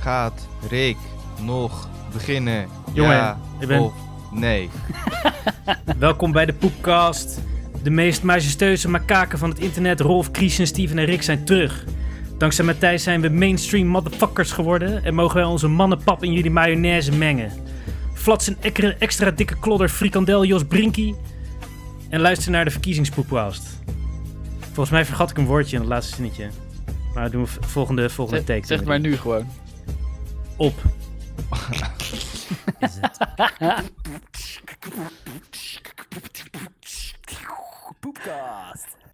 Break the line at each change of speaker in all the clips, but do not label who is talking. Gaat Rick nog beginnen?
Jongen,
ja
ik ben-
of nee?
Welkom bij de Poepcast. De meest majestueuze makaken van het internet, Rolf, Christian, Steven en Rick zijn terug. Dankzij Matthijs zijn we mainstream motherfuckers geworden en mogen wij onze mannenpap in jullie mayonaise mengen. Flats een ekre- extra dikke klodder frikandel Jos Brinkie en luister naar de verkiezingspoepcast. Volgens mij vergat ik een woordje in het laatste zinnetje. Maar dat doen we v- volgende, volgende
Zeg,
take.
zeg het maar nu gewoon.
Op.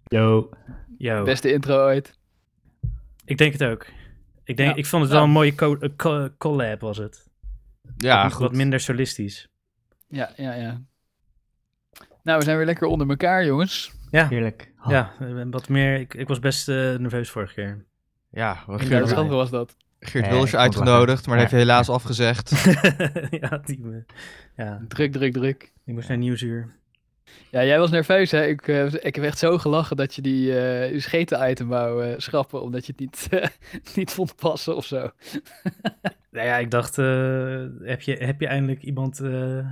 Yo.
Yo.
Beste intro ooit.
Ik denk het ook. Ik, denk,
Ja.
ik vond het
Ja.
wel een mooie co- eh, co- collab was het.
Ja,
Wat-
goed.
Wat minder solistisch.
Ja, ja, ja. Nou, we zijn weer lekker onder elkaar, jongens.
Ja,
Heerlijk. Ha.
ja eh, wat meer. Ik, ik was best eh, nerveus vorige keer.
Ja, we-
Ja,
Geert,
wat was dat?
Geert
Nee,
Wilders
ik vond het wel
uitgenodigd, maar dat heeft
Ja.
hij helaas afgezegd.
ja, die, me- ja,
Druk, druk, druk.
die moest naar Nieuwsuur.
Ja, jij was nerveus, hè? Ik, eh, ik heb echt zo gelachen dat je die eh scheten-item wou eh, schrappen, omdat je het niet, eh, niet vond passen of zo.
Nou ja, ik dacht, eh, heb, je, heb je eindelijk iemand eh,
Ja,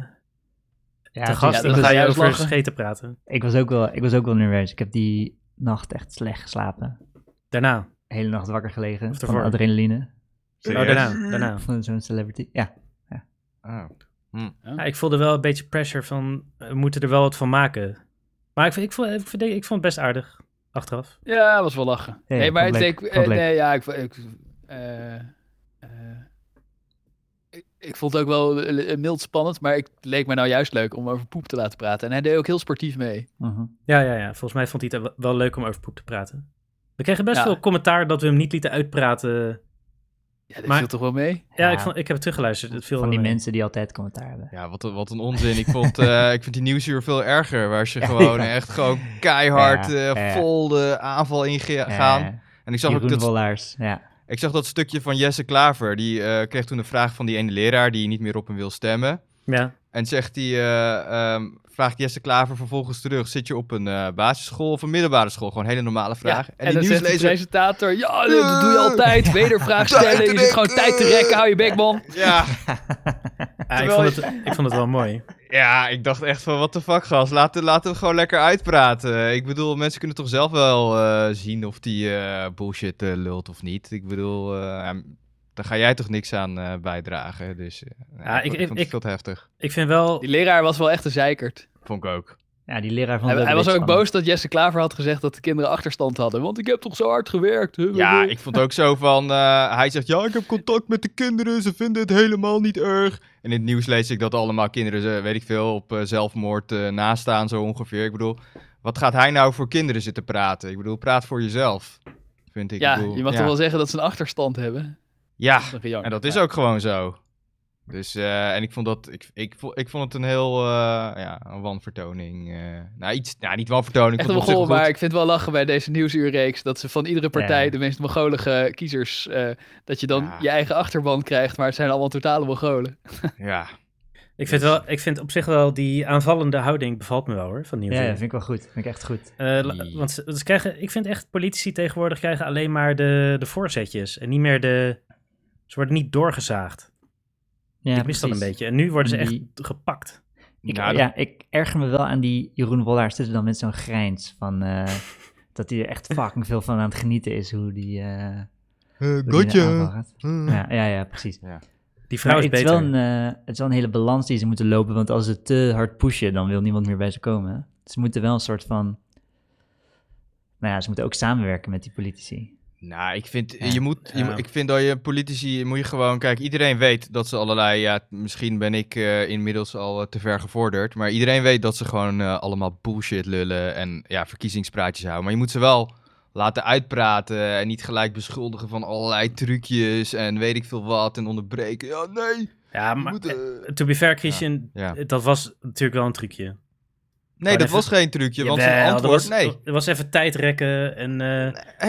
te
het
gast?
is-
ja,
dan
dat
ga
is
je
juist
over
lachen.
scheten praten.
ik, was ook wel, ik was ook wel nerveus. Ik heb die nacht echt slecht geslapen.
Daarna.
De hele nacht wakker gelegen
Of
van
ervoor.
adrenaline.
Oh,
Mhm.
daarna. daarna.
Van zo'n celebrity. Ja.
Ah.
Ja, ik voelde wel een beetje pressure van, eh, we moeten er wel wat van maken. Maar ik, vond- ik, vond, ik, vond, ik vond het best aardig, achteraf.
Ja, was wel lachen.
Ja,
nee, maar
vond
het, ik,
leuk, vond
eh,
leuk.
nee, ja, ik, ik, eh, eh, ik, ik vond het ook wel eh, mild spannend, maar ik, het leek me nou juist leuk om over poep te laten praten. En hij deed ook heel sportief mee.
Mhm.
Ja, ja, ja. Volgens mij vond hij het wel- wel leuk om over poep te praten. We kregen best
Ja.
veel commentaar dat we hem niet lieten uitpraten.
Ja, dat
Maar-
viel toch wel mee?
Ja,
Ja.
Ik, vond, ik heb het teruggeluisterd. Het viel
Van
wel
die
mee.
mensen die altijd commentaar hebben.
Ja, wat, een- wat een onzin. Ik, vond, eh, ik vind die nieuwsuur veel erger. Waar ze
Ja,
gewoon
ja.
echt gewoon keihard
Ja,
eh,
ja.
vol de aanval ingaan.
Eh,
gaan en ik zag, ook
Jeroen
dat,
Wollaars. Ja.
ik zag dat stukje van Jesse Klaver. Die eh, kreeg toen een vraag van die ene leraar die niet meer op hem wil stemmen.
Ja.
En zegt die, eh, ehm, vraagt Jesse Klaver vervolgens terug: zit je op een eh, basisschool of een middelbare school? Gewoon een hele normale vraag.
Ja, en, dan
die
zegt de
nieuwslezer.
presentator, ja, dat doe je altijd. Wedervraag stellen, je zit gewoon tijd te rekken, hou je bek, man.
Ja,
Ah, ik,
Terwijl
vond het, ik vond het wel mooi.
ja, ik dacht echt van: wat de fuck, gast? Laat, laat hem gewoon lekker uitpraten. Ik bedoel, mensen kunnen toch zelf wel eh, zien of die eh, bullshit eh, lult of niet. Ik bedoel, eh, ja, daar ga jij toch niks aan eh, bijdragen. Dus eh,
Ja, ik-
vond-
ik-
vond het
ik-
veel te heftig.
Ik vind wel.
Die leraar was wel echt een zeikerd.
Vond ik ook.
ja, die leraar van
Hij, hij was ook boos dat Jesse Klaver had gezegd dat de kinderen achterstand hadden. Want ik heb toch zo hard gewerkt. huh,
Ja,
huh.
ik vond ook zo van. eh, hij zegt: Ja, ik heb contact met de kinderen. Ze vinden het helemaal niet erg. En in het nieuws lees ik dat allemaal kinderen, eh, weet ik veel, op eh, zelfmoord eh nastaan, zo ongeveer. Ik bedoel, wat gaat hij nou voor kinderen zitten praten? Ik bedoel, praat voor jezelf. Vind ik.
Ja,
Ik bedoel,
je mag
ja.
toch wel zeggen dat ze een achterstand hebben?
Ja,
Dat is een gejank.
en dat
Ja.
is ook gewoon zo. Dus, eh, en ik vond dat, ik, ik, vo- ik vond het een heel, eh, ja, een wanvertoning. eh, nou, iets, nou, niet wanvertoning. ik
Echt een
vond het op zich
Mongool,
wel goed.
maar ik vind het wel lachen bij deze nieuwsuurreeks dat ze van iedere partij
Ja.
de meest mongolige kiezers, eh, dat je dan
Ja.
je eigen achterban krijgt, maar het zijn allemaal totale mongolen.
Ja,
Ik vind, wel, ik vind op zich wel die aanvallende houding bevalt me wel hoor. Van
Ja,
Nieuwsuur.
ja, vind ik wel goed. Vind ik echt goed.
Eh, la- want ze, ze krijgen, ik vind echt politici tegenwoordig krijgen alleen maar de, de voorzetjes. En niet meer de. Ze worden niet doorgezaagd.
Ja,
ik mis dat een
precies.
beetje. En nu worden ze
En
echt
die-
gepakt.
Ik,
Nou, dat-
ja, ik erger me wel aan die Jeroen Wollaars tussen dan met zo'n grijns van... eh, dat hij er echt fucking veel van aan het genieten is hoe die... eh
Eh,
hoe die naar de aanval
gotcha.
gaat.
Eh.
Ja, ja, ja, precies.
Die vrouw
Maar
Nou is
het is,
beter.
wel een, eh, het is wel een hele balans die ze moeten lopen, want als ze te hard pushen, dan wil niemand meer bij ze komen. Ze moeten wel een soort van... Nou ja, ze moeten ook samenwerken met die politici.
Nou, ik vind,
Ja.
je moet, je
Ja.
moet- ik vind dat je politici, moet je gewoon, kijk, iedereen weet dat ze allerlei, ja, misschien ben ik eh, inmiddels al eh, te ver gevorderd, maar iedereen weet dat ze gewoon eh, allemaal bullshit lullen en ja, verkiezingspraatjes houden. Maar je moet ze wel laten uitpraten en niet gelijk beschuldigen van allerlei trucjes en weet ik veel wat en onderbreken. Ja, nee,
ja,
je
maar.
moet, eh,
eh, To be fair, Christian,
Ja.
eh, dat was natuurlijk wel een trucje.
nee, dat
even-
was geen trucje, want
Jawel,
zijn
er
antwoord,
was,
nee,
Er was even tijdrekken en... eh,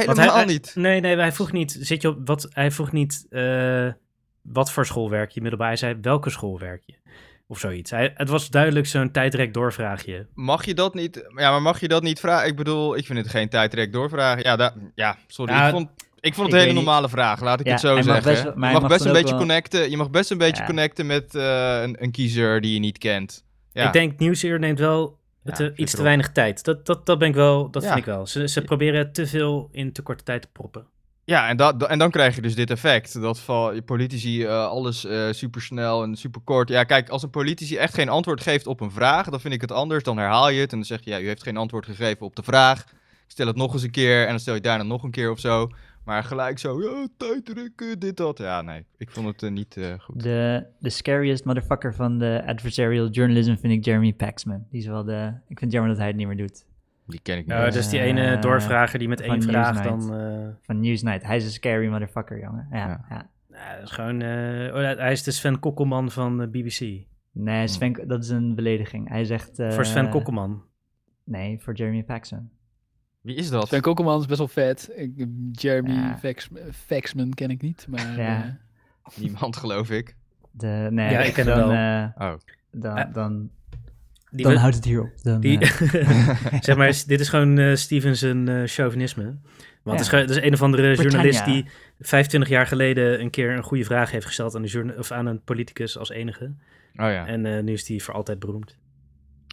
want
helemaal
hij-
niet.
Nee, nee, hij vroeg niet, zit je op, wat, hij vroeg niet eh, wat voor school werk je middelbaar. Hij zei, welke school werk je? Of zoiets. Hij- het was duidelijk zo'n tijdrek doorvraagje.
Mag je dat niet? Ja, maar mag je dat niet vragen? Ik bedoel, ik vind het geen tijdrek doorvragen. Ja, daar- ja sorry.
Ja,
ik vond, ik vond
Nou, ik
het een
weet
hele
niet.
normale vraag, laat ik
Ja,
het zo
hij mag
zeggen.
best wel-
je
maar hij
mag,
mag
best
dan
een
ook
beetje
wel-
connecten. Je mag best een beetje
Ja.
connecten met eh, een, een kiezer die je niet kent. Ja.
Ik denk Nieuwsuur neemt wel het, eh,
flikker
iets te
op.
weinig tijd. Dat, dat, dat ben ik wel, dat
Ja.
vind ik wel. Ze, ze proberen te veel in te korte tijd te proppen.
Ja, en, dat, en dan krijg je dus dit effect. Dat van je politici eh, alles eh supersnel en superkort. Ja, kijk, als een politici echt geen antwoord geeft op een vraag, dan vind ik het anders. Dan herhaal je het en dan zeg je, ja, u heeft geen antwoord gegeven op de vraag. Ik stel het nog eens een keer en dan stel je het daarna nog een keer of zo. Maar gelijk zo, ja, tijdrukken, dit, dat. Ja, nee, ik vond het eh, niet eh, goed.
De, de scariest motherfucker van de adversarial journalism vind ik Jeremy Paxman. Die is wel de... Ik vind het jammer dat hij het niet meer doet.
Die ken ik niet.
Nou, dat is die
Eh,
ene doorvrager die met
van
één vraag
Newsnight.
dan... eh,
Van Newsnight. Hij is een scary motherfucker, jongen. Ja,
Ja.
ja.
nou, dat is gewoon, eh, oh, hij is de Sven Kokkelman van eh, BBC.
Nee, Sven, dat is een belediging. Hij zegt... eh,
Voor Sven Kokkelman.
Nee, voor Jeremy Paxman.
Wie is dat?
Sven Kokkelman is best wel vet. Ik, Jeremy
Ja.
Vax- Vaxman ken ik niet, maar...
Ja.
eh,
Niemand, geloof ik.
De, nee,
Ja, ik ken hem
dan,
wel.
eh,
Oh.
dan,
Eh,
dan,
Die
dan
we-
houdt het hier op. Dan,
Die,
eh,
zeg maar, is- dit is gewoon eh, Stevens' een, eh, chauvinisme. Want het, is,
Ja.
gewoon- het is een of andere journalist
Britannia.
die 25 jaar geleden een keer een goede vraag heeft gesteld aan, de journa- of aan een politicus als enige.
Oh ja.
En eh, nu is die voor altijd beroemd.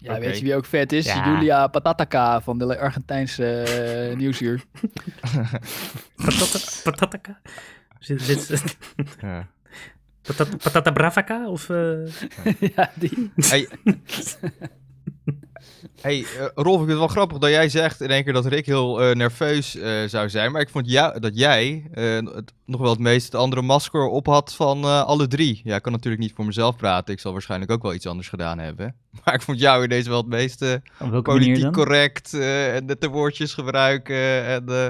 ja,
Oké.
weet je wie ook vet is?
Ja.
Julia Patataka van de Argentijnse eh, nieuwsuur.
Patata- Patataka? Zit, zit,
ja.
patata, patata bravaca? Of, eh,
ja, die.
Hey, hey eh, Rolf, ik vind het wel grappig dat jij zegt in één keer dat Rick heel eh, nerveus eh, zou zijn. Maar ik vond jou, dat jij eh, het- nog wel het meest het andere masker op had van eh, alle drie. Ja, ik kan natuurlijk niet voor mezelf praten. Ik zal waarschijnlijk ook wel iets anders gedaan hebben. Maar ik vond jou in deze wel het meest eh,
op welke manier
politiek
dan?
correct eh, en de woordjes gebruiken. En, eh,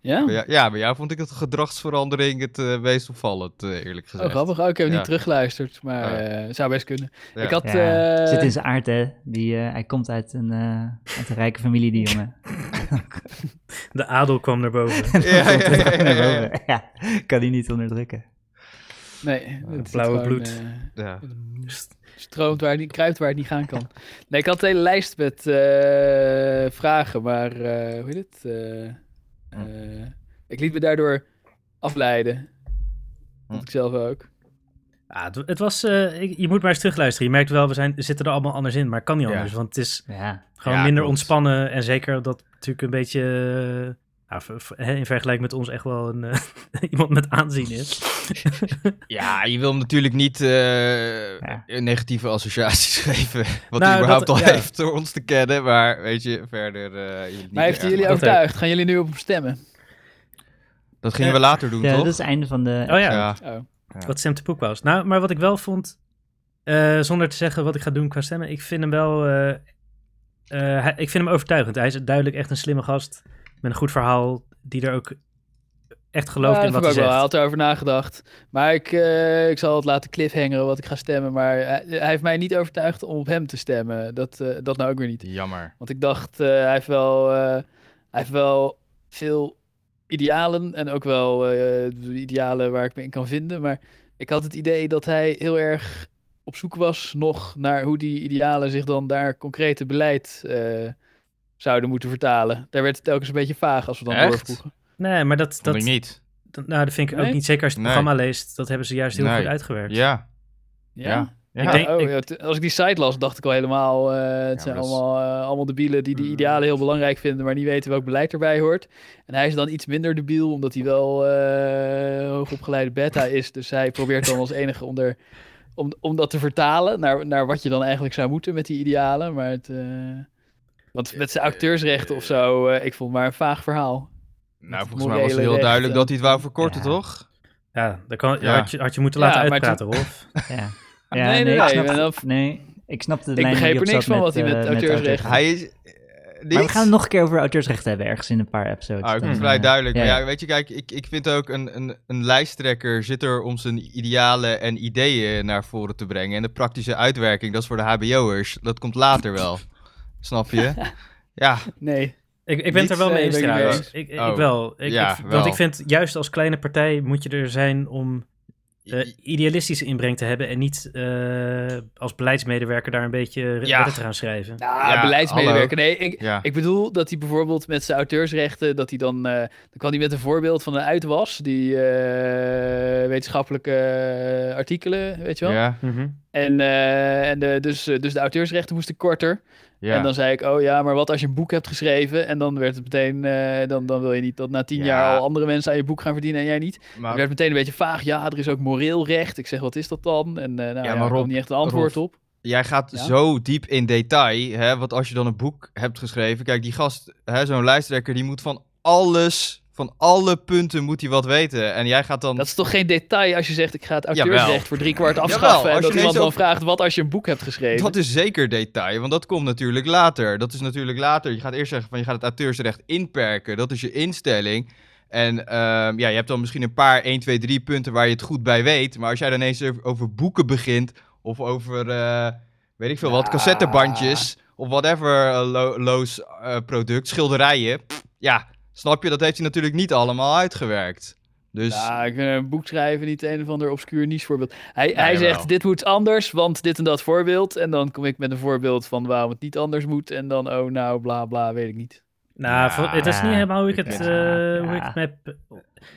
Ja?
Oh.
bij jou- ja, bij jou vond ik het gedragsverandering het eh, meest opvallend, eh, eerlijk
Oh,
gezegd.
grappig. Oh, ik heb
Ja.
niet teruggeluisterd, maar
Oh,
eh, zou best kunnen.
Ja.
Ik had...
Ja,
eh,
Zit in zijn aard, hè. Die, eh, hij komt uit een, eh, uit een rijke familie, die jongen.
de adel kwam naar boven.
Ja, ja, ja, ja, ja, ja.
Ja, kan die niet onderdrukken.
Nee, het zit
blauwe bloed.
eh,
Ja.
St-
stroomt waar het niet, kruipt waar het niet gaan kan. Nee, ik had een hele lijst met eh, vragen, maar eh, hoe heet het? Eh, eh, ik liet me daardoor afleiden.
Hm.
Dat ik zelf ook.
Ja, Ah, het, het was, eh, ik- je moet maar eens terugluisteren. Je merkt wel, we zijn, zitten er allemaal anders in, maar kan niet
Ja.
anders. Want het is
Ja,
Gewoon
Ja,
minder
klopt.
ontspannen en zeker dat natuurlijk een beetje, eh, nou, ver- ver- hè, in vergelijking met ons echt wel een, eh, iemand met aanzien is.
Ja, je wil hem natuurlijk niet eh,
Ja.
negatieve associaties geven. Wat
Nou,
hij überhaupt
dat-
al
ja.
heeft door ons te kennen. Maar weet je, verder. eh, je- niet
Maar heeft hij
erg.
jullie
dat
overtuigd? Gaan jullie nu op hem stemmen?
Dat gingen we later doen,
ja
toch?
dat is het einde van de...
Oh ja,
Oh.
wat Sam de Poek was. Nou, maar wat ik wel vond, eh, zonder te zeggen wat ik ga doen qua stemmen, ik vind hem wel, eh, eh, hij- ik vind hem overtuigend. Hij is duidelijk echt een slimme gast met een goed verhaal die er ook echt gelooft
Ja,
in
dat
wat
heb ik
hij
ook
zegt.
wel. Hij had erover nagedacht. Maar ik, eh, ik zal het laten cliffhangeren wat ik ga stemmen. Maar hij, hij heeft mij niet overtuigd om op hem te stemmen. Dat, eh, dat nou ook weer niet.
Jammer.
Want ik dacht, eh, hij, heeft wel, eh, hij heeft wel veel idealen en ook wel eh, de idealen waar ik me in kan vinden. Maar ik had het idee dat hij heel erg op zoek was nog naar hoe die idealen zich dan daar concrete beleid eh, zouden moeten vertalen. Daar werd het telkens een beetje vaag als we dan
Echt?
doorvroegen.
Nee, maar dat,
Dat
dat,
ik niet.
dat- nou, dat vind ik ook
Nee?
niet. Zeker als je het
Nee.
programma leest, dat hebben ze juist heel
Nee.
goed uitgewerkt.
Ja.
Ja.
Ja. Ja.
Ik denk-
oh, ja, t- als ik die site las, dacht ik al helemaal, eh, het
Ja, maar
zijn
dat is- Mm.
allemaal, eh, allemaal debielen die die idealen heel belangrijk vinden, maar niet weten welk beleid erbij hoort. En hij is dan iets minder debiel, omdat hij wel eh, hoogopgeleide beta is. Dus hij probeert dan als enige onder, om, om dat te vertalen naar, naar wat je dan eigenlijk zou moeten met die idealen. Maar het, eh, want met zijn auteursrechten of zo, eh, ik vond het maar een vaag verhaal.
Nou,
Met
volgens mij was het
morele
heel
recht
duidelijk
en-
dat hij het wou verkorten,
Ja.
toch?
Ja, dat kan,
Ja.
Had, je, had je moeten
Ja,
laten
maar
uitpraten, Rolf.
Ja.
nee,
Ja,
nee,
ik
nee,
snap-
maar dan-
nee, ik snapte de
Ik
lijn die
begreep
op
er niks
zat
van wat hij
eh,
met auteursrechten-
Maar
Hij is. eh,
we
niet?
gaan het nog een keer over auteursrechten hebben, ergens in een paar episodes.
Ah, ik
Dan,
Hmm.
vind het vrij
eh,
duidelijk.
ja,
maar
ja.
ja, weet je, kijk, ik, ik vind ook een, een, een lijsttrekker zit er om zijn idealen en ideeën naar voren te brengen. En de praktische uitwerking, dat is voor de HBO'ers. Dat komt later wel. Snap je? Ja,
Nee.
Ik, ik ben het er wel
Niet?
mee
Nee,
eens
ben ik niet
trouwens.
mee
Ik, ik,
Oh.
wel. Ik,
Ja,
ik-
wel.
Want ik vind, juist als kleine partij moet je er zijn om eh, idealistische inbreng te hebben en niet eh, als beleidsmedewerker daar een beetje
Ja.
ja. te gaan schrijven.
Nou,
Ja,
beleidsmedewerker. Nee, ik,
ja.
ik bedoel dat hij bijvoorbeeld met zijn auteursrechten, dat hij dan, eh, dan kan hij met een voorbeeld van een uitwas, die eh, wetenschappelijke eh, artikelen, weet je wel.
ja,
Mhm.
En, eh, en de, dus, eh, dus de auteursrechten moesten korter.
ja.
En dan zei ik, oh ja, maar wat als je een boek hebt geschreven en dan werd het meteen, eh, dan, dan wil je niet dat na tien
Ja.
jaar al andere mensen aan je boek gaan verdienen en jij niet.
maar,
Het werd meteen een beetje vaag. Ja, er is ook moreel recht. Ik zeg, wat is dat dan? En eh nou, ja,
maar
maar
Rob-
niet echt een antwoord
Rob,
op.
Jij gaat
Ja?
zo diep in detail, hè, want als je dan een boek hebt geschreven, kijk, die gast, hè, zo'n lijsttrekker, die moet van alles, van alle punten moet hij wat weten. En jij gaat dan...
Dat is toch geen detail als je zegt, ik ga het
Jawel.
auteursrecht voor drie kwart afschaffen.
als
en dat
je
iemand
ineens
dan
ook-
vraagt, wat als je een boek hebt geschreven?
Dat is zeker detail, want dat komt natuurlijk later. Dat is natuurlijk later. Je gaat eerst zeggen van je gaat het auteursrecht inperken. Dat is je instelling. En ehm, ja, je hebt dan misschien een paar 1, 2, 3 punten waar je het goed bij weet. Maar als jij dan ineens over- over boeken begint of over, eh, weet ik veel wat,
Ja.
cassettebandjes of whatever eh, lo- loos eh, product, schilderijen. Pff, ja, snap je, dat heeft hij natuurlijk niet allemaal uitgewerkt. Dus
Ja, ik vind een boek schrijven niet een of ander obscuur niche voorbeeld. Hij, hij
jawel.
zegt, dit moet anders, want dit en dat voorbeeld. En dan kom ik met een voorbeeld van waarom het niet anders moet. En dan, oh nou, bla bla, weet ik niet.
Nou, vol- dat is niet
Ja,
helemaal hoe ik
ik
het,
weet-
eh,
Ja.
hoe ik het me heb-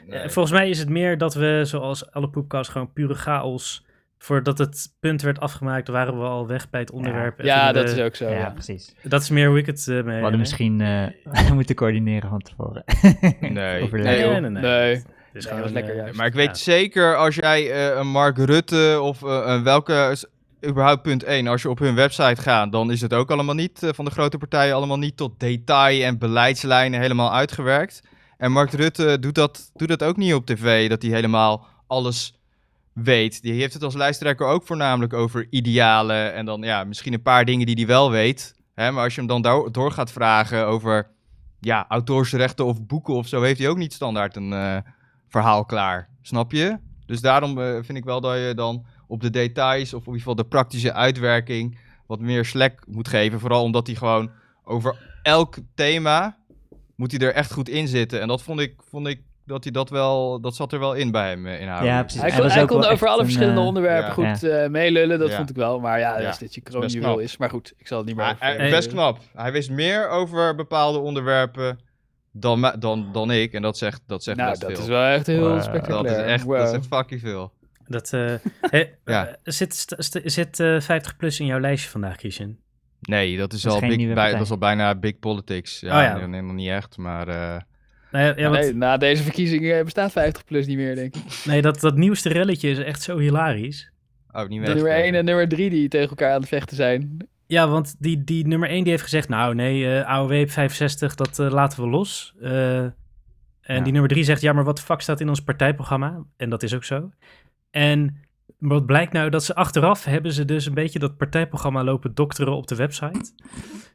nee.
Eh, Volgens mij is het meer dat we, zoals alle poepcasts, gewoon pure chaos. Voordat het punt werd afgemaakt, waren we al weg bij het onderwerp. En
Ja,
vinden
dat
we-
is ook zo.
Ja,
ja.
precies.
Dat is meer hoe ik het eh, mee.
We hadden misschien eh, moeten coördineren van tevoren.
Nee.
Overleggen.
Nee,
Nee,
nee,
joh.
nee.
Nee.
Het is
Nee, dat was
gewoon,
lekker
eh,
juist.
Maar ik weet zeker als jij eh, een Mark Rutte of eh, een welke, s- überhaupt punt 1, als je op hun website gaat, dan is het ook allemaal niet, eh, van de grote partijen, allemaal niet tot detail en beleidslijnen helemaal uitgewerkt. En Mark Rutte doet dat, doet dat ook niet op tv, dat hij helemaal alles weet. Die heeft het als lijsttrekker ook voornamelijk over idealen en dan ja, misschien een paar dingen die hij wel weet. Hè, maar als je hem dan door, door gaat vragen over ja, auteursrechten of boeken of zo, heeft hij ook niet standaard een... eh, verhaal klaar. Snap je? Dus daarom eh, vind ik wel dat je dan op de details of in ieder geval de praktische uitwerking wat meer slack moet geven. Vooral omdat hij gewoon over elk thema moet hij er echt goed in zitten. En dat vond ik, vond ik dat hij dat wel, dat zat er wel in bij hem eh, in haar.
Ja, precies.
Hij
Hij
kon,
was
hij
ook
kon
wel
over
echt
alle
een,
verschillende
eh,
onderwerpen
ja.
goed eh, meelullen, dat
Ja.
vond ik wel. Maar ja,
Ja.
als dit je
Best
kroonjuweel
knap.
is. Maar goed, ik zal het niet meer
Maar
over- eh,
hij- best knap. Hij wist meer over bepaalde onderwerpen dan, ma- dan, dan ik. En dat zegt, dat zegt
Nou,
best
dat
veel.
is wel echt heel
Wow.
dat,
spectaculair.
is echt,
Wow.
dat is echt fucking veel.
Dat, eh, hè,
Ja.
eh, Zit, st- st- zit eh, 50 plus in jouw lijstje vandaag, Christian?
Nee, dat is,
Dat is
al,
geen
big,
nieuwe
bij,
partij.
dat is al bijna big politics. Ja,
Oh ja.
nee, nee, nog niet echt, maar... eh,
Nou, ja, ja, want-
Nee,
nee,
na deze verkiezingen eh, bestaat 50 plus niet meer, denk ik.
dat, dat nieuwste relletje is echt zo hilarisch.
Oh, niet
nummer 1 en nummer 3 die tegen elkaar aan het vechten zijn.
Ja, want die, die nummer 1 die heeft gezegd: Nou, nee, eh, AOW 65, dat eh, laten we los. Eh, en
Ja.
die nummer 3 zegt: Ja, maar wat de fuck staat in ons partijprogramma? En dat is ook zo. En wat blijkt nou dat ze achteraf hebben ze dus een beetje dat partijprogramma lopen dokteren op de website.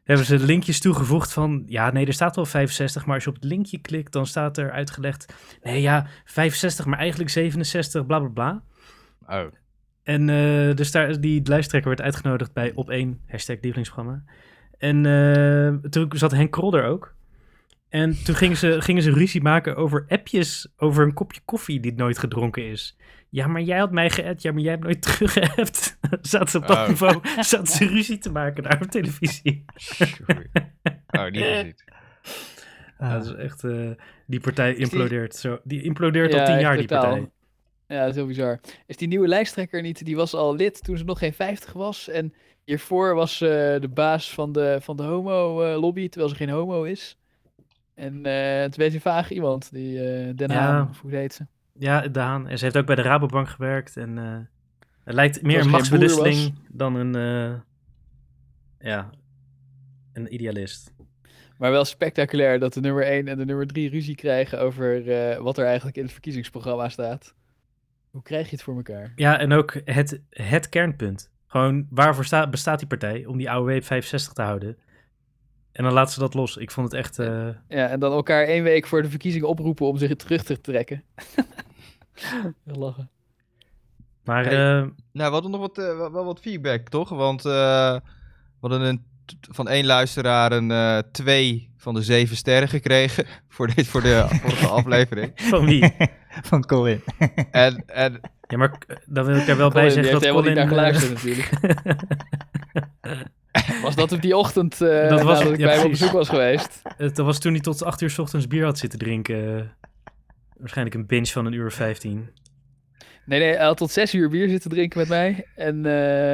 hebben ze linkjes toegevoegd van: Ja, nee, er staat wel 65, maar als je op het linkje klikt, dan staat er uitgelegd: Nee, ja, 65, maar eigenlijk 67, bla bla bla.
Oh,
En eh, dus daar, die lijsttrekker werd uitgenodigd bij op één hashtag lievelingsprogramma. En eh, toen zat Henk Krol er ook. En toen gingen ze, gingen ze ruzie maken over appjes, over een kopje koffie die nooit gedronken is. Ja, maar jij had mij geappt. Ja, maar jij hebt nooit teruggeappt. zaten ze op dat
Oh.
niveau, zaten ze ruzie te maken daar op televisie.
sorry. oh die is het.
Ah.
Ja, dat is echt, eh, die partij implodeert zo. Die implodeert al
Ja,
tien
echt
jaar, die
totaal.
partij.
Ja, dat is heel bizar. Is die nieuwe lijsttrekker niet, die was al lid toen ze nog geen 50 was. En hiervoor was ze de baas van de, van de homo-lobby, terwijl ze geen homo is. En eh het weet je vaag iemand, die eh Den
Ja.
Haan, of hoe heet ze?
Ja, Daan. En ze heeft ook bij de Rabobank gewerkt. En eh, het lijkt
ze
meer een
geen boer
machtsbewusteling dan een, eh, ja, een idealist.
Maar wel spectaculair dat de nummer 1 en de nummer 3 ruzie krijgen over eh, wat er eigenlijk in het verkiezingsprogramma staat. Hoe krijg je het voor elkaar?
Ja, en ook het, het kernpunt. Gewoon, waarvoor sta- bestaat die partij? Om die AOW op 65 te houden. En dan laten ze dat los. Ik vond het echt... eh,
Ja, en dan elkaar één week voor de verkiezingen oproepen om zich terug te trekken. Echt Lachen.
maar
Hey.
eh,
Nou, we hadden nog wat, eh, wel- wel wat feedback, toch? Want eh, we hadden een, t- van één luisteraar een eh, twee van de zeven sterren gekregen voor, dit, voor de vorige aflevering.
van wie?
van ah, Colin.
En, nou, en
Ja, maar k- dan wil ik er wel bij
Colin, die
zeggen
heeft
dat Colin...
helemaal niet naar
eh,
geluisterd natuurlijk. Was dat op die ochtend eh
Dat was
nadat
het,
ik
ja,
bij hem op
precies.
bezoek was geweest?
Het was toen hij tot 8 uur 's ochtends bier had zitten drinken. eh, Waarschijnlijk een binge van een uur of 15.
Nee, nee, hij had tot zes uur bier zitten drinken met mij. En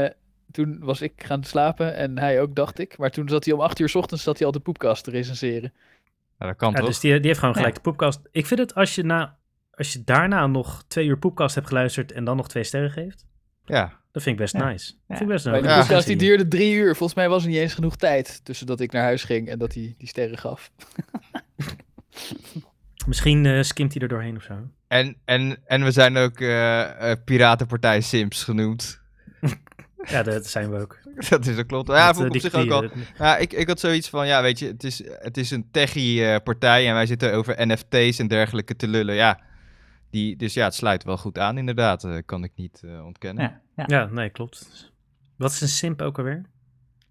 eh, toen was ik gaan slapen en hij ook, dacht ik. Maar toen zat hij om acht uur 's ochtends zat hij al de poepkast te recenseren.
Nou, dat kan
Ja,
toch?
dus die, die heeft gewoon
Ja.
gelijk de poepkast. Ik vind het als je, na, als je daarna nog twee uur poepkast hebt geluisterd en dan nog twee sterren geeft,
Ja.
dat vind ik best
Ja.
nice. Dat vind ik best
Maar
leuk.
die
Ja.
poepkast die duurde drie uur. Volgens mij was er niet eens genoeg tijd tussen dat ik naar huis ging en dat hij die sterren gaf.
Misschien eh, skimt hij er doorheen of zo.
En, en, en we zijn ook eh, eh, Piratenpartij Sims genoemd.
Ja, dat zijn we ook.
Dat is ook klopt. Ja,
Dat,
vond ik
eh,
op zich ook
die-
al.
die-
Ja, ik, ik had zoiets van, ja, weet je, het is, het is een techie-partij en wij zitten over NFT's en dergelijke te lullen. Ja, die, dus ja, het sluit wel goed aan, inderdaad. eh, kan ik niet eh, ontkennen.
Ja, ja.
Ja, nee, klopt. Wat is een simp ook alweer?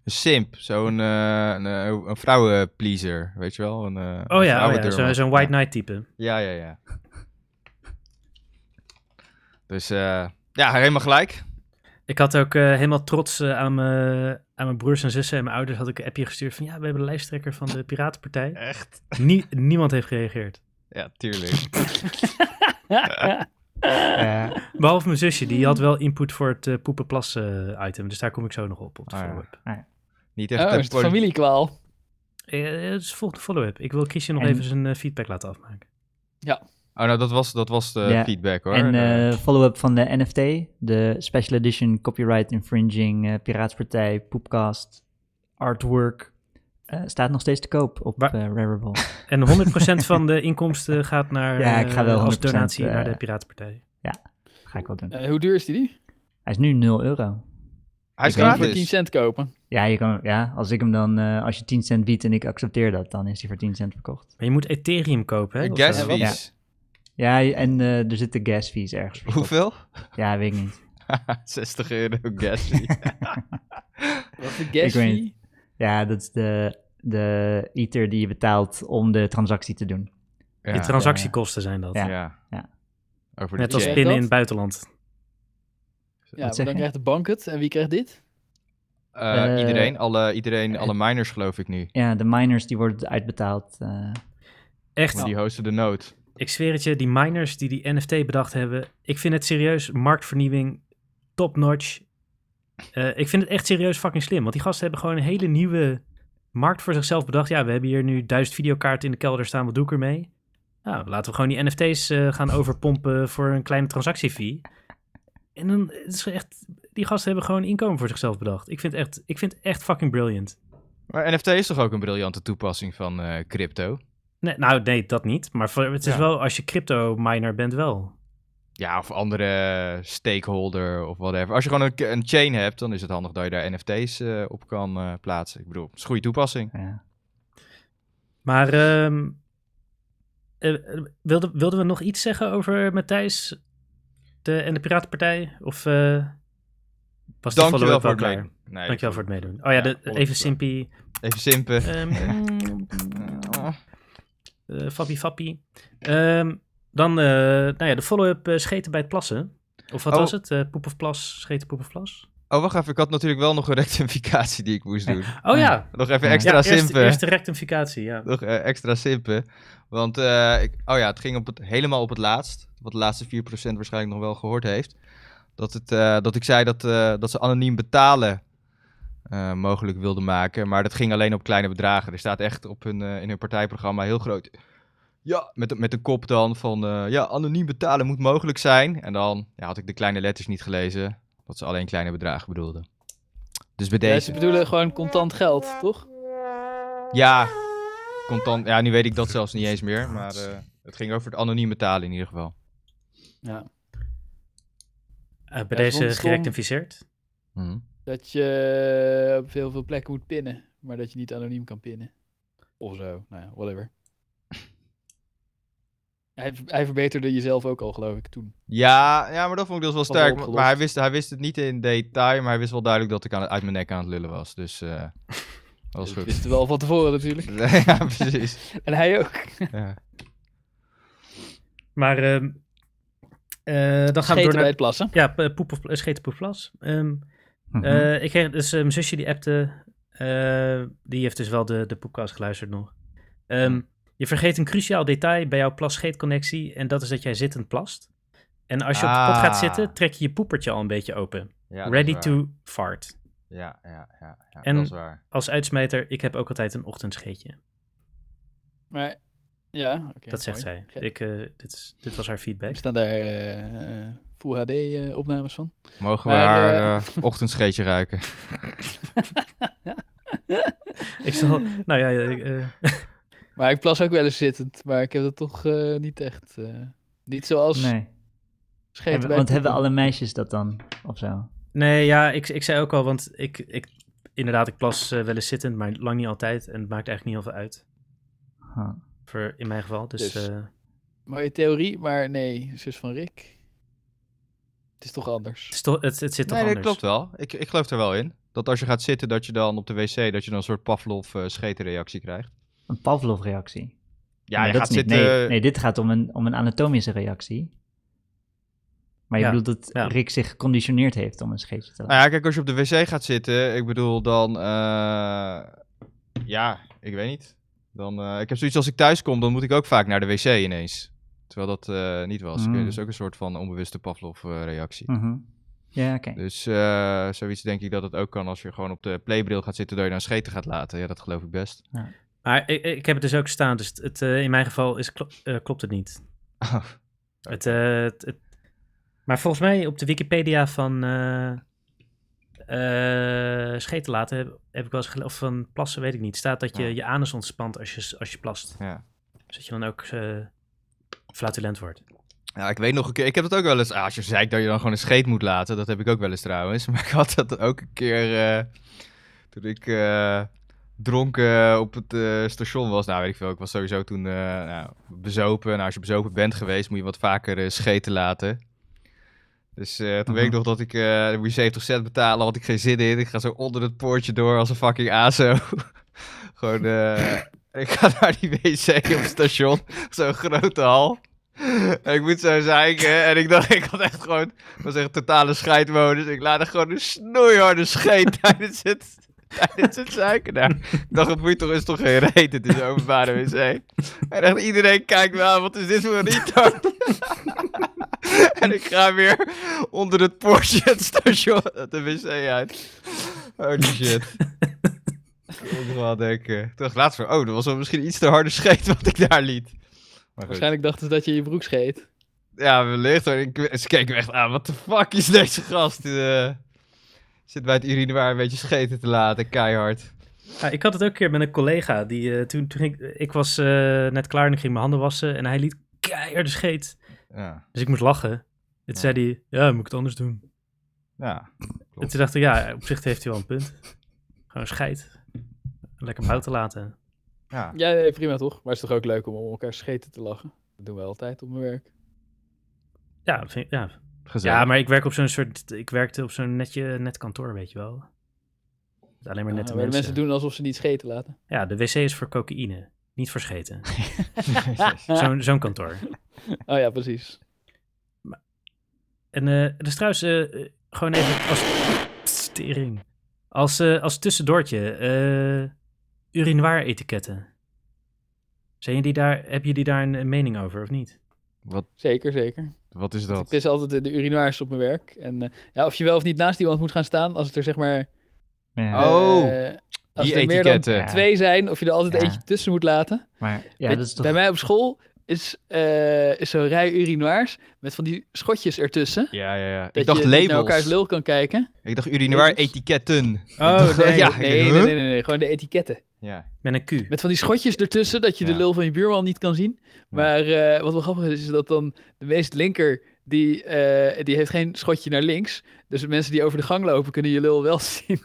Een simp, zo'n eh een, eh, een vrouwenpleaser, weet je wel? Een, eh, een
Oh ja, oh ja
vrouwendurmer.
zo- zo'n White Knight type.
Ja, ja, ja. Dus eh, ja, helemaal gelijk.
Ik had ook eh, helemaal trots eh, aan, mijn, aan mijn broers en zussen en mijn ouders had ik een appje gestuurd van ja, we hebben de lijsttrekker van de Piratenpartij.
Echt?
Nie- niemand heeft gereageerd.
Ja, tuurlijk.
Behalve mijn zusje, die had wel input voor het eh poepenplas eh, item. Dus daar kom ik zo nog op, op de
Ah, ja.
follow-up.
Niet echt
Oh,
een
is het
poli-
familiekwaal?
Eh, het is volgende follow-up. Ik wil Christian nog
En-
even zijn eh, feedback laten afmaken.
Oh, nou, dat was, dat was de
Ja.
feedback hoor.
En
Eh,
eh, follow-up van de NFT, de Special Edition Copyright Infringing eh, Piraatpartij Poepcast Artwork, eh, staat nog steeds te koop op
Waar-
eh, Rarible.
En 100% van de inkomsten gaat naar,
Ja, ik ga wel
eh, als
100%,
donatie
eh,
naar de Piratenpartij.
Ga ik wel doen.
Eh, hoe duur is die? die?
Hij is nu 0 euro.
hij is
Ik kan hem voor 10
gratis.
cent kopen.
Ja, je kan, ja als ik hem dan, eh, als je 10 cent biedt en ik accepteer dat, dan is hij voor 10 cent verkocht.
Maar je moet Ethereum kopen, hè?
Een
of eh,
gas
zo.
fees.
Ja. Ja, en eh, er zitten gas fees ergens. voor.
Hoeveel?
Ja, weet ik niet.
60 euro gas fee.
Wat is de gas
Ik weet
fee?
Ja, dat is de, de ether die je betaalt om de transactie te doen.
ja.
Die transactiekosten zijn dat.
Ja.
Ja.
Ja.
Over de
Net als
check.
Zeg
pinnen
dat?
in het buitenland.
Ja, maar
zeg
dan
je?
krijgt de bank het. En wie krijgt dit?
Eh,
Eh,
iedereen, alle, iedereen,
eh,
alle miners geloof ik nu.
Ja, de miners die worden uitbetaald. eh,
Echt,
Maar die hosten de nood.
ik zweer het je, die miners die die NFT bedacht hebben. Ik vind het serieus, marktvernieuwing, top notch. Eh, ik vind het echt serieus fucking slim. Want die gasten hebben gewoon een hele nieuwe markt voor zichzelf bedacht. Ja, we hebben hier nu duizend videokaarten in de kelder staan. Wat doe ik ermee? Nou, laten we gewoon die NFT's eh, gaan overpompen voor een kleine transactiefee. En dan het is echt, die gasten hebben gewoon inkomen voor zichzelf bedacht. Ik vind het echt, ik vind het echt fucking brilliant.
Maar NFT is toch ook een briljante toepassing van eh, crypto?
Nee, nou, nee, dat niet. Maar voor- het is
Ja.
wel, als je crypto-miner bent, wel.
Ja, of andere stakeholder of whatever. Als je gewoon een, een chain hebt, dan is het handig dat je daar NFT's eh, op kan eh, plaatsen. Ik bedoel, het is een goede toepassing.
ja.
Maar ehm, eh, eh, wilden, wilden we nog iets zeggen over Matthijs de, en de Piratenpartij? Of eh was de
Dankjewel
follow-up
voor
wel
het
klaar?
meedoen. Nee,
Dankjewel voor het meedoen. Oh ja,
Ja,
de,
volgende
even
vraag.
simpie.
Even simpen.
Ehm
Oh.
eh, fappie fappie. Ehm, dan eh, nou ja, de follow-up eh, scheten bij het plassen. Of wat
Oh.
was het? Eh, poep of plas, scheten poep of plas?
Oh, wacht even. Ik had natuurlijk wel nog een rectificatie die ik moest doen.
Oh ja,
Nog even
Ja.
extra
ja eerst,
simpen.
eerst de rectificatie, ja.
Nog eh, extra simpen. Want, eh, ik, oh ja, het ging op het, helemaal op het laatst. Wat de laatste 4% waarschijnlijk nog wel gehoord heeft. Dat, het, eh, dat ik zei dat, eh, dat ze anoniem betalen eh, mogelijk wilden maken. Maar dat ging alleen op kleine bedragen. Er staat echt op hun, eh, in hun partijprogramma heel groot. Ja, met, de- met de kop dan van eh, ja, anoniem betalen moet mogelijk zijn. En dan ja, had ik de kleine letters niet gelezen. Dat ze alleen kleine bedragen bedoelden. Dus bij
Ja,
deze.
ze bedoelen gewoon contant geld, toch?
Ja, contant. Ja, nu weet ik dat zelfs niet eens meer. Maar eh, het ging over het anoniem betalen in ieder geval.
Ja.
Eh, bij
Ja,
deze
zonder stom.
gerectificeerd.
Dat je eh, op heel veel plekken moet pinnen, maar dat je niet anoniem kan pinnen. Of zo, nou ja, whatever. Hij, hij verbeterde jezelf ook al, geloof ik, toen.
Ja, ja, maar dat vond ik dus wel
wel
sterk.
opgelost.
maar hij wist, hij wist het niet in detail, maar hij wist wel duidelijk dat ik aan het, uit mijn nek aan het lullen was. Dus eh, dat was
Dat
goed.
wisten we al van tevoren natuurlijk.
ja, precies.
En hij ook.
Ja.
Maar ehm, Eh, dan gaan we
Scheten
door
bij
naar...
het plassen.
Ja, p- poep of eh, scheten, poep, plas. Ehm,
Mhm.
eh, ik kreeg dus eh, mijn zusje die appte. eh, die heeft dus wel de, de podcast geluisterd nog. Ehm, je vergeet een cruciaal detail bij jouw plas-scheetconnectie. En dat is dat jij zittend plast. En als je op de pot gaat
Ah.
zitten, trek je je poepertje al een beetje open.
Ja, dat is
Ready
waar.
to fart.
Ja, ja, ja, ja
En-
dat is waar.
Als uitsmijter, ik heb ook altijd een ochtendscheetje.
Maar ja, oké,
dat zegt
mooi.
zij.
Oké.
Ik, eh, dit, is- dit was haar feedback.
Er staan daar eh, eh, Full HD-opnames van.
Mogen we
Maar,
haar
eh,
eh, ochtendscheetje ruiken?
Ik zal, nou ja, ik, eh,
Maar ik plas ook wel eens zittend, maar ik heb dat toch eh, niet echt. eh, niet zoals
Nee.
nee.
Hebben- want hebben alle meisjes dat dan? Of zo?
nee, ja, ik, ik zei ook al, want ik, ik inderdaad, ik plas eh, wel eens zittend, maar lang niet altijd. En het maakt eigenlijk niet heel veel uit.
Huh.
Voor, in mijn geval. Dus,
Dus-
eh,
Mooie theorie, maar nee, zus van Rick. Het is toch
het,
anders.
is toch, het, het zit toch
nee, dat
anders.
klopt wel. Ik, ik geloof er wel in. Dat als je gaat zitten, dat je dan op de wc, dat je dan een soort Pavlov eh schetenreactie krijgt.
Een Pavlov-reactie.
Ja,
Nee,
je
dat
gaat
niet.
zitten...
Nee, nee, dit gaat om een, om een anatomische reactie. Maar je
Ja,
bedoelt dat
ja.
Rick zich geconditioneerd heeft om een scheetje te laten.
Nou ja, kijk, als je op de wc gaat zitten, ik bedoel, dan... eh, ja, ik weet niet. Dan, eh, ik heb zoiets als ik thuis kom, dan moet ik ook vaak naar de wc ineens. Terwijl dat eh, niet was.
Mm.
Ik, dus ook een soort van onbewuste Pavlov-reactie.
Mhm. Ja, oké.
Dus eh, zoiets denk ik dat het ook kan als je gewoon op de playbril gaat zitten, dat je dan scheten gaat laten. Ja, dat geloof ik best.
Maar ik, ik heb het dus ook staan, dus het, het, eh, in mijn geval is, klo- eh, klopt het niet.
Oh.
Het, eh, het, het- maar volgens mij op de Wikipedia van eh, eh, scheten laten heb, heb ik wel eens gele- of van plassen weet ik niet, staat dat je
Ja.
je anus ontspant als je, als je plast.
Ja.
Dus dat je dan ook eh, flatulent wordt.
Ja, ik weet nog een keer. Ik heb dat ook wel eens. Ah, als je zeikt dat je dan gewoon een scheet moet laten. Dat heb ik ook wel eens trouwens. Maar ik had dat ook een keer. eh, toen ik eh, dronken op het eh, station was. Nou, weet ik veel. Ik was sowieso toen eh, nou, bezopen. Nou, als je bezopen bent geweest, moet je wat vaker eh, scheten laten. Dus eh, toen weet ik nog dat ik. eh, dan moet je 70 cent betalen. Had ik geen zin in. Ik ga zo onder het poortje door als een fucking aso. gewoon. eh, ik ga naar die wc op het station. Zo'n grote hal. En ik moet zo zeiken. En ik dacht, ik had echt gewoon... Ik was echt totale scheidmodus. Ik laat er gewoon een snoeiharde scheet tijdens het... Tijdens het zeiken daar. Ik dacht, het moet toch, is toch geen reet? Het is openbare wc. En echt iedereen kijkt wel, wat is dit voor een retard? en ik ga weer onder het poortje het station, de wc uit. Holy shit. Ik moet nog wel denken. Toen dacht ik laatst van, oh, dat was wel misschien iets te harde scheet wat ik daar liet. Maar goed.
Waarschijnlijk dachten ze dat je je broek scheet.
Ja, wellicht. hoor. Ik, ze keken me echt aan. Wat de fuck is deze gast? Eh, zit bij het urinoir een beetje scheten te laten. Keihard.
Ja, Ah, ik had het ook een keer met een collega. Die, eh, toen, toen ik, ik was eh, net klaar en ik ging mijn handen wassen. En hij liet keiharde scheet.
Ja.
Dus ik moest lachen. Toen
Ja.
zei hij, ja, moet ik het anders doen.
ja. Klopt.
En toen dacht ik, ja, op zich heeft hij wel een punt. Gewoon scheid. Lekker bouw te laten.
ja.
Ja, nee, prima toch? Maar het is toch ook leuk om om elkaar scheten te lachen? Dat doen we altijd op mijn werk.
Ja, dat vind ik- ja.
Gezellig.
ja, maar ik werk op zo'n soort. Ik werkte op zo'n netje, net kantoor, weet je wel. Met Alleen maar
Ja,
nette
Nou, maar de
mensen.
mensen doen alsof ze niet scheten laten.
Ja, de wc is voor cocaïne. Niet voor scheten.
Jezus.
Zo'n zo'n kantoor.
Oh ja, precies.
En eh dus trouwens, eh, eh, gewoon even als stering. Als, eh, als tussendoortje, eh urinoir etiketten. Zijn jullie daar, heb jullie daar een, een mening over of niet?
wat,
Zeker, zeker.
wat is
Ik
dat?
pis altijd in de urinoirs op mijn werk. En eh, ja, of je wel of niet naast iemand moet gaan staan, als het er zeg maar...
Ja,
Oh,
eh, als
Die
er meer dan
etiketten.
Ja.
twee zijn, of je er altijd
Ja.
eentje tussen moet laten.
maar ja,
Bij-
dat is toch...
Bij mij op school is, eh, is zo'n rij urinoirs met van die schotjes ertussen.
Ja, ja, ja.
Dat
Ik dacht
je niet naar elkaars
labels.
lul kan kijken.
Ik dacht urinoir
Labels.
etiketten.
Oh,
nee. Ja.
nee, nee,
ik-
nee,
huh?
nee, nee, nee, gewoon de etiketten.
Ja.
Met een Q.
Met van die schotjes ertussen, dat je de
Ja.
lul van je buurman niet kan zien. Maar eh, wat wel grappig is, is dat dan de meest linker, die, eh, die heeft geen schotje naar links. Dus de mensen die over de gang lopen, kunnen je lul wel zien.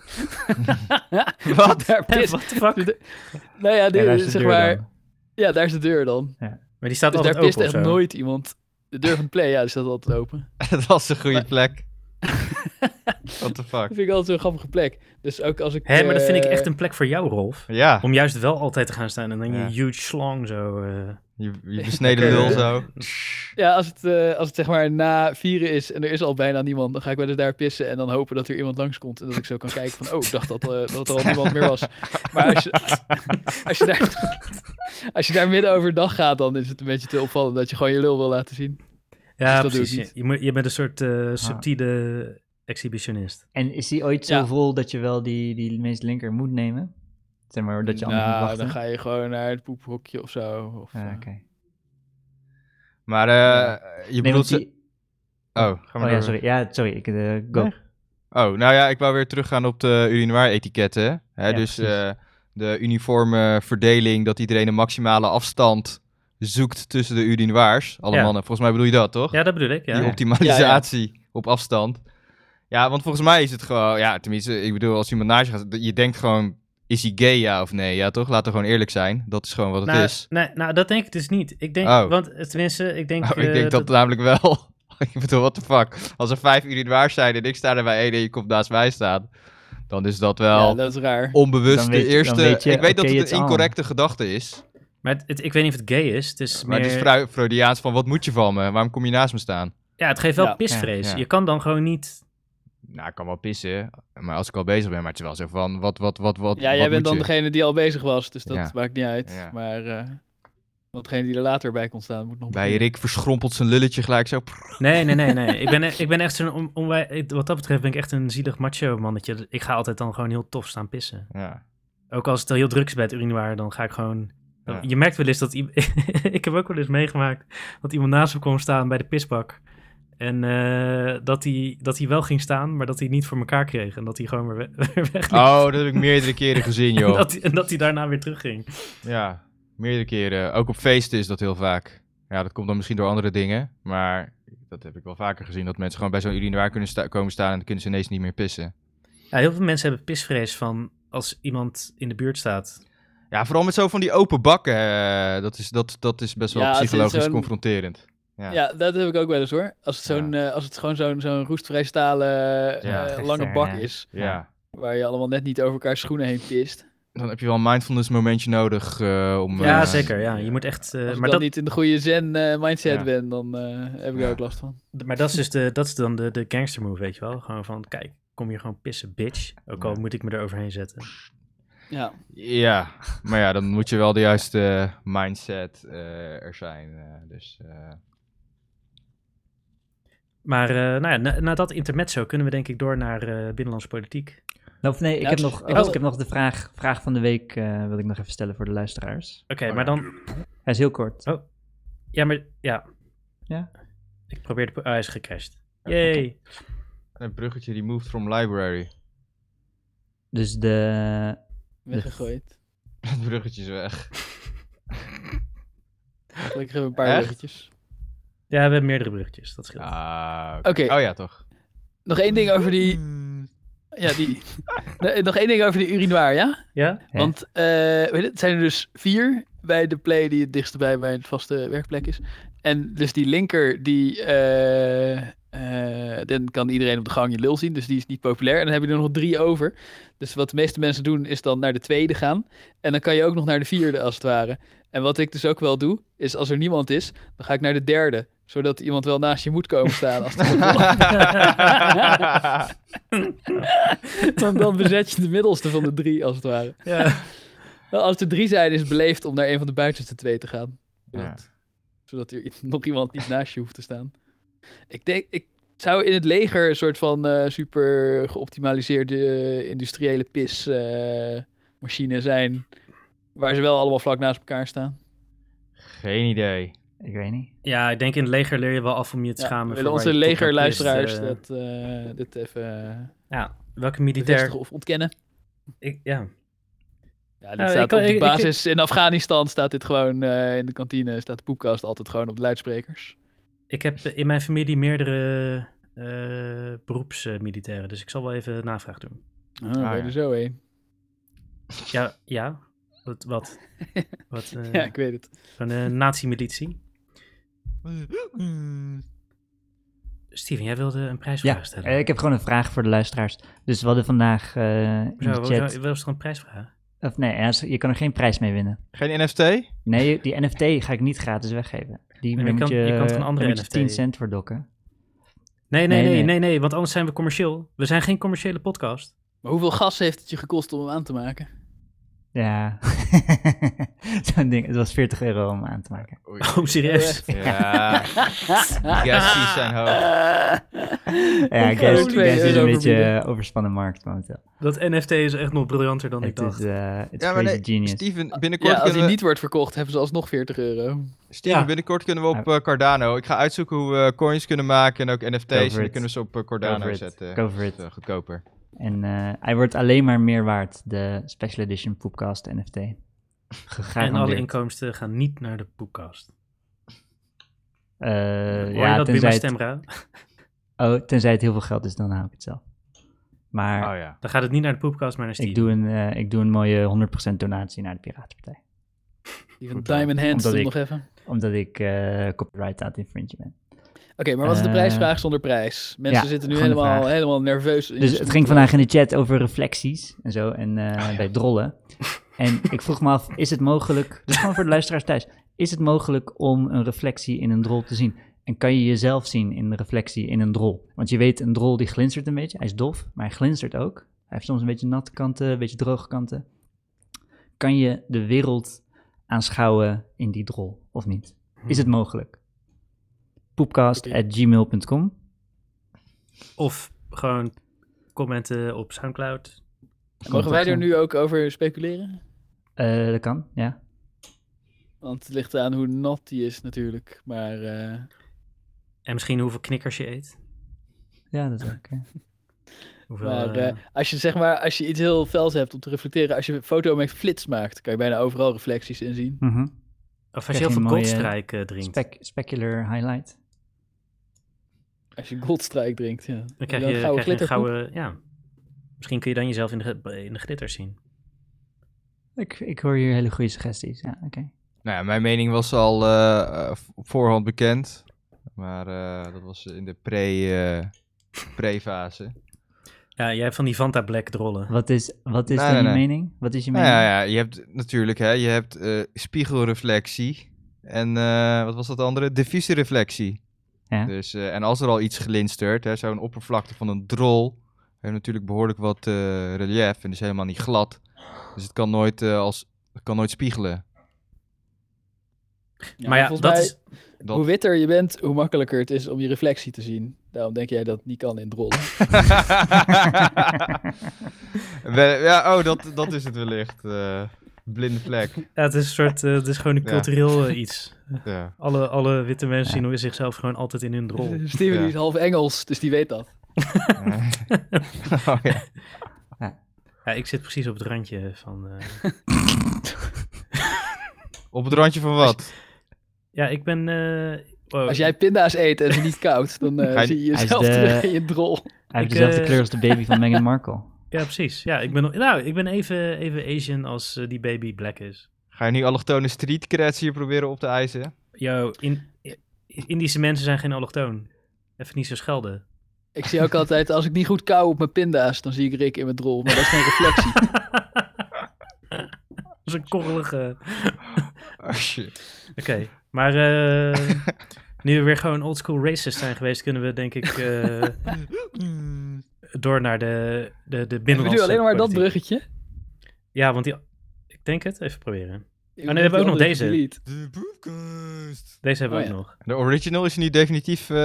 wat? Daar
Wat
pist.
de fuck?
Nou ja,
Ja,
die-
daar is de
zeg
deur
maar,
dan.
ja, daar is de deur dan.
Maar die staat
Dus
altijd
daar pist
open of
echt
zo.
nooit dus iemand. De deur van de play, ja, die staat altijd open.
dat was een goede
Maar-
plek. What the fuck?
Dat vind ik altijd zo'n grappige plek. Dus ook als ik...
Hé, maar dat vind ik
eh,
echt een plek voor jou, Rolf.
Ja,
Om juist wel altijd te gaan staan en dan
Ja.
je huge slang zo. eh.
je, je besneden lul zo.
Ja, als het, eh, als het zeg maar na vieren is en er is al bijna niemand, dan ga ik wel eens daar pissen en dan hopen dat er iemand langskomt. En dat ik zo kan kijken van, oh, ik dacht dat, eh, dat er al niemand meer was. Maar als je, als je, daar, als je daar midden overdag gaat, dan is het een beetje te opvallend dat je gewoon je lul wil laten zien.
Ja,
Dus dat doe ik
precies.
niet. Ah.
Je, moet, je bent een soort eh, subtiele exhibitionist.
En is die ooit zo
Ja.
vol dat je wel die, die meest linker moet nemen? Zeg maar, dat je anders moet
Nou,
wachten?
dan ga je gewoon naar het poephokje of zo. Of,
Ah,
eh,
Oké.
Maar eh, je
Nee,
bedoelt...
want
ze-
die-
Oh, ga maar
Oh ja,
door.
sorry. Ja, sorry. Ik, eh, go.
Nee. Oh, nou ja, ik wou weer teruggaan op de urinoir-etiketten. Hè?
Ja,
dus
precies.
eh, de uniforme verdeling, dat iedereen een maximale afstand zoekt tussen de urinoirs. Alle
Ja.
mannen, volgens mij bedoel je dat, toch?
Ja, dat bedoel ik. Ja.
Die optimalisatie op afstand. Ja, want volgens mij is het gewoon... Ja, tenminste, ik bedoel, als iemand naast je gaat... Je denkt gewoon, is hij gay, ja of nee? Ja, toch? Laten we gewoon eerlijk zijn. Dat is gewoon wat het
nou,
is.
Nee, nou, dat denk ik dus niet. Ik denk,
Oh.
want eh, tenminste, ik denk.
Oh, ik
eh,
denk dat
dat-
namelijk wel. ik bedoel, what the fuck? Als er vijf urinoirs zijn en ik sta er bij één en je komt naast mij staan... Dan is dat wel...
ja, dat is raar.
onbewust
Dan weet
de
je- dan
eerste.
weet je,
ik weet
oké,
dat het
it's
een
on.
incorrecte gedachte is.
Maar het, het- ik weet niet of het gay is. Het is
Maar
meer,
het is Freu- Freudiaans van wat moet je van me? Waarom kom je naast me staan?
Ja, het geeft wel
Ja,
pisvrees.
ja, ja.
Je kan dan gewoon niet.
Nou, ik kan wel pissen. Maar als ik al bezig ben, maar het is wel zo van wat, wat, wat, wat.
Ja, jij
wat
bent dan
moet je?
degene die al bezig was, dus dat
Ja.
maakt niet uit.
Ja.
Maar eh, want degene die er later bij kon staan, moet nog...
Bij Rick verschrompelt zijn lulletje gelijk zo. Prrr.
Nee, nee, nee, nee. ik, ben, e- ik ben echt zo'n. On, onwij- ik- wat dat betreft ben ik echt een zielig macho mannetje. Dus Ik ga altijd dan gewoon heel tof staan pissen.
Ja.
Ook als het heel druk is bij het urinoir, dan ga ik gewoon...
Ja.
Je merkt wel eens dat... i- ik heb ook wel eens meegemaakt dat iemand naast me kwam staan bij de pisbak. En eh, dat hij dat hij wel ging staan, maar dat hij niet voor elkaar kreeg. En dat hij gewoon weer we- weer wegliep.
Oh, dat heb ik meerdere keren gezien,
en,
joh.
dat hij, en dat hij daarna weer terugging.
Ja, meerdere keren. Ook op feesten is dat heel vaak. Ja, dat komt dan misschien door andere dingen. Maar dat heb ik wel vaker gezien. Dat mensen gewoon bij zo'n urinoir kunnen sta- komen staan en dan kunnen ze ineens niet meer pissen.
Ja, heel veel mensen hebben pisvrees van als iemand in de buurt staat.
Ja, vooral met zo van die open bakken. eh, dat, is, dat, dat is best wel
Ja, het is
psychologisch
zo'n-
confronterend. Ja.
Ja. dat heb ik ook wel eens hoor. Als het, zo'n, eh, als het gewoon zo'n zo'n roestvrij stalen eh,
Ja.
eh, lange bak
Ja.
is,
Ja.
waar je allemaal net niet over elkaar schoenen heen pist. Als
Dan heb je wel een mindfulness momentje nodig eh, om...
ja,
eh,
zeker. Ja. Je moet echt... eh,
ik
maar,
dan
dat,
niet in de goede zen eh, mindset
Ja.
ben, dan eh, heb ik
Ja.
daar ook last van.
maar dat is dus de, dat is dan de, de gangster move, weet je wel. Gewoon van, kijk, kom hier gewoon pissen, bitch. Ook al
Ja.
moet ik me er overheen zetten.
Ja,
Ja, maar ja, dan moet je wel de juiste mindset eh, er zijn. eh, dus, eh,
Maar eh, nou ja, na, na dat intermezzo kunnen we denk ik door naar eh binnenlandse politiek.
Of nee, ik,
Ja,
heb
ik
nog, oh,
wil-
ik heb nog de vraag, vraag van de week eh, wil ik nog even stellen voor de luisteraars.
Oké,
Oh
maar
ja.
dan...
Hij is heel kort.
Oh. Ja, maar... Ja.
Ja?
Ik probeer de... Ah, hij is gecashed. Yay.
een bruggetje removed from library.
Dus de...
weggegooid.
Het bruggetje is weg.
Gelukkig hebben we een paar
Echt?
weggetjes.
Ja, we hebben meerdere bruggetjes. Dat scheelt.
Ah, oké.
Oké.
Oh ja, toch.
Nog één ding over die... Ja, die... Nee, Nog één ding over die urinoir, ja?
Ja?
Ja.
Want eh, weet je, het zijn er dus vier bij de play die het dichtst bij mijn vaste werkplek is. En dus die linker, die, eh, eh, dan kan iedereen op de gang je lul zien. Dus die is niet populair. En dan heb je er nog drie over. Dus wat de meeste mensen doen, is dan naar de tweede gaan. En dan kan je ook nog naar de vierde, als het ware. En wat ik dus ook wel doe, is als er niemand is, dan ga ik naar de derde. Zodat iemand wel naast je moet komen staan. Als het dan, dan bezet je de middelste van de drie, als het ware.
Ja.
Wel, als er drie zijn, is het beleefd om naar een van de buitenste twee te gaan.
Ja.
Zodat, zodat er i- nog iemand niet naast je hoeft te staan. Ik denk, ik zou in het leger een soort van eh, super geoptimaliseerde eh, industriële pismachine zijn. Waar ze wel allemaal vlak naast elkaar staan.
Geen idee.
Ik weet niet.
ja, ik denk in het leger leer je wel af om je te
Ja,
schamen.
we
voor
willen
waar je
onze
tot aan pist,
legerluisteraars
eh,
dat, eh, dit even
Ja, welke
bevestigen
militair...
of ontkennen.
Ik, ja.
Ja, dit
Nou, ik
staat
kan-
op de
ik- ik-
basis. In Afghanistan staat dit gewoon eh, in de kantine. Staat de poepkast altijd gewoon op de luidsprekers.
Ik heb eh, in mijn familie meerdere eh beroepsmilitairen. Dus ik zal wel even navraag doen.
Ah, ben je
ja.
er zo heen.
Ja, ja. Wat? Wat? wat eh,
Ja, ik weet het.
Zo'n eh, nazi-militie. Steven, jij wilde een prijsvraag
Ja,
stellen.
eh, ik heb gewoon een vraag voor de luisteraars. Dus we hadden vandaag eh, in
Zo,
de chat...
wel eens een prijsvraag.
Of nee, ja, je kan er geen prijs mee winnen.
Geen NFT?
Nee, die NFT ga ik niet gratis weggeven. Die
maar
daar
je
moet
kan- je kan toch een
daar
andere
moet je
NFT?
10 cent voor dokken.
Nee nee nee,
Nee,
nee,
nee.
nee, want anders zijn we commercieel. We zijn geen commerciële podcast.
Maar hoeveel gas heeft het je gekost om hem aan te maken?
Ja, zo'n ding. Het was 40 euro om aan te maken.
Oei.
Oh, serieus?
Ja, gassies zijn hoog.
Ja,
Ik ga
ik
er
guess,
twee
guess is
euro
een
voor
beetje
bieden.
eh, overspannen markt momenteel.
Dat NFT is echt nog briljanter dan ik
Het
dacht.
is eh it's
Ja, maar
crazy
nee,
genius.
Steven, binnenkort,
Ja, als
kunnen,
hij
we,
niet wordt verkocht, hebben ze alsnog 40 euro.
Steven,
Ja.
binnenkort kunnen we op eh, Cardano. Ik ga uitzoeken hoe we coins kunnen maken en ook NFT's. En
Go for
dan
it.
kunnen we ze op eh,
Go
Cardano
for it.
zetten.
Go for
Dat is,
it.
eh, goedkoper.
En eh, hij wordt alleen maar meer waard, de Special Edition Poepcast NFT.
en alle
Gegarandeerd.
inkomsten gaan niet naar de podcast.
Eh,
Hoor je
ja,
dat bij mijn
tenzij het,
stemra?
oh, tenzij het heel veel geld is, dan hou ik het zelf. Maar
Oh ja.
Dan gaat het niet naar de podcast, maar naar Steven.
ik, doe een, eh, ik doe een mooie 100% donatie naar de Piratenpartij.
Die van
Goed,
Diamond Hands
omdat
doen
ik-
nog even. Oké,
Omdat ik eh, copyright aan het infringen ben.
maar wat is de
Eh,
prijsvraag zonder prijs? Mensen
ja,
zitten nu
gewoon een
helemaal,
vraag.
helemaal nerveus. in hun
Dus het ging
schoenen.
vandaag in de chat over reflecties en zo en eh,
Ah,
bij drollen. En ik vroeg me af, is het mogelijk, dus gewoon voor de luisteraars thuis, is het mogelijk om een reflectie in een drol te zien? En kan je jezelf zien in de reflectie in een drol? Want je weet, een drol die glinstert een beetje, hij is dof, maar hij glinstert ook. Hij heeft soms een beetje natte kanten, een beetje droge kanten. Kan je de wereld aanschouwen in die drol of niet?
Hm.
Is het mogelijk? Poepcast.gmail.com
Of gewoon commenten op Soundcloud.
Mogen wij er nu ook over speculeren?
Eh, dat kan, ja.
Want het ligt aan hoe nat die is natuurlijk. Maar eh,
En misschien hoeveel knikkers je eet.
Ja, dat ook. ja.
Hoeveel,
Maar
eh,
eh, als, je, zeg maar, als je iets heel fels hebt om te reflecteren, als je een foto met flits maakt, kan je bijna overal reflecties in zien.
Mhm.
of als
krijg
je heel
je
veel
een mooie
goldstrijk eh, drinkt.
Spec- specular highlight.
Als je goldstrijk drinkt, ja.
Dan krijg je,
Dan gouden
krijg je een
glitterpoep.
gouden... Ja. Misschien kun je dan jezelf in de, ge- in de glitters zien.
Ik, ik hoor hier hele goede suggesties. Ja, oké.
Nou ja, mijn mening was al eh, eh, v- op voorhand bekend. Maar eh, dat was in de pre, eh, pre-fase.
Ja, jij hebt van die Vanta Black drollen.
Wat is, wat is
Nee,
dan
nee,
je
nee.
mening? Wat is je
nou
mening?
ja, ja, je hebt natuurlijk, hè, je hebt eh, spiegelreflectie. En eh, wat was dat andere? Diffuse reflectie.
Ja.
Dus, eh, en als er al iets glinstert, hè, zo'n oppervlakte van een drol, heeft natuurlijk behoorlijk wat eh, relief en is helemaal niet glad. Dus het kan nooit, eh, als, het kan nooit spiegelen.
Ja,
maar ja, dat
volgens mij,
is...
dat-
hoe witter je bent, hoe makkelijker het is om je reflectie te zien. Daarom denk jij dat het niet kan in drollen.
We- ja, oh, dat, dat is het wellicht. eh, blinde vlek.
Ja, het is een soort... eh, het is gewoon een
Ja.
cultureel eh, iets.
Ja.
Alle, alle witte mensen zien hoe zichzelf gewoon altijd in hun rol.
Steven
Ja.
die is half Engels, dus die weet dat.
Oh, ja.
Ja, ik zit precies op het randje van... eh,
Op het randje van wat?
ja, ik ben... eh, oh,
Als jij pinda's eet en ze niet koud, dan eh,
Hij-
zie je
hij is
jezelf
de-
terug in je drol.
Hij heeft
Ik,
dezelfde
eh,
kleur als de baby van Meghan Markle.
Ja, precies. Ja, ik ben, nou, ik ben even, even Asian als eh, die baby black is.
Ga je nu allochtone street creds hier proberen op te eisen?
Yo, in, I- Indische mensen zijn geen allochtoon. Even niet zo schelden.
Ik zie ook altijd, als ik niet goed kauw op mijn pinda's, dan zie ik Rick in mijn drol. Maar dat is geen reflectie.
Dat is een korrelige...
Oh shit.
Oké, maar eh, nu we weer gewoon oldschool racist zijn geweest, kunnen we denk ik eh, door naar de, de, de
We
binnenlandse
doen alleen maar dat
politiek.
bruggetje.
Ja, want die... Ik denk het. Even proberen.
En
hebben we ook nog deze.
De poepkast.
Deze hebben we
Oh
ook nog.
De original is nu definitief eh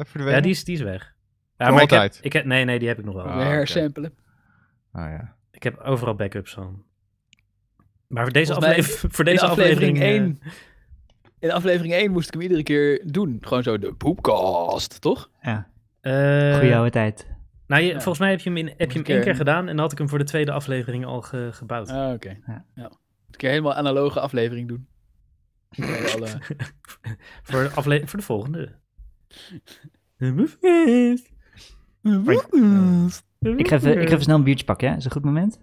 verdwenen?
Ja, die is, die is weg. Ja,
Voor
maar ik heb,
altijd?
ik heb, nee, nee, die heb ik nog wel.
Ah,
We
oké.
hersampelen.
Oh, ja.
Ik heb overal backups van. Maar voor deze,
Volgens mij
aflevering, voor
In
deze aflevering, eh,
1. In aflevering 1 moest ik hem iedere keer doen. Gewoon zo de poepkast, toch?
Ja,
eh,
goeie oude tijd.
nou, je,
Ja.
volgens mij heb je hem, in, heb
ik
je hem één
er-
keer gedaan en dan had ik hem voor de tweede aflevering al ge- gebouwd.
Ah, oké. Ja.
Ja.
Een keer helemaal analoge aflevering doen. eh, Met alle-
voor, de afle- voor de volgende.
Ik ga, even, ik ga even snel een biertje pakken, ja? Is een goed moment?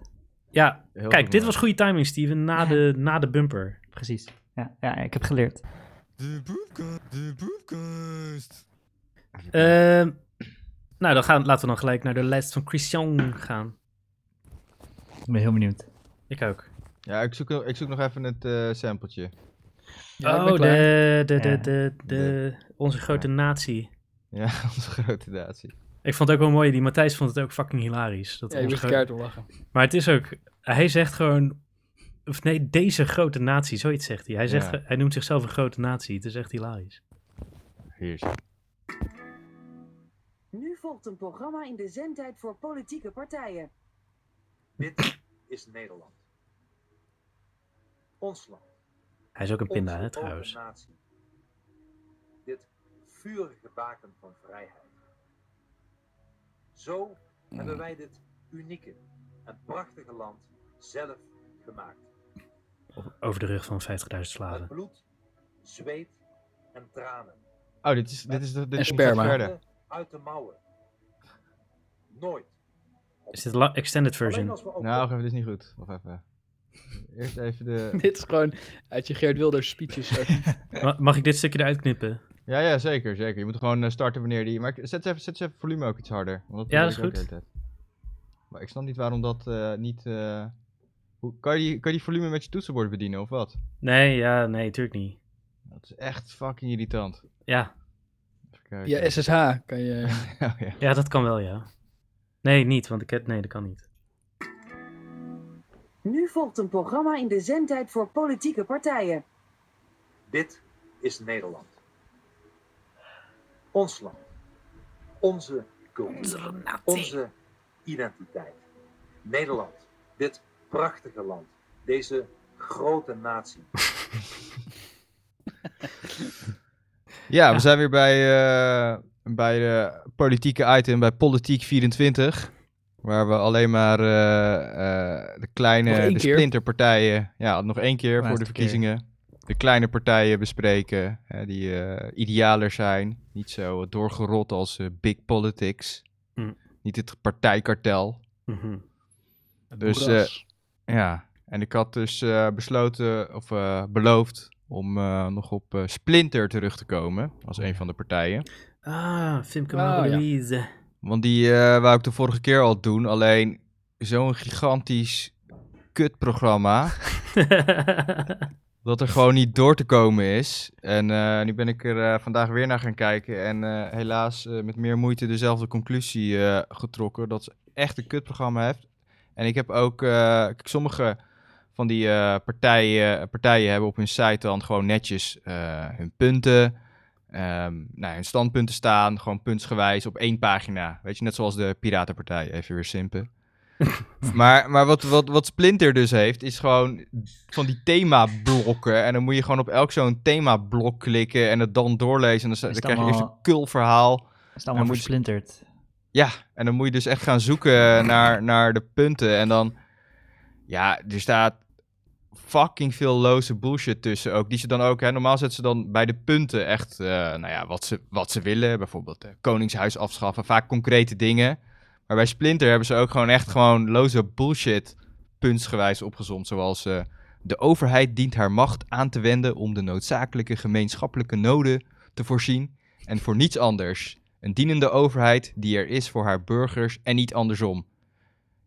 Ja,
Heel
kijk,
goed,
dit
man.
was goede timing, Steven, na de, na de bumper.
Precies. Ja, ja ik heb geleerd.
Ehm, Nou, dan gaan, laten we dan gelijk naar de lijst van Christian gaan.
Ik ben heel benieuwd.
Ik ook.
Ja, ik zoek, ik zoek nog even het eh sampletje.
Ja, ik ben
oh,
klaar.
de, de,
Ja.
de, de, de, onze grote natie.
Ja, onze grote natie.
Ik vond het ook wel mooi. Die Matthijs vond het ook fucking hilarisch. Dat
Ja, je
onze
moet
grote-
keihard om lachen.
Maar het is ook... Hij zegt gewoon... Of nee, deze grote natie. Zoiets zegt hij. Hij, zegt,
Ja.
hij noemt zichzelf een grote natie. Het is echt hilarisch.
Hier is
Nu volgt een programma in de zendtijd voor politieke partijen.
Dit is Nederland. Ons land.
Hij is ook een pinda,
onze
hè,
grote
trouwens.
natie. Dit vurige baken van vrijheid. Zo hebben
Mm.
wij dit unieke en prachtige land zelf gemaakt.
Over de rug van 50.000
Met
slaven.
bloed, zweet en tranen.
Oh, dit is, dit is, de- dit
En
is
sperma.
verder.
Uit de mouwen. Nooit.
Is dit de la- extended
Alleen
version?
als we ook
Nou, wacht even, dit is niet goed. Wacht even. Eerst even de...
Dit is gewoon uit je Geert Wilders speeches. archief.
Ma- Mag ik dit stukje eruit knippen?
Ja, ja, zeker, zeker. Je moet gewoon eh, starten wanneer die... Maar ik- zet eens even, zet eens even het volume ook iets harder. Want probeer
Ja, dat is
ik ook de hele tijd. Maar ik snap niet waarom dat eh, niet... eh, Hoe, kan, je die, kan je die volume met je toetsenbord bedienen, of wat?
Nee, ja, nee, tuurlijk niet.
Dat is echt fucking irritant.
Ja,
Even kijken.
Ja, SSH kan je.
Oh, ja.
ja dat kan wel, ja. Nee, niet, want ik heb... Nee, dat kan niet.
Nu volgt een programma in de zendtijd voor politieke partijen.
Dit is Nederland. Ons land. Onze cultuur. Onze identiteit. Nederland. Dit prachtige land. Deze grote natie.
Ja, we
Ja.
zijn weer bij, eh, bij de politieke item, bij Politiek 24. Waar we alleen maar eh, eh, de kleine,
Nog één
de
keer.
splinterpartijen, ja, nog één keer voor
Laatste
de verkiezingen. De kleine partijen bespreken, hè, die eh, idealer zijn. Niet zo doorgerot als eh, big politics.
Mm.
Niet het partijkartel.
Mhm.
Dus,
Moeras.
Ja, en ik had dus eh, besloten, of eh, beloofd, om eh, nog op eh, Splinter terug te komen. Als een van de partijen.
Ah, Fimke
Oh,
oh,
ja.
Louise.
Want die eh, wou ik de vorige keer al doen. Alleen zo'n gigantisch kutprogramma. dat er gewoon niet door te komen is. En eh, nu ben ik er eh, vandaag weer naar gaan kijken. En eh, helaas eh, met meer moeite dezelfde conclusie eh, getrokken. Dat ze echt een kutprogramma heeft. En ik heb ook. eh, kijk, sommige van die eh, partijen, partijen hebben op hun site dan gewoon netjes eh, hun punten. ehm, nou, hun standpunten staan, gewoon puntsgewijs op één pagina. Weet je, net zoals de Piratenpartij, even weer simpen. maar maar wat, wat, wat Splinter dus heeft, is gewoon van die themablokken. En dan moet je gewoon op elk zo'n themablok klikken en het dan doorlezen. En dan, dan
het
krijg je eerst een
allemaal-
kul verhaal.
Het is allemaal
moet je-
versplinterd.
Ja, en dan moet je dus echt gaan zoeken naar, naar de punten. En dan, ja, er staat fucking veel loze bullshit tussen ook. Die ze dan ook, hè, normaal zetten ze dan bij de punten echt, eh, nou ja, wat ze, wat ze willen. Bijvoorbeeld eh, koningshuis afschaffen, vaak concrete dingen. Maar bij Splinter hebben ze ook gewoon echt gewoon loze bullshit puntsgewijs opgezomd. Zoals eh, de overheid dient haar macht aan te wenden om de noodzakelijke gemeenschappelijke noden te voorzien. En voor niets anders. Een dienende overheid die er is voor haar burgers en niet andersom.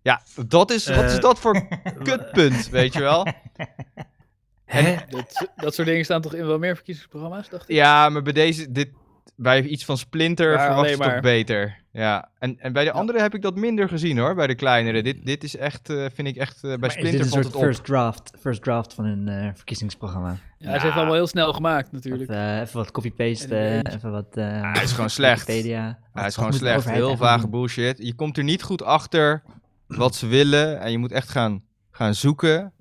Ja, dat is, wat is
Eh,
dat voor kutpunt, weet je wel?
Hè?
Dat, dat soort dingen staan toch in wel meer verkiezingsprogramma's, dacht ik?
Ja, maar bij deze, dit, bij iets van Splinter
Ja,
verwacht
alleen
je toch
maar.
beter. Ja, en, en bij de andere heb ik dat minder gezien hoor, bij de kleinere. Dit, dit is echt, eh, vind ik echt, eh, bij
Maar is dit
Splinter
een
valt
soort
het op.
first draft, first draft van hun eh, verkiezingsprogramma?
Ja, ze heeft het allemaal heel snel gemaakt, natuurlijk.
Wat, eh, even wat copy-paste,
En die
eh, even wat... eh,
hij is gewoon slecht.
Wikipedia.
Hij is
Wat
gewoon
moet de
slecht,
overheid
heel
eigenlijk
vage
doen?
bullshit. Je komt er niet goed achter wat ze willen en je moet echt gaan, gaan zoeken.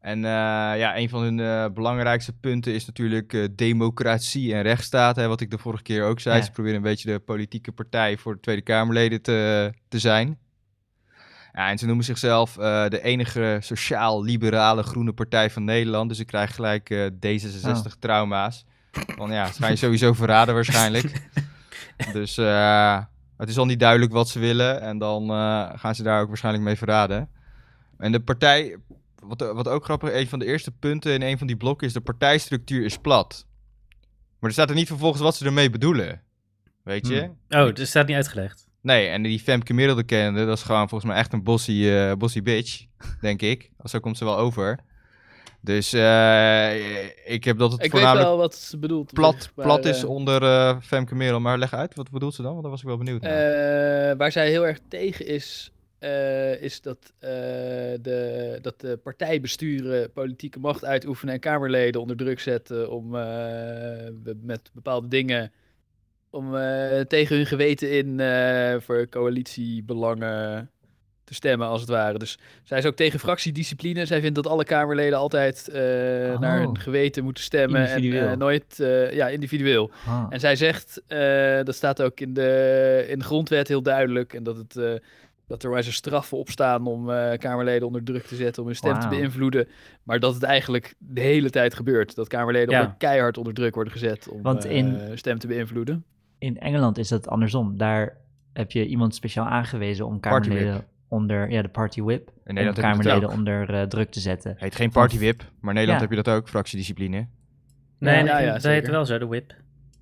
En eh, ja, een van hun eh, belangrijkste punten is natuurlijk eh, democratie en rechtsstaat. Hè, wat ik de vorige keer ook zei.
Ja.
Ze proberen een beetje de politieke partij voor de Tweede Kamerleden te, te zijn. Ja, en ze noemen zichzelf eh, de enige sociaal-liberale groene partij van Nederland. Dus ik krijg gelijk eh,
Oh.
D66-trauma's. Want ja, ze gaan je sowieso verraden waarschijnlijk. dus eh, het is al niet duidelijk wat ze willen. En dan eh, gaan ze daar ook waarschijnlijk mee verraden. En de partij, wat, wat ook grappig, een van de eerste punten in een van die blokken is... de partijstructuur is plat. Maar er staat er niet vervolgens wat ze ermee bedoelen. Weet je?
Hmm.
Oh, dat staat niet uitgelegd.
Nee, en die Femke Middelde kende, dat is gewoon volgens mij echt een bossy, eh, bossy bitch, denk ik. Zo komt ze wel over. Dus eh, ik heb dat het
Ik weet
voornamelijk
wel wat ze bedoelt. op
plat,
zich, maar,
plat is
eh,
onder eh, Femke Middelde. Maar leg uit, wat bedoelt ze dan? Want daar was ik wel benieuwd naar.
eh, waar zij heel erg tegen is, eh, is dat, eh, de, dat de partijbesturen politieke macht uitoefenen en Kamerleden onder druk zetten om eh, be- met bepaalde dingen om eh, tegen hun geweten in eh, voor coalitiebelangen te stemmen, als het ware. Dus zij is ook tegen fractiediscipline. Zij vindt dat alle Kamerleden altijd eh, naar
Oh.
hun geweten moeten stemmen. En eh,
Individueel.
nooit, eh, ja, individueel.
Ah.
En zij zegt, eh, dat staat ook in de, in de grondwet heel duidelijk, en dat, het, eh, dat er wijze straffen op staan om eh, Kamerleden onder druk te zetten, om hun stem te
Wauw.
beïnvloeden. Maar dat het eigenlijk de hele tijd gebeurt. Dat Kamerleden
Ja.
onder, keihard onder druk worden gezet om
Want
eh,
in-
stem te beïnvloeden.
In Engeland is dat andersom. Daar heb je iemand speciaal aangewezen om
Party whip.
Kamerleden onder, ja, de party whip,
In
om
Nederland heb je dat
Kamerleden
ook.
onder eh, druk te zetten.
Heet geen partywip, maar in Nederland
Ja.
heb je dat ook, fractiediscipline.
Nee,
Ja,
nee,
ja,
zij
ja,
heet
zeker.
het wel zo, de whip.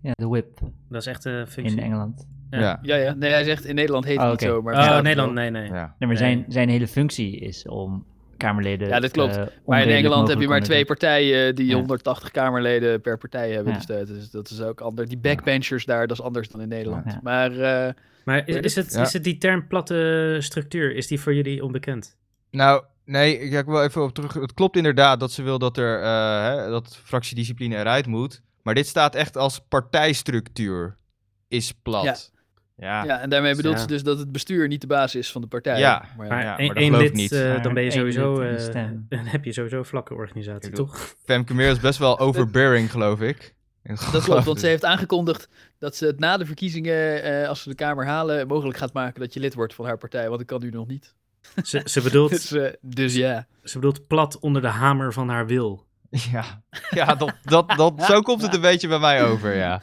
Ja, de whip
Dat is echt de functie.
in Engeland.
Ja.
Ja.
Ja.
Ja, ja. Nee, hij zegt in Nederland heet het
Oh,
niet
oké.
zo. Maar
Oh,
ja,
Nederland, nee, nee.
Nee, maar
Nee.
Zijn, zijn hele functie is om Kamerleden...
Ja, dat klopt.
eh,
Maar in
onredelijk
Engeland heb je
mogelijk
maar twee
onder druk-
partijen die
Ja.
180 Kamerleden per partij hebben.
Ja.
Dus, dat is, dat is ook anders. Die backbenchers daar, dat is anders dan in Nederland.
Ja.
Maar eh,
Maar is, is, het,
Ja.
is het die term platte structuur, is die voor jullie onbekend?
Nou, nee, ik ga er wel even op terug. Het klopt inderdaad dat ze wil dat er eh, hè, dat fractiediscipline eruit moet. Maar dit staat echt als partijstructuur is plat. Ja, Ah, ja.
Ja, en daarmee bedoelt
Ja.
ze dus dat het bestuur niet de baas is van de partij.
Ja.
maar
Maar
ja, maar
één,
dat
één
geloof ik
lid,
niet.
eh,
Maar
dan ben je
één lid
sowieso,
en een
eh,
stem.
dan heb je sowieso een vlakke organisatie,
Ik bedoel-
toch?
Femke Meer is best wel overbearing, geloof ik.
Dat klopt, want ze heeft aangekondigd dat ze het na de verkiezingen, eh, als ze de Kamer halen, mogelijk gaat maken dat je lid wordt van haar partij. Want dat kan nu nog niet.
Ze, ze, bedoelt,
Dus, eh, dus ja.
ze bedoelt plat onder de hamer van haar wil.
Ja, ja dat, dat, dat, zo komt het een beetje bij mij over, ja.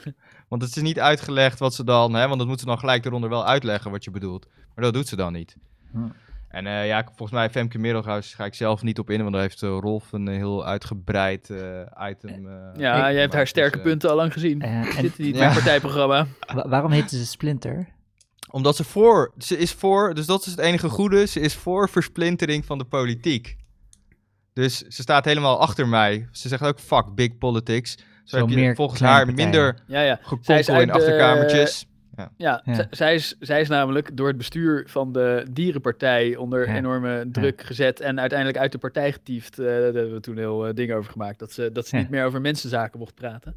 Want het is niet uitgelegd wat ze dan... Hè, want dat moet ze dan gelijk eronder wel uitleggen wat je bedoelt. Maar dat doet ze dan niet.
Hm.
En eh, ja, ik- volgens mij Femke Middelhuis ga ik zelf niet op in. Want daar heeft eh, Rolf een heel uitgebreid eh, item... eh,
Ja,
gemaakt.
jij hebt haar
Dus,
sterke
eh,
punten al lang gezien.
Eh, en
Zitten niet in
Ja.
mijn partijprogramma.
wa- waarom heten ze Splinter?
Omdat ze voor... Ze is voor... Dus dat is het enige goede. Ze is voor versplintering van de politiek. Dus ze staat helemaal achter mij. Ze zegt ook fuck big politics. Zo,
Zo
heb je
meer
volgens
kleine
haar
partijen.
minder
Ja, ja. Zij is
gekonkel
uit
in
de-
achterkamertjes.
ja,
Ja.
z- Zij, is, zij is namelijk door het bestuur van de Dierenpartij onder
Ja.
enorme druk gezet. En uiteindelijk uit de partij getiefd. Eh, daar hebben we toen heel eh, ding over gemaakt. Dat ze, dat ze
Ja.
niet meer over mensenzaken mocht praten.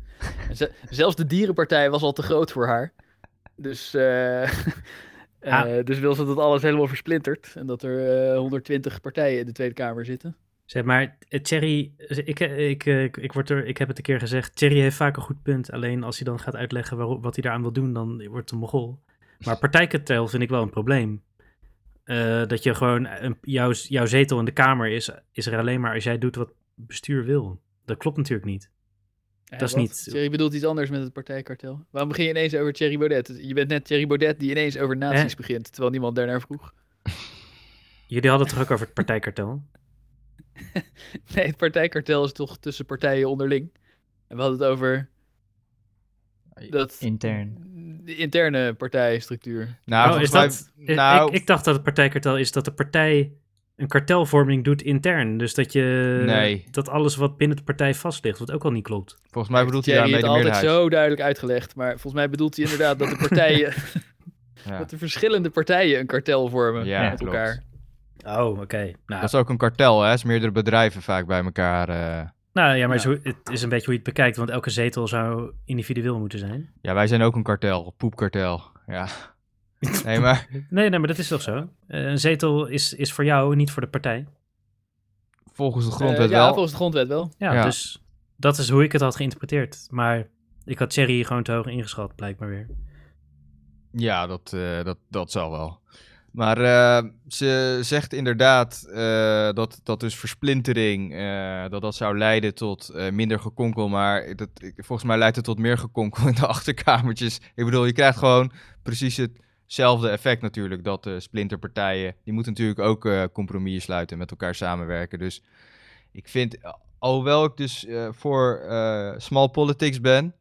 En ze- zelfs de Dierenpartij was al te groot voor haar. Dus, eh, eh,
Ah.
dus wil ze dat alles helemaal versplinterd. En dat er eh, 120 partijen in de Tweede Kamer zitten.
Zeg maar, eh, Thierry, ik, eh, ik, eh, ik, ik, word er, ik heb het een keer gezegd, Thierry heeft vaak een goed punt. Alleen als hij dan gaat uitleggen waarom, wat hij daaraan wil doen, dan wordt het een mogol. Maar partijkartel vind ik wel een probleem. Eh, dat je gewoon, een, jouw, jouw zetel in de Kamer is, is er alleen maar als jij doet wat bestuur wil. Dat klopt natuurlijk niet.
Eh,
Dat is
wat?
niet-
Thierry bedoelt iets anders met het partijkartel. Waarom begin je ineens over Thierry Baudet? Je bent net Thierry Baudet die ineens over nazi's
Eh.
begint. Terwijl niemand daarnaar vroeg.
Jullie hadden het toch ook over het partijkartel?
Nee, het partijkartel is toch tussen partijen onderling. En we hadden het over dat
Intern.
de interne partijstructuur.
Nou,
Oh,
volgens
is dat-
mij-
Ik-
nou,
Ik, ik dacht dat het partijkartel is dat de partij een kartelvorming doet intern. Dus dat je
Nee.
dat alles wat binnen de partij vast ligt, wat ook al niet klopt.
volgens mij bedoelt hij
Thierry
daarmee
heeft
de
het altijd
meerderheid.
zo duidelijk uitgelegd, maar volgens mij bedoelt hij inderdaad dat de partijen,
Ja.
dat de verschillende partijen een kartel vormen
Ja,
eh, met
klopt.
elkaar.
Oh, oké. Nou,
Dat is ook een kartel, hè? Is meerdere bedrijven vaak bij elkaar. eh.
nou ja, maar
Ja.
Zo, het is een beetje hoe je het bekijkt, want elke zetel zou individueel moeten zijn.
Ja, wij zijn ook een kartel. Poepkartel. Ja. Nee, maar
Nee, nee, maar dat is toch zo? Eh, een zetel is, is voor jou, niet voor de partij.
volgens de
Eh,
grondwet
ja,
wel.
volgens de grondwet wel.
Ja,
Ja.
dus dat is hoe ik het had geïnterpreteerd. Maar ik had Thierry gewoon te hoog ingeschat, blijkbaar weer.
Ja, dat, eh, dat, dat zal wel. Maar eh, ze zegt inderdaad eh, dat, dat dus versplintering, eh, dat dat zou leiden tot eh, minder gekonkel. Maar dat, ik- volgens mij leidt het tot meer gekonkel in de achterkamertjes. Ik bedoel, je krijgt gewoon precies hetzelfde effect natuurlijk. Dat de splinterpartijen, die moeten natuurlijk ook eh compromissen sluiten, met elkaar samenwerken. Dus ik vind, alhoewel ik dus eh, voor eh, small politics eh, ben,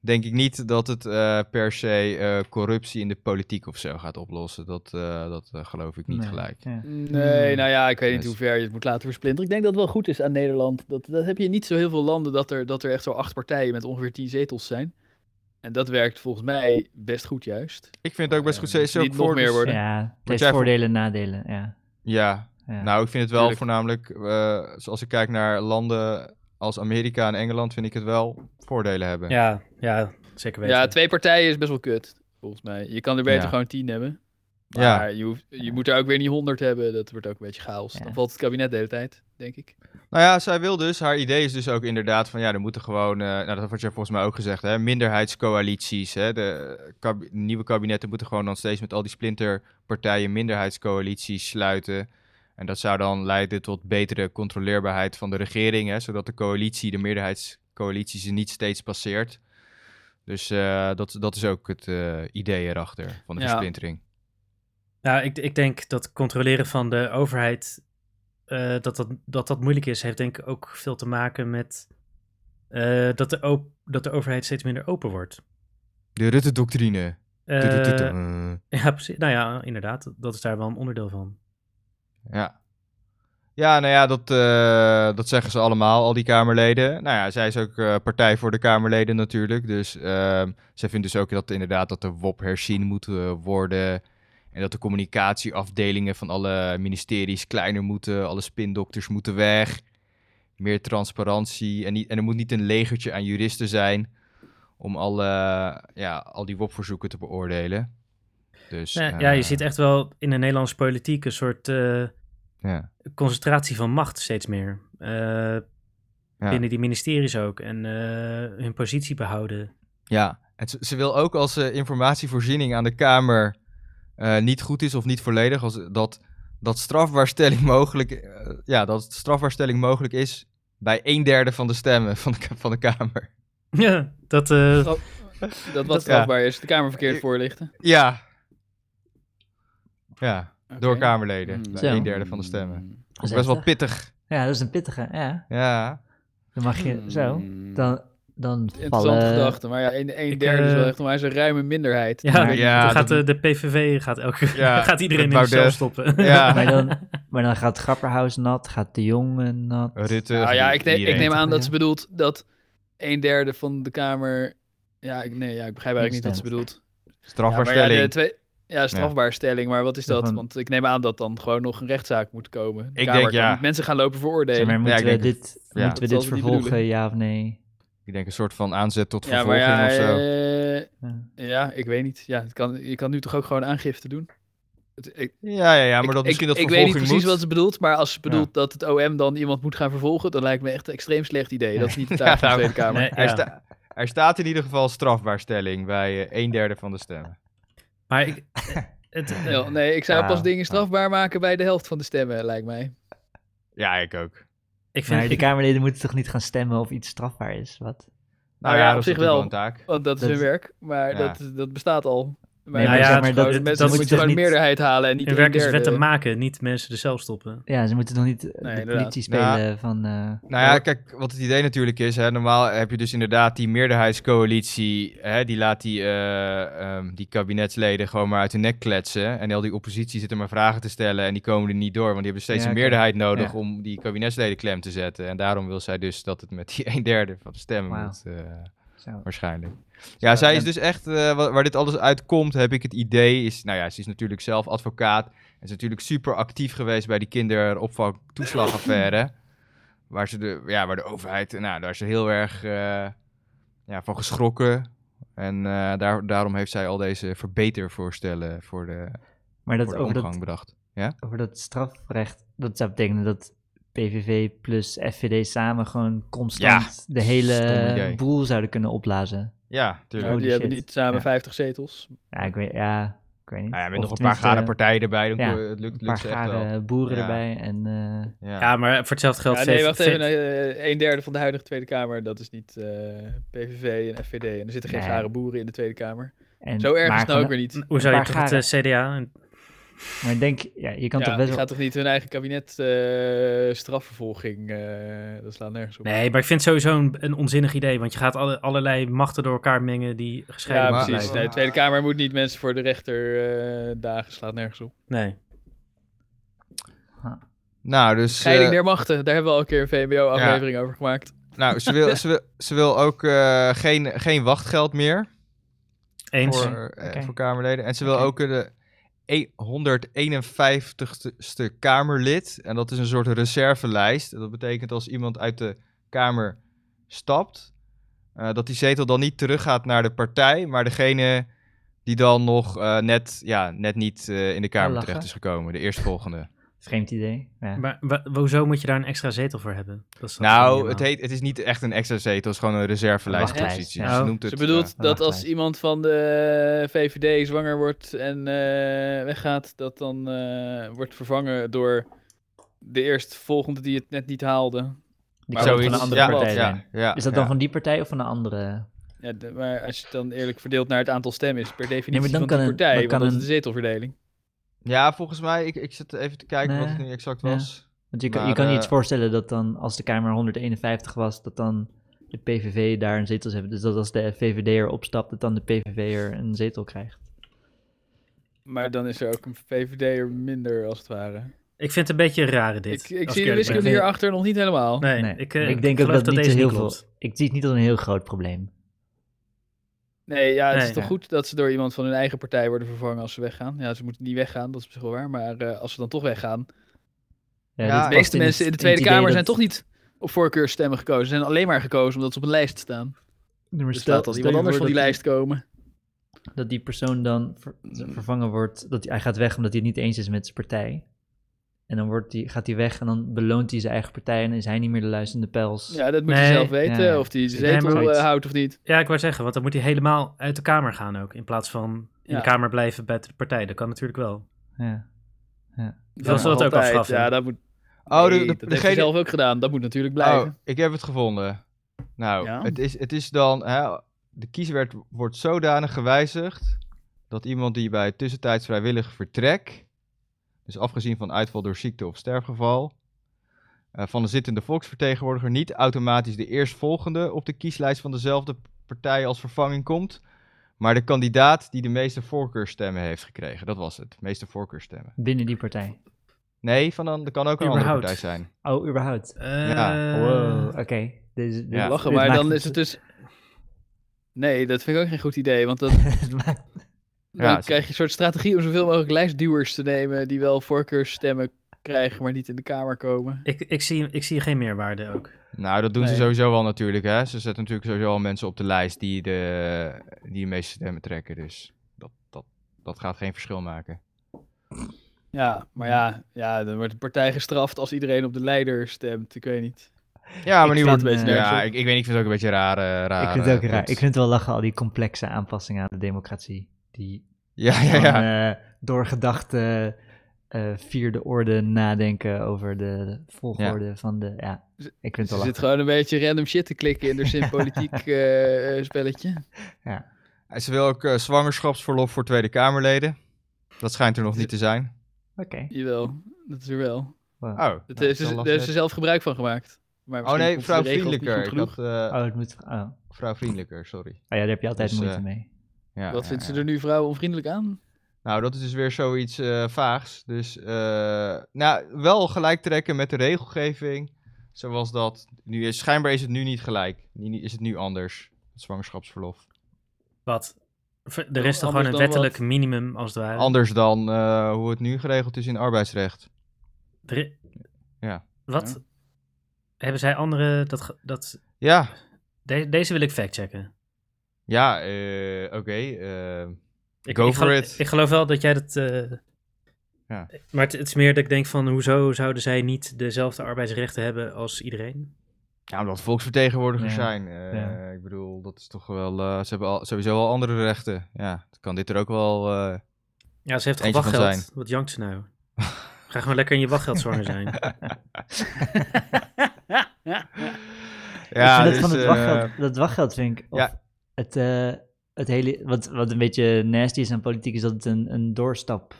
denk ik niet dat het eh, per se eh, corruptie in de politiek of zo gaat oplossen. Dat, eh, dat eh, geloof ik niet
Nee,
gelijk.
ja.
Nee, nou ja, ik weet niet
Dus-
hoe ver je het moet laten versplinteren. Ik denk dat het wel goed is aan Nederland. Dat, dat heb je niet zo heel veel landen dat er, dat er echt zo acht partijen met ongeveer tien zetels zijn. En dat werkt volgens mij best goed juist.
Ik vind het ook best goed. Ze is
niet
ook
nog
voor
meer
dus-
worden.
Ja, het heeft
jij voor-
voordelen en nadelen. Ja.
Ja,
Ja.
nou, ik vind het wel
Tuurlijk.
voornamelijk, eh, zoals ik kijk naar landen als Amerika en Engeland, vind ik het wel voordelen hebben.
Ja, ja zeker weten.
Ja, twee partijen is best wel kut, volgens mij. Je kan er beter
Ja.
gewoon tien hebben.
Ja.
Maar je, hoeft, je moet er ook weer niet honderd hebben. Dat wordt ook een beetje chaos.
Ja.
Dan valt het kabinet de hele tijd, denk ik.
Eh,
Nou ja, zij wil dus, haar idee is dus ook inderdaad van ja, er moeten gewoon, eh, nou dat had jij volgens mij ook gezegd, hè, minderheidscoalities. Hè, de eh, kab- nieuwe kabinetten moeten gewoon dan steeds met al die splinterpartijen minderheidscoalities sluiten. En dat zou dan leiden tot betere controleerbaarheid van de regering, hè, zodat de coalitie, de meerderheidscoalitie, ze niet steeds passeert. Dus eh, dat, dat is ook het eh, idee erachter van de
Ja.
versplintering.
Nou, ik, ik denk dat controleren van de overheid, eh, dat, dat, dat dat moeilijk is, heeft denk ik ook veel te maken met eh, dat, de op- dat de overheid steeds minder open wordt.
De Rutte-doctrine.
Eh,
Tudutudu.
ja, precies. Nou ja, inderdaad, dat- dat is daar wel een onderdeel van.
Ja. Ja, nou ja, dat, eh, dat zeggen ze allemaal, al die Kamerleden. Nou ja, zij is ook eh, partij voor de Kamerleden natuurlijk. Dus ehm, zij vindt dus ook dat inderdaad dat de WOP herzien moet eh, worden. En dat de communicatieafdelingen van alle ministeries kleiner moeten. Alle spindokters moeten weg. Meer transparantie. En, niet, en er moet niet een legertje aan juristen zijn om alle, ja, al die WOP-verzoeken te beoordelen. Dus,
Nee,
eh,
Nou ja, je ziet echt wel in de Nederlandse politiek een soort eh,
Ja.
concentratie van macht steeds meer. Eh,
Ja.
Binnen die ministeries ook. En eh, hun positie behouden.
Ja, en ze, ze wil ook als eh, informatievoorziening aan de Kamer eh, niet goed is of niet volledig, als, dat, dat, strafbaarstelling mogelijk, eh, ja, dat strafbaarstelling mogelijk is bij een derde van de stemmen van de, ka- van de Kamer.
Ja, dat... eh,
Grap- Dat wat
ja.
strafbaar is. De Kamer verkeerd
Ik-
voorlichten.
Ja. Ja, door
Oké.
Kamerleden.
Hmm.
Bij
Zo.
een derde van de stemmen.
Dat is
Best wel
heftig.
pittig.
Ja, dat is een pittige. Ja,
Ja.
dan mag je zo.
Hmm.
Dan, dan
Interessante
vallen...
gedachte, maar ja, een, een
Ik,
derde is wel
eh,
echt, maar is een ruime minderheid.
ja,
Maar
ja,
dan gaat
dat-
de, de PVV gaat elke
Ja,
gaat iedereen in de
Baudet.
cel stoppen.
Ja.
Maar dan, maar dan gaat Grapperhaus nat, gaat de jongen nat.
Rutte.
Nou ja, ik, neem- ik
iedereen.
neem aan dat
Ja.
ze bedoelt dat een derde van de Kamer. Ja, ik, nee, ja, ik begrijp eigenlijk niet wat ze
Stemt.
bedoelt. Ja, maar ja,
Strafbaarstelling.
de twee, ja, strafbaarstelling, maar wat is dat?
Van-
Want ik neem aan dat dan gewoon nog een rechtszaak moet komen. De
Ik
Kamer
denk,
kan
ja.
niet mensen gaan lopen
Zeg
veroordelen.
maar, moeten we
ik denk
dit,
ja.
moeten
Dat
we dit
zal ze niet
vervolgen,
bedoelen.
ja of nee?
Ik denk een soort van aanzet tot
Ja,
vervolging
maar ja,
of zo.
eh,
Ja.
ja, ik weet niet. Ja, het kan, je kan nu toch ook gewoon aangifte doen? Het, ik,
Ja, ja, ja, maar dat
ik,
misschien
ik,
dat
ik weet niet
vervolging
precies
moet.
wat ze bedoelt, maar als ze bedoelt dat het OM dan iemand moet gaan vervolgen, dan lijkt me echt een extreem slecht idee. Dat is niet de taak
Ja,
van de
nou,
Tweede Kamer.
Nee,
Er,
ja.
sta- er staat in ieder geval strafbaarstelling bij eh, een derde van de stemmen.
Maar ik, het, eh,
Ja, nee, ik zou
Ja,
pas dingen
ja.
strafbaar maken bij de helft van de stemmen, lijkt mij.
Ja, ik ook.
ik vind
Maar de Kamerleden moeten toch niet gaan stemmen of iets strafbaar is? Wat?
Nou
ja,
ja,
op
dat is
zich
natuurlijk wel
wel.
een taak.
Want dat is
Dat-
hun werk, maar
ja.
dat, dat bestaat al. Maar
Nee,
maar
ja,
ja,
ja,
maar dat-
gewoon,
dat
mensen
moet
moeten
je toch
gewoon
niet-
een meerderheid halen en niet
hun
een
werk is
derde.
wetten maken, niet mensen de cel stoppen.
Ja, ze moeten toch niet eh,
Nee,
de
inderdaad.
politie spelen van... eh,
Nou ja, kijk, wat het idee natuurlijk is, hè, normaal heb je dus inderdaad die meerderheidscoalitie, hè, die laat die, eh, ehm, die kabinetsleden gewoon maar uit hun nek kletsen. En al die oppositie zit er maar vragen te stellen en die komen er niet door, want die hebben steeds
Ja,
een
oké.
meerderheid nodig
Ja.
om die kabinetsleden klem te zetten. En daarom wil zij dus dat het met die een derde van de stemmen
Wauw.
moet... eh,
zo.
Waarschijnlijk. Ja, zij is
en-
dus echt, eh, wa- waar, dit alles uitkomt, heb ik het idee, is, nou ja, ze is natuurlijk zelf advocaat. En is natuurlijk super actief geweest bij die kinderopvangtoeslagaffaire. waar, ze de, ja, waar de overheid, eh, nou, daar is ze heel erg eh, ja, van geschrokken. En eh, daar, daarom heeft zij al deze verbetervoorstellen voor de,
Maar dat,
voor de
over,
omgang
dat,
bedacht.
over dat strafrecht, dat zou betekenen dat PVV plus FVD samen gewoon constant de
stom
hele
idee.
boel zouden kunnen opblazen.
Ja, tuurlijk.
Nou,
Holy
die hebben
shit.
niet samen
Ja.
50 zetels.
Ja, ik weet, ja, ik weet niet.
Nou ja, met
Of
nog een paar gare
tenminste,
partijen erbij, dan
ja,
ko- het lukt, lukt
Een paar
ze echt wel.
gare boeren
Ja.
erbij en... eh,
Ja.
Ja, maar voor hetzelfde geld...
Ja, nee,
geeft-
wacht even.
geeft-
eh, een derde van de huidige Tweede Kamer, dat is niet eh, PVV en FVD. En er zitten geen
Nee.
gare boeren in de Tweede Kamer.
en
Zo erg is
maar
het nou
gewoon-
ook weer niet.
Hoe zou je
Een
toch
paar
het eh, CDA... en-
Maar ik denk, ja, je kan
Ja,
toch
die
best wel...
gaat toch niet hun eigen kabinet eh, strafvervolging... eh, dat slaat nergens op.
Nee, maar ik vind het sowieso een, een onzinnig idee. Want je gaat alle, allerlei machten door elkaar mengen die gescheiden
ja,
maar-
moeten
precies.
Nee,
Nee, de Tweede Kamer moet niet mensen voor de rechter eh, dagen. Slaat nergens op.
blijven. Nee.
Nou, dus... eh,
Scheiding der machten. Daar hebben we al een keer een VMBO-aflevering over gemaakt.
nou, ze wil, ze wil, ze wil ook eh, geen, geen wachtgeld meer
Eens.
voor, eh,
Oké.
voor Kamerleden. En ze wil
Oké.
ook eh, de 151ste Kamerlid. En dat is een soort reservelijst. En Dat betekent als iemand uit de Kamer stapt, eh, dat die zetel dan niet teruggaat naar de partij, maar degene die dan nog eh, net, ja, net niet eh, in de Kamer
lachen.
terecht is gekomen, de eerstvolgende.
Vreemd idee. Ja.
Maar wa- hoezo moet je daar een extra zetel voor hebben? Dat is dat
Nou,
helemaal.
het, heet, het is niet echt een extra zetel, het is gewoon een reservelijstpositie.
Wachtlijst,
Dus
ja.
ze noemt het,
Ze bedoelt
eh,
dat als
wachtlijst.
iemand van de eh, VVD zwanger wordt en eh, weggaat, dat dan eh, wordt vervangen door de eerstvolgende die het net niet haalde.
Die
eh,
kan ook
zoiets.
van een andere
ja,
partij
ja,
zijn.
ja,
Is dat dan
ja.
van die partij of van een andere?
Ja, de- maar als je het dan eerlijk verdeelt naar het aantal stemmen is, per definitie
dan
van
kan
die
een-
partij,
dan
want
kan
dat is
een-
de zetelverdeling.
Ja, volgens mij, ik, ik zit even te kijken wat
Nee.
het nu exact
Ja.
was.
Want je, kan- je
Maar,
kan je
eh,
iets voorstellen dat dan als de Kamer 151 was, dat dan de PVV daar een zetel zou hebben. Dus dat als de VVD er opstapt, dat dan de PVV er een zetel krijgt.
Maar dan is er ook een VVD'er minder, als het ware.
Ik vind het een beetje een rare dit.
Ik, ik
als
zie de
eerlijk ben.
wiskunde
ben.
hierachter nog niet helemaal.
Nee,
Nee.
Ik,
Maar
eh,
ik denk ook
geloof
dat, niet zo
deze
heel
niet
veel.
klopt.
Ik zie het niet als een heel groot probleem.
Nee, ja, het
Nee,
is toch
ja.
goed dat ze door iemand van hun eigen partij worden vervangen als ze weggaan. Ja, ze moeten niet weggaan, dat is op zich wel waar. Maar eh, als ze dan toch weggaan.
Ja,
dit
de
De
past
meeste
het-
mensen in de
het
Tweede
idee
Kamer
dat-
zijn toch niet op voorkeursstemmen gekozen. Ze zijn alleen maar gekozen omdat ze op een lijst staan.
Nee, maar
Dus
stel-
laat dan
stel
iemand
je
anders van
voor
die
dat-
lijst komen.
Dat die persoon dan ver- vervangen wordt, dat hij, hij gaat weg omdat hij het niet eens is met zijn partij. En dan wordt die, gaat hij weg en dan beloont hij zijn eigen partij en is hij niet meer de luisterende pels.
Ja, dat moet
Nee.
je zelf weten.
Ja, ja.
Of die de
Nee,
zetel
maar-
eh, houdt of niet.
Ja, ik wou zeggen, want dan moet hij helemaal uit de Kamer gaan ook. In plaats van in
Ja.
de Kamer blijven bij de partij. Dat kan natuurlijk wel.
Ja.
Wil ze dat ook
altijd.
afschaffen?
Ja, dat moet.
Oh, de-
nee,
de-
dat heeft
degene-
ze zelf ook gedaan. Dat moet natuurlijk
Oh,
blijven.
ik heb het gevonden. Nou,
Ja?
het, is, het is dan, hè, de kieswet wordt zodanig gewijzigd dat iemand die bij tussentijds vrijwillig vertrek, dus afgezien van uitval door ziekte of sterfgeval, eh, van de zittende volksvertegenwoordiger niet automatisch de eerstvolgende op de kieslijst van dezelfde partij als vervanging komt, maar de kandidaat die de meeste voorkeurstemmen heeft gekregen. Dat was het, meeste voorkeurstemmen.
Binnen die partij.
Nee, van dan, dat kan ook een andere
Überhaupt.
partij zijn.
Oh, überhaupt.
Ja.
Eh,
Wow, oké. Deze- dit-
Ja.
Lachen,
dit
maar
maakt
dan
het-
is het dus. Nee, dat vind ik ook geen goed idee. Want dat,
het maakt-
dan
Ja, ze-
krijg je een soort strategie om zoveel mogelijk lijstduwers te nemen. die wel voorkeursstemmen krijgen, maar niet in de Kamer komen.
Ik, ik, zie, ik zie geen meerwaarde ook.
Nou, dat doen ze
Nee.
sowieso wel natuurlijk, hè. Ze zetten natuurlijk sowieso al mensen op de lijst die de, die de meeste stemmen trekken. Dus dat, dat, dat gaat geen verschil maken.
Ja, maar ja, ja, dan wordt de partij gestraft als iedereen op de leider stemt. Ik weet niet.
Ja, maar
Ik
nu wordt...
vind het een beetje
ja,
nergens op.
ik, ik weet niet, ik vind het ook een beetje raar. eh, raar
ik vind het ook
eh,
raar.
punt.
Ik vind het wel lachen, al die complexe aanpassingen aan de democratie. Die
Ja, ja,
van,
ja.
eh, door gedachten eh, vierde orde nadenken over de volgorde van de... Ja,
Ze-
ik vind het wel
Ze
lachen.
zit gewoon een beetje random shit te klikken in haar sympolitiek eh, eh, spelletje.
En Ze wil ook eh, zwangerschapsverlof voor Tweede Kamerleden. Dat schijnt er nog niet te zijn.
Oké.
Jawel, dat is er wel.
Wow.
Oh,
Dat
nou,
is,
dan
daar
las
heeft
het.
ze zelf gebruik van gemaakt. Maar
Oh
misschien
nee,
vond ze de regels niet
vrouwvriendelijker.
goed
Ik
genoeg.
had, eh,
Oh, het moet... Oh.
Vrouwvriendelijker, sorry.
Oh ja, daar heb je altijd
Dus,
moeite
eh,
mee.
Ja,
Wat
ja,
vindt
ja.
ze er nu vrouwen onvriendelijk aan?
Nou, dat is dus weer zoiets eh, vaags. Dus eh, nou, wel gelijk trekken met de regelgeving. Zoals dat nu is. Schijnbaar is het nu niet gelijk. Nu nu is het nu anders. Het zwangerschapsverlof.
Wat? Ver- Er is toch gewoon
Anders
een
dan
wettelijk
wat?
minimum als het ware?
Anders dan eh, hoe het nu geregeld is in arbeidsrecht.
Er i-
Ja.
Wat?
Ja.
Hebben zij andere... Dat, ge- dat,
Ja,
de- deze wil ik factchecken.
ja, eh, oké. eh,
Ik,
Go
ik
for
gelo-
it.
Ik geloof wel dat jij dat... eh,
Ja.
Maar het, het is meer dat ik denk van... Hoezo zouden zij niet dezelfde arbeidsrechten hebben als iedereen?
ja, omdat volksvertegenwoordigers
Ja,
zijn. Eh,
ja.
Ik bedoel, dat is toch wel... eh, ze hebben al, sowieso al andere rechten. Ja, dan kan dit er ook wel... eh,
Ja, ze heeft toch
Eentje van
wachtgeld. Wat jankt ze nou? Ga gewoon lekker in je wachtgeld zwanger zijn.
ik vind
dus,
dat van
eh,
het wachtgeld, dat wachtgeld vind ik. Of
ja.
het, eh, het hele, wat, wat een beetje nasty is aan politiek, is dat het een, een doorstap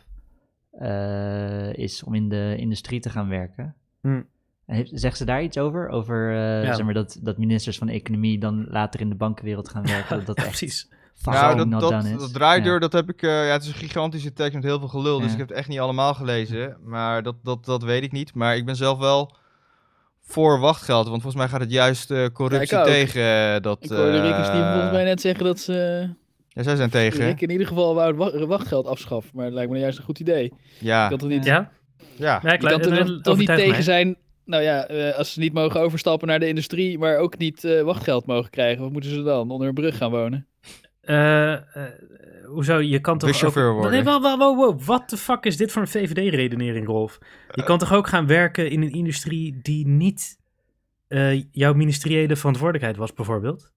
eh, is om in de industrie te gaan werken.
Hm.
Heeft- Zegt ze daar iets over? Over eh,
Ja.
zeg maar, dat, dat ministers van de economie dan later in de bankenwereld gaan werken? Dat dat
Ja,
echt
precies.
fucking
nou,
not
dat, dat,
done is.
dat draaideur,
Ja.
dat heb ik... eh, ja, het is een gigantische tekst met heel veel gelul, dus
Ja.
ik heb het echt niet allemaal gelezen. Maar dat, dat, dat weet ik niet. Maar ik ben zelf wel voor wachtgeld, want volgens mij gaat het juist eh, corruptie
ook.
tegen eh, dat...
Ik hoorde Rick en
eh,
Steven volgens mij net zeggen dat ze
Ja, zij zijn
eh,
tegen.
Rick in ieder geval wou het wa- wachtgeld afschaft. Maar het lijkt me nou juist een goed idee.
Ja,
Ik had het niet,
Ja?
ja.
Ja, ik
je kan
eh, eh,
er nog- toch niet
overtuig
tegen
mij.
zijn... Nou ja, eh, als ze niet mogen overstappen naar de industrie, maar ook niet eh, wachtgeld mogen krijgen. Wat moeten ze dan? Onder een brug gaan wonen?
Eh, eh, hoezo? Je kan toch
Buschauffeur
ook...
worden.
Nee, wow, wow, wow, wow. What the fuck is dit voor een VVD-redenering, Rolf? Je kan toch ook gaan werken in een industrie die niet eh, jouw ministeriële verantwoordelijkheid was, bijvoorbeeld?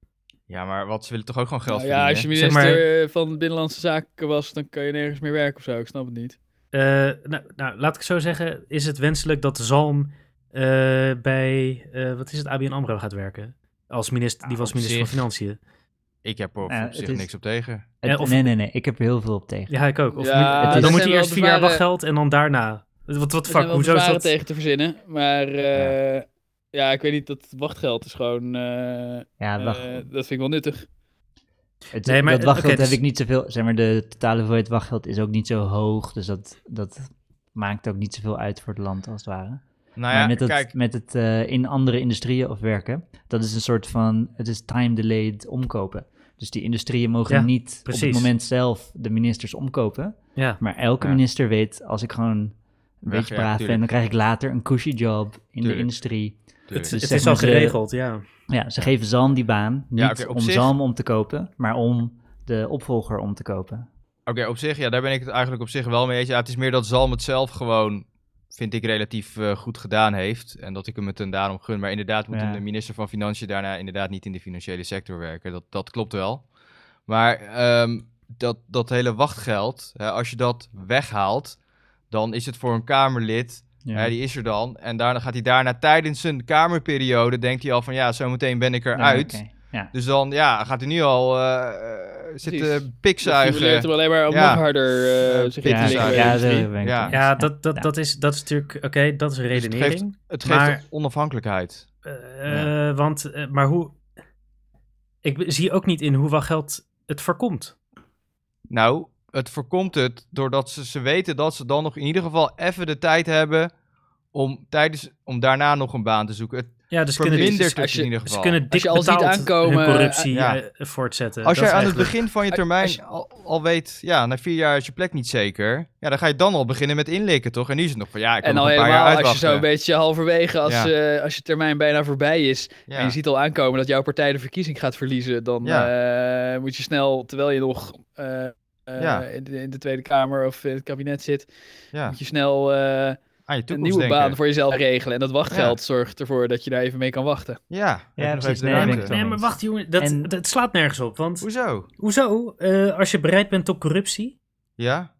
ja, maar wat, ze willen toch ook gewoon geld
Nou ja, als je
verdienen?
Zeg
minister
maar-
eh, van Binnenlandse Zaken was, dan kan je nergens meer werken of zo. Ik snap het niet.
Eh, nou, nou, laat ik het zo zeggen. Is het wenselijk dat Zalm eh, bij, eh, wat is het, ABN AMRO gaat werken? Als minister, die
Nou,
was
op
minister
zich.
van Financiën.
Ik heb er op
Ja,
op zich
het is-
niks op tegen. Nou
Het-
eh, of-
nee, nee, nee. Ik heb er heel veel op tegen.
Ja, ik ook. Of
Ja,
moet-
dat
dan
zijn
moet je
wel
eerst vier jaar
bezwaren-
wachtgeld en dan daarna. Wat, wat
Er
fuck,
zijn wel
hoezo is
bezwaren
dat?
tegen te verzinnen, maar eh, ja. ik weet niet, dat wachtgeld is gewoon, eh,
Ja, wacht.
eh, dat vind ik wel nuttig.
Het,
Nee, maar,
dat
eh,
wachtgeld
oké, dus-
heb ik niet zoveel. Zeg maar, de totale hoeveelheid wachtgeld is ook niet zo hoog. Dus dat, dat maakt ook niet zoveel uit voor het land, als het ware.
Nou
maar
ja,
met het,
kijk,
met het eh, in andere industrieën of werken, dat is een soort van, het is time-delayed omkopen. Dus die industrieën mogen
Ja,
niet op
precies.
het moment zelf de ministers omkopen.
Ja.
Maar elke
Ja.
minister weet, als ik gewoon een
Weg,
beetje
ja,
braaf ben,
tuurlijk.
dan krijg ik later een cushy job in de
Tuurlijk.
industrie.
tuurlijk.
Dus
het
zeg
is al
maar, ze-
geregeld, ja.
Ja, ze geven Zalm die baan, niet
Ja, oké, op
om
zich-
Zalm om te kopen, maar om de opvolger om te kopen.
Oké, op zich, ja, daar ben ik het eigenlijk op zich wel mee eens. Ja, het is meer dat Zalm het zelf gewoon, vind ik, relatief eh, goed gedaan heeft. En dat ik hem het en daarom gun. Maar inderdaad moet
Ja.
een minister van Financiën daarna inderdaad niet in de financiële sector werken. Dat, dat klopt wel. Maar ehm, dat, dat hele wachtgeld, hè, als je dat weghaalt, dan is het voor een Kamerlid
Ja.
Hè, die is er dan. En daarna gaat hij daarna tijdens zijn kamerperiode, denkt hij al van ja, zometeen ben ik
Ja,
eruit.
oké. Ja.
Dus dan ja, gaat hij nu al eh, eh, zitten
Je leert
pikzuigen.
hem alleen maar om
Ja.
nog harder eh,
Eh,
zich in
Ja,
te
is
ja,
uit.
liggen.
ja, zo ben ik
Ja.
het.
Ja, dat, dat,
Ja.
dat, is, dat is natuurlijk, oké, dat is een
Dus het
redenering.
geeft- Het geeft
Maar-
onafhankelijkheid.
Eh, eh, Want, eh, maar hoe... Ik be- zie ook niet in hoeveel geld het voorkomt.
Nou, het voorkomt het doordat ze, ze weten dat ze dan nog in ieder geval even de tijd hebben om, tijdens, om daarna nog een baan te zoeken. Het
Ja, dus ze kunnen,
vermindert
ze,
het
als je-
in ieder geval.
kunnen dik
je al ziet
betaald
aankomen,
hun corruptie
ja.
eh, voortzetten.
Als
Dat
jij
is
aan het
eigenlijk-
begin van je termijn
als je-
al, al weet, ja, na vier jaar is je plek niet zeker. Ja, dan ga je dan al beginnen met inlikken, toch? En nu is het nog van, ja, ik kan
En
nog
al
een paar jaar
helemaal als je
uitwachten.
zo'n beetje halverwege, als, eh, als je termijn bijna voorbij is,
Ja.
en je ziet al aankomen dat jouw partij de verkiezing gaat verliezen, dan eh, moet je snel, terwijl je nog eh, eh,
Ja.
in, de, in de Tweede Kamer of in het kabinet zit,
ja.
moet je snel eh,
Aan je
een
toekomst
nieuwe
denken.
baan voor jezelf regelen. En dat wachtgeld zorgt ervoor dat je daar even mee kan wachten.
Ja,
Ja,
heb nog
precies.
even de
Nee,
ruimte.
denk ik wel.
Nee, maar wacht jongen, dat,
En-
dat slaat nergens op. Want
Hoezo?
hoezo, eh, als je bereid bent tot corruptie,
Ja?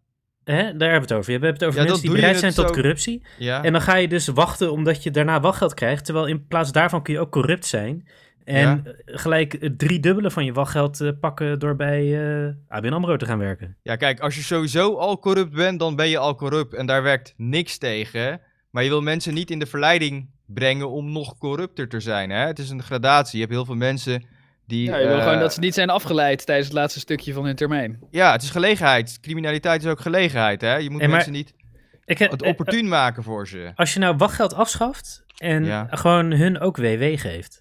hè, daar hebben we het over. We hebben het over
Ja, dat
mensen die
doe je
bereid zijn
het
tot
zo-
corruptie.
Ja?
En dan ga je dus wachten omdat je daarna wachtgeld krijgt. Terwijl in plaats daarvan kun je ook corrupt zijn. En gelijk het driedubbele van je wachtgeld eh, pakken door bij eh ABN AMRO te gaan werken.
ja, kijk, als je sowieso al corrupt bent, dan ben je al corrupt. En daar werkt niks tegen. Maar je wil mensen niet in de verleiding brengen om nog corrupter te zijn. Hè? Het is een gradatie. Je hebt heel veel mensen die...
Ja, je wil
eh,
gewoon dat ze niet zijn afgeleid tijdens het laatste stukje van hun termijn.
ja, het is gelegenheid. Criminaliteit is ook gelegenheid. Hè? Je moet
En maar-
mensen niet
Ik, heb-
het
eh,
opportun maken voor ze.
Als je nou wachtgeld afschaft en
Ja.
gewoon hun ook WW geeft.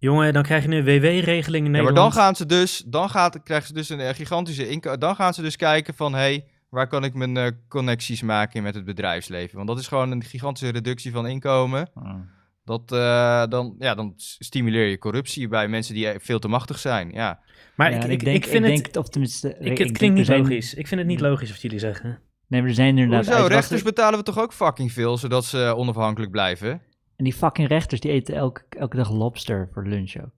Jongen, dan krijg je een WW-regeling in Nederland.
Ja, maar dan gaan ze dus, dan gaat, krijgen ze dus een eh, gigantische inko- Dan gaan ze dus kijken van, hé, hey, waar kan ik mijn eh, connecties maken met het bedrijfsleven? Want dat is gewoon een gigantische reductie van inkomen.
Mm.
Dat, eh, dan, ja, dan s- stimuleer je corruptie bij mensen die eh, veel te machtig zijn. Ja,
Maar
Ja,
ik,
en
ik,
denk,
ik vind het...
denk, of tenminste,
Ik, het
denk,
klinkt
er
niet
zijn- Mm.
logisch. Ik vind het niet logisch wat jullie zeggen.
Nee, maar er zijn inderdaad dus-
Hoezo?
uitwachten-
Rechters betalen we toch ook fucking veel, zodat ze eh, onafhankelijk blijven?
En die fucking rechters, die eten elke, elke dag lobster voor lunch ook.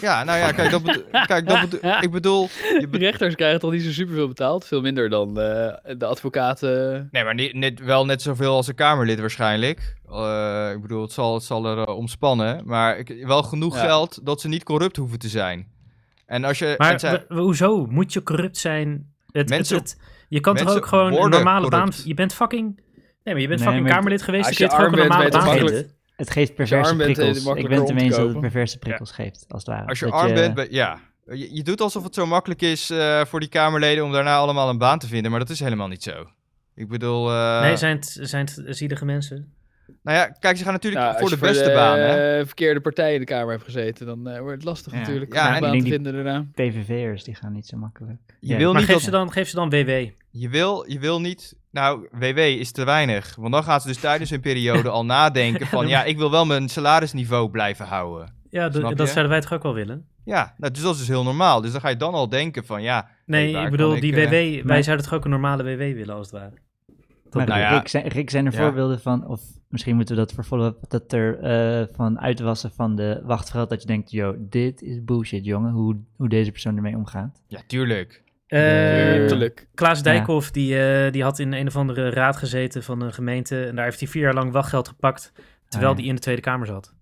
Ja, nou ja, kijk, dat bedo- kijk dat bedo- ik bedoel... Je
De
be-
rechters krijgen toch niet zo superveel betaald? Veel minder dan eh, de advocaten.
nee, maar niet, net, wel net zoveel als een Kamerlid waarschijnlijk. Eh, ik bedoel, het zal, het zal er eh, om spannen. Maar ik, wel genoeg
Ja.
geld dat ze niet corrupt hoeven te zijn. En als je...
Maar
Eh, en zij-
w- w- hoezo moet je corrupt zijn? Het,
Mensen-
het, het, Je kan toch
Mensen
ook gewoon een
worden
normale baan...
corrupt.
Je bent fucking... Nee, maar je bent
Nee,
fucking
maar-
Kamerlid geweest.
Als
je
je
kunt gewoon een
arm
normale
bent, ben je
baan
toch
hebben.
makkelijk-
Het geeft perverse
arm bent, eh,
prikkels. Ik
makkelijker
ben het
om
ermee
te
eens dat het
kopen.
perverse prikkels geeft, als het ware.
Als je
Dat
arm bent, ben- ja. Je, je doet alsof het zo makkelijk is eh, voor die Kamerleden om daarna allemaal een baan te vinden, maar dat is helemaal niet zo. Ik bedoel, eh,
Nee, zijn het, zijn het zielige mensen?
nou ja, kijk, ze gaan natuurlijk
Nou,
voor
als
de
je
beste baan, hè.
eh, verkeerde partij in de Kamer hebt gezeten, dan eh, wordt het lastig
Ja.
natuurlijk
Ja,
om
en
een
ik
baan
denk
te
die-
vinden daarna.
PVV'ers, die gaan niet zo makkelijk.
Je wil
Maar
niet
geef
dat,
ze, dan, geef ze dan WW.
je wil, je wil niet, nou, WW is te weinig, want dan gaan ze dus tijdens hun periode al nadenken van, ja, ik wil wel mijn salarisniveau blijven houden.
Ja, d-
Snap je?
dat zouden wij toch ook wel willen?
Ja, nou, dus dat is dus heel normaal. Dus dan ga je dan al denken van, ja,
Nee,
Hey, waar
ik bedoel,
kan ik,
die
eh,
WW... Wij
maar-
zouden toch ook een normale WW willen, als het ware?
Maar
Nou ja.
Rick, zijn, Rick, zijn er
Ja.
voorbeelden van, of misschien moeten we dat voor follow-up, dat er eh, van uitwassen van de wachtvrouw, dat je denkt, yo, dit is bullshit, jongen, hoe, hoe deze persoon ermee omgaat.
ja, tuurlijk.
Eh,
Tuurlijk.
Klaas Dijkhoff, die, eh, die had in een of andere raad gezeten van een gemeente. En daar heeft hij vier jaar lang wachtgeld gepakt. Terwijl
Ah, ja.
die in de Tweede Kamer zat.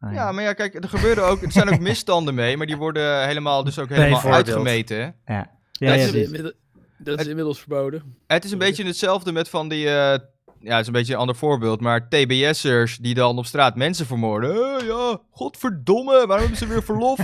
Ah,
Ja, maar ja, kijk, er gebeuren ook, er zijn ook misstanden mee, maar die worden helemaal, dus ook helemaal
Bijvoorbeeld.
uitgemeten, hè.
Ja,
dat
ja,
is-
precies.
inmiddel- dat is inmiddels verboden.
Het is een beetje hetzelfde met van die. eh, ja, het is een beetje een ander voorbeeld. Maar TBS'ers die dan op straat mensen vermoorden. Eh, ja, godverdomme, waarom hebben ze weer verlof?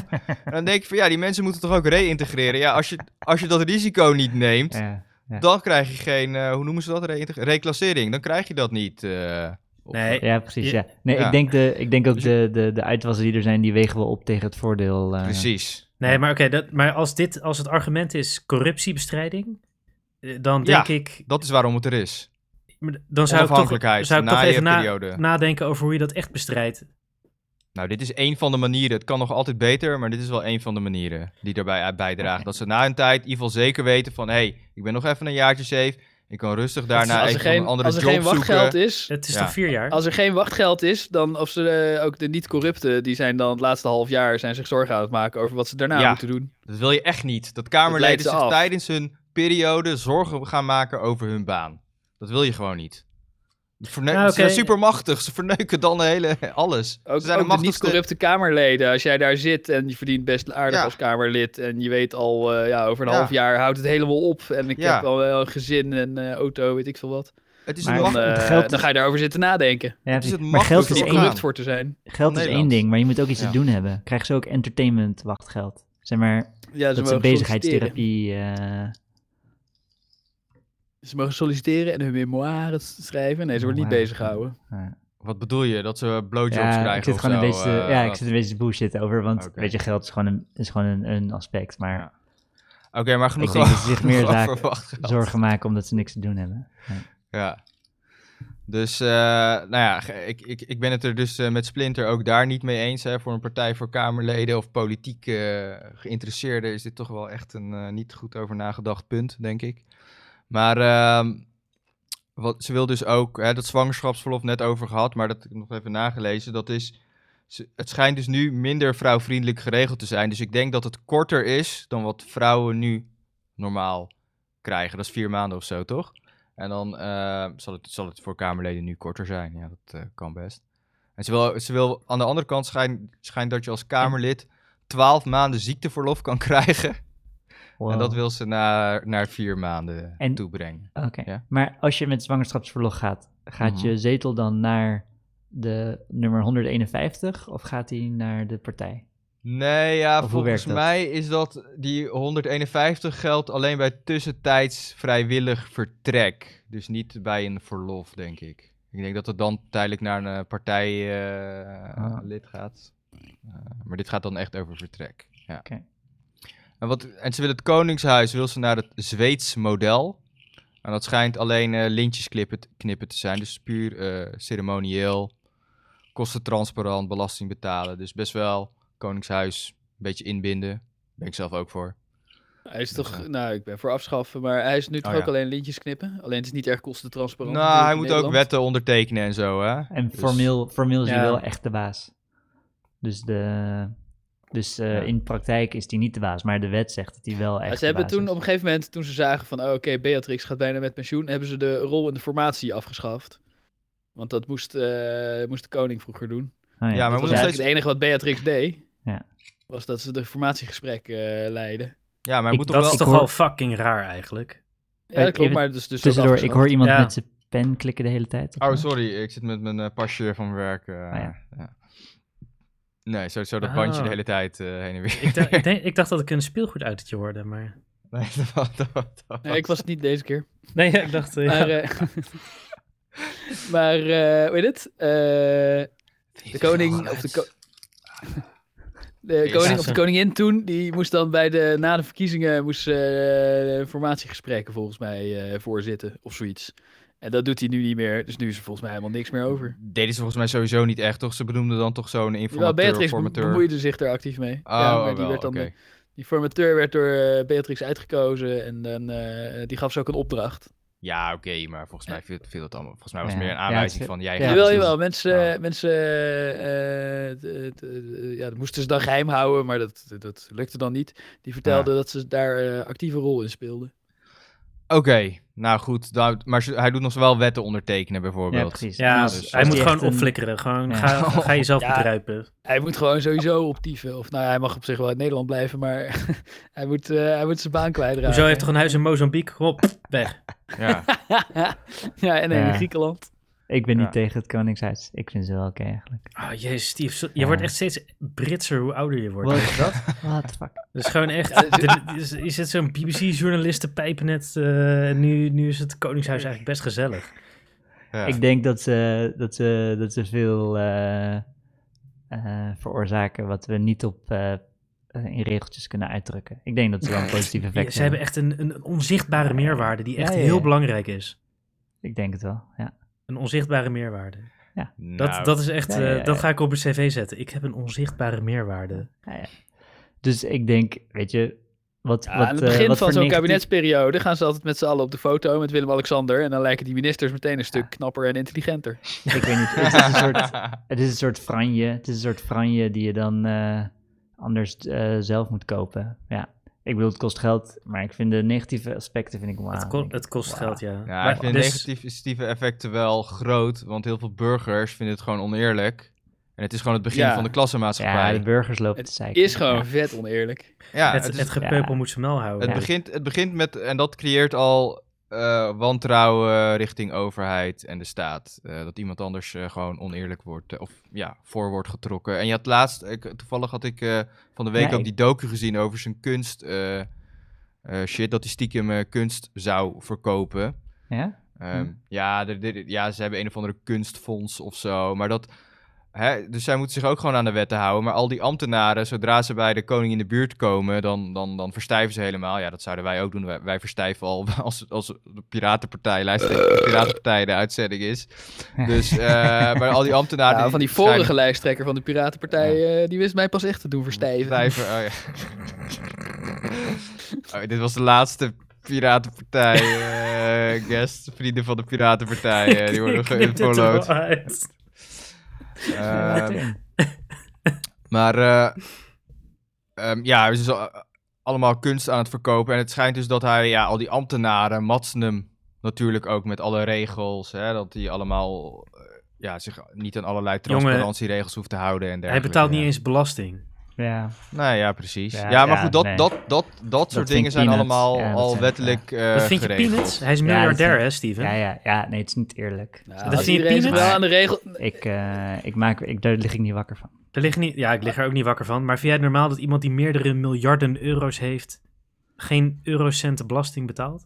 en dan denk ik van ja, die mensen moeten toch ook reïntegreren. Ja, als je, als je dat risico niet neemt,
Ja.
dan krijg je geen. eh, hoe noemen ze dat? Reïntegr- Reclassering. Dan krijg je dat niet. eh, op-
Nee,
Ja, precies.
Je-
Ja. Nee,
Ja.
Ik, denk de, ik denk ook
Dus
de, de, de uitwassen die er zijn, die wegen we op tegen het voordeel. eh.
Precies.
nee maar oké, dat- maar als, dit, als het argument is corruptiebestrijding, eh, dan
Ja.
denk ik,
Dat is waarom het er is.
maar dan zou ik toch,
Onafhankelijkheid
zou ik
na
toch
je
even na-
periode.
nadenken over hoe je dat echt bestrijdt.
Nou, dit is één van de manieren. Het kan nog altijd beter, maar dit is wel één van de manieren die daarbij uit bijdragen. Dat ze na een tijd in ieder geval zeker weten van... hé, hey, ik ben nog even een jaartje safe. Ik kan rustig daarna
als
even
er geen,
een andere
als er
job
geen wachtgeld
zoeken.
is,
Het is
Ja.
toch vier jaar?
als er geen wachtgeld is, dan of ze eh, ook de niet-corrupten, die zijn dan het laatste half jaar zijn zich zorgen aan het maken over wat ze daarna
Ja.
moeten doen.
Dat wil je echt niet. Dat
Dat leidt
Kamerleden
ze
zich
af.
tijdens hun periode zorgen gaan maken over hun baan. Dat wil je gewoon niet. Verne-
Nou,
Ze zijn
oké.
supermachtig. Ze verneuken dan de hele, alles.
Ook,
ze zijn
ook de niet-corrupte Kamerleden, als jij daar zit en je verdient best aardig
Ja.
als Kamerlid en je weet al, eh, ja, over een
Ja.
half jaar houdt het helemaal op en ik
Ja.
heb al wel een gezin en eh, auto, weet ik veel wat.
Het is
Maar
een
Dan,
macht-
eh,
het geld-
dan ga je daarover zitten nadenken.
Ja,
is
precies.
Dus het
maar geld is
makkelijkste Precies.
Om
één,
orgaan.
corrupt voor te zijn.
geld is één
Nederland.
ding, maar je moet ook iets
Ja.
te doen hebben. Krijg ze ook entertainment wachtgeld? Zeg maar,
Ja, ze
dat is een
mogen solliciteren.
bezigheidstherapie. eh,
Ze mogen solliciteren en hun memoires schrijven. Nee, ze worden niet bezig
Memoires.
gehouden.
Wat bedoel je? Dat ze blowjobs
ja,
krijgen
ik zit
of
gewoon een
zo,
beetje, te-
eh,
ja, ik
wat-
zit een beetje te bullshit over, want
Oké.
weet je, geld is gewoon een, is gewoon een, een aspect, maar
Ja. Oké, maar genoeg
ik denk dat ze zich
genoeg
meer
over
zaken
wachtgeld.
zorgen maken omdat ze niks te doen hebben.
Ja. Dus, eh, nou ja, ge- ik, ik, ik ben het er dus eh, met Splinter ook daar niet mee eens. Hè. Voor een partij voor Kamerleden of politiek eh, geïnteresseerden is dit toch wel echt een eh, niet goed over nagedacht punt, denk ik. Maar ehm, wat, ze wil dus ook, hè, dat zwangerschapsverlof net over gehad, maar dat heb ik nog even nagelezen. Dat is, ze- het schijnt dus nu minder vrouwvriendelijk geregeld te zijn. Dus ik denk dat het korter is dan wat vrouwen nu normaal krijgen. Dat is vier maanden of zo, toch? En dan eh, zal, het, zal het voor Kamerleden nu korter zijn. Ja, dat eh, kan best. En ze wil, ze wil aan de andere kant schijn, schijnt dat je als Kamerlid 12 maanden ziekteverlof kan krijgen.
Wow.
En dat wil ze naar, naar vier maanden
En-
toebrengen.
Oké,
Ja.
maar als je met zwangerschapsverlof gaat, gaat
Mhm.
je zetel dan naar de nummer 151 of gaat die naar de partij?
Nee, ja,
Of hoe
volgens
werkt dat?
mij is dat die 151 geldt alleen bij tussentijds vrijwillig vertrek. Dus niet bij een verlof, denk ik. Ik denk dat het dan tijdelijk naar een eh,
Ah.
partijlid gaat. Eh, maar dit gaat dan echt over vertrek. Ja.
Oké.
En, wat, en ze wil het Koningshuis, wil ze naar het Zweeds model. En dat schijnt alleen eh, lintjes knippen, knippen te zijn. Dus puur eh, ceremonieel, kosten transparant, belasting betalen. Dus best wel Koningshuis, een beetje inbinden. Ben ik zelf ook voor.
Hij is
Ja.
toch, nou, ik ben voor afschaffen, maar hij is nu toch
Oh,
ook
ja.
alleen lintjes knippen. Alleen het is niet erg kostentransparant.
nou,
natuurlijk
hij
in
moet ook
Nederland.
wetten ondertekenen en zo, hè?
En
Dus-
formeel, formeel is hij
Ja.
wel echt de baas. Dus, de, dus eh,
Ja.
in praktijk is hij niet de baas, maar de wet zegt dat hij wel echt
Ja,
de
ze hebben
baas
toen
is.
op een gegeven moment, toen ze zagen van, oh, oké, Beatrix gaat bijna met pensioen, hebben ze de rol in de formatie afgeschaft. Want dat moest, eh, moest de koning vroeger doen.
Ja,
Oh,
maar we
dat was
moeten
eigenlijk
steeds-
het enige wat Beatrix deed.
Ja.
Was dat ze de formatiegesprek eh leiden.
Ja, maar hij
Ik-
moet toch
dat
wel...
is
Ik
toch
hoor-
wel fucking raar eigenlijk?
Ja, dat klopt,
Even
maar dus, dus ook
Tussendoor, ik
afgeschaft.
hoor iemand
Ja.
met zijn pen klikken de hele tijd.
Oh, sorry, ik zit met mijn eh, pasje van mijn werk. eh,
Ah, ja.
ja. Nee, zo, zo dat
Ah.
bandje de hele tijd eh, heen en weer.
Ik, dacht- ik, denk- ik dacht dat ik een speelgoeduitertje hoorde, maar...
Nee, dat was- dat was- dat was-
Nee, ik was het niet deze keer.
Nee, ja, ik dacht... eh, ja.
Maar, eh, maar eh, hoe heet het? Eh, de koning of de, ko- de koning of de koningin toen, die moest dan bij de, na de verkiezingen moest, eh, formatiegesprekken volgens mij eh, voorzitten of zoiets. En dat doet hij nu niet meer, dus nu is er volgens mij helemaal niks meer over.
Deden ze volgens mij sowieso niet echt, toch? Ze benoemden dan toch zo'n
Jawel,
informateur,
Beatrix be-
formateur.
bemoeide zich daar actief mee.
Oh,
ja, maar
oh,
die,
wel,
werd dan,
oké.
die formateur werd door eh, Beatrix uitgekozen en dan, eh, die gaf ze ook een opdracht.
Ja, oké, maar volgens mij viel, viel dat allemaal. Volgens mij was het
Ja.
meer een
Ja, het
aanwijzing
is-
van jij.
ja,
gaat
jawel,
het doen.
jawel. Mensen,
Ja.
mensen eh, eh, de- de- ja, dat moesten ze dan geheim houden, maar dat, dat lukte dan niet. Die vertelden dat ze daar eh, actieve rol in speelden.
Oké, nou goed. daar- maar ze- hij doet nog wel wetten ondertekenen,
Ja,
bijvoorbeeld.
precies.
Ja,
Dus als
hij moet
die
gewoon
echt een-
opflikkeren. Gewoon,
Ja.
ga, ga jezelf
Ja.
bedruipen.
Hij moet gewoon sowieso op dieven, of nou, hij mag op zich wel in Nederland blijven, maar hij, moet, eh, hij moet zijn baan kwijtraken.
Hoezo hij heeft toch een huis in Mozambique? Hop, weg.
ja.
ja, en
Ja.
in Griekenland.
Ik ben
Ja.
niet tegen het Koningshuis. Ik vind ze wel oké eigenlijk.
Oh, jezus, Steve. zo- Je
Ja.
wordt echt steeds Britser hoe ouder je wordt.
Wat
Weet je dat?
What the fuck?
Dat is gewoon echt...
Ja, dit-
de- is, is het zo'n BBC-journalistenpijp net? eh, en nu, nu is het Koningshuis eigenlijk best gezellig.
ja.
Ik denk dat ze, dat ze, dat ze veel eh, eh, veroorzaken wat we niet op, eh, eh, in regeltjes kunnen uitdrukken. Ik denk dat ze wel een positief
Ja,
effect
ze hebben
hebben.
echt een, een, een onzichtbare meerwaarde die echt
Ja, ja, ja.
heel belangrijk is.
Ik denk het wel, ja.
Een onzichtbare meerwaarde. Dat,
Nou,
dat is echt...
Ja, ja,
eh,
ja,
Dat
ja.
ga ik op mijn cv zetten. Ik heb een onzichtbare meerwaarde.
Ja, ja. Dus ik denk, weet je, wat...
Ja,
wat,
aan het
eh,
begin
wat
van
voor
zo'n
negatief-
kabinetsperiode gaan ze altijd met z'n allen op de foto met Willem-Alexander. En dan lijken die ministers meteen een stuk knapper en intelligenter.
Ik weet niet, het is een soort, het is een soort franje. Het is een soort franje die je dan eh, anders eh, zelf moet kopen. Ja, ik bedoel, het kost geld, maar ik vind de negatieve aspecten vind ik wel
Het, ko- het kost geld, ja.
Ja,
Maar
ik vind de
dus-
negatieve effecten wel groot, want heel veel burgers vinden het gewoon oneerlijk. En het is gewoon het begin
Ja.
van de
Ja,
klassenmaatschappij.
de burgers lopen te
Het
zeiken.
is gewoon
Ja.
vet oneerlijk.
Ja,
het,
het, is-
het gepeupel
ja.
moet zijn mel houden.
het begint, het begint met, en dat creëert al eh, wantrouwen richting overheid en de staat. Eh, dat iemand anders eh, gewoon oneerlijk wordt, eh, of ja, voor wordt getrokken. En je had laatst, ik, toevallig had ik eh, van de week
Ja,
ook
ik-
die docu gezien over zijn kunst. eh, eh, shit, dat hij stiekem eh, kunst zou verkopen.
Ja?
Ehm,
Hm.
ja, er- er- ja, ze hebben een of andere kunstfonds of zo. Maar dat. Hè, dus zij moeten zich ook gewoon aan de wetten houden. Maar al die ambtenaren, zodra ze bij de koning in de buurt komen, dan, dan, dan verstijven ze helemaal. Ja, dat zouden wij ook doen. Wij, wij verstijven al als, als de Piratenpartij, lijsttrekker van de Piratenpartij de uitzending is. Dus, eh, maar al die ambtenaren.
Ja, Nou, van die
schijnen-
vorige lijsttrekker van de Piratenpartij, eh, die wist mij pas echt te doen verstijven.
Blijven, oh ja. Oh, dit was de laatste Piratenpartij eh, guest. Vrienden van de Piratenpartij. eh, die worden geïnfollowed.
geïnfollowed. uit.
Ehm,
Meteen.
maar eh, ehm, ja, ze is al- allemaal kunst aan het verkopen. En het schijnt dus dat hij ja, al die ambtenaren, matsen hem natuurlijk ook met alle regels. Hè, dat die allemaal eh, ja, zich niet aan allerlei
Jongen,
transparantieregels hoeft te houden. En
Hij
dergelijke.
betaalt niet eens belasting.
ja.
Nou ja, precies. Ja,
Ja,
maar
ja,
goed, dat,
nee.
dat, dat, dat, soort
vind
dingen
ik
zijn
peanuts.
allemaal
Ja, dat
al
zijn-
wettelijk eh
dat vind je
geregeld.
peanuts? Hij is
dat
miljardair,
vind-
hè, Steven?
ja, ja, ja, nee, het is niet eerlijk.
Nou,
Het
als
is
dat
niet-
zie je
iedereen zich
peanuts.
wel aan de regel.
ik, eh, ik maak, ik, daar lig ik niet wakker van.
Er ligt niet, ja, ik lig er ook niet wakker van. Maar vind jij het normaal dat iemand die meerdere miljarden euro's heeft... geen eurocenten belasting betaalt?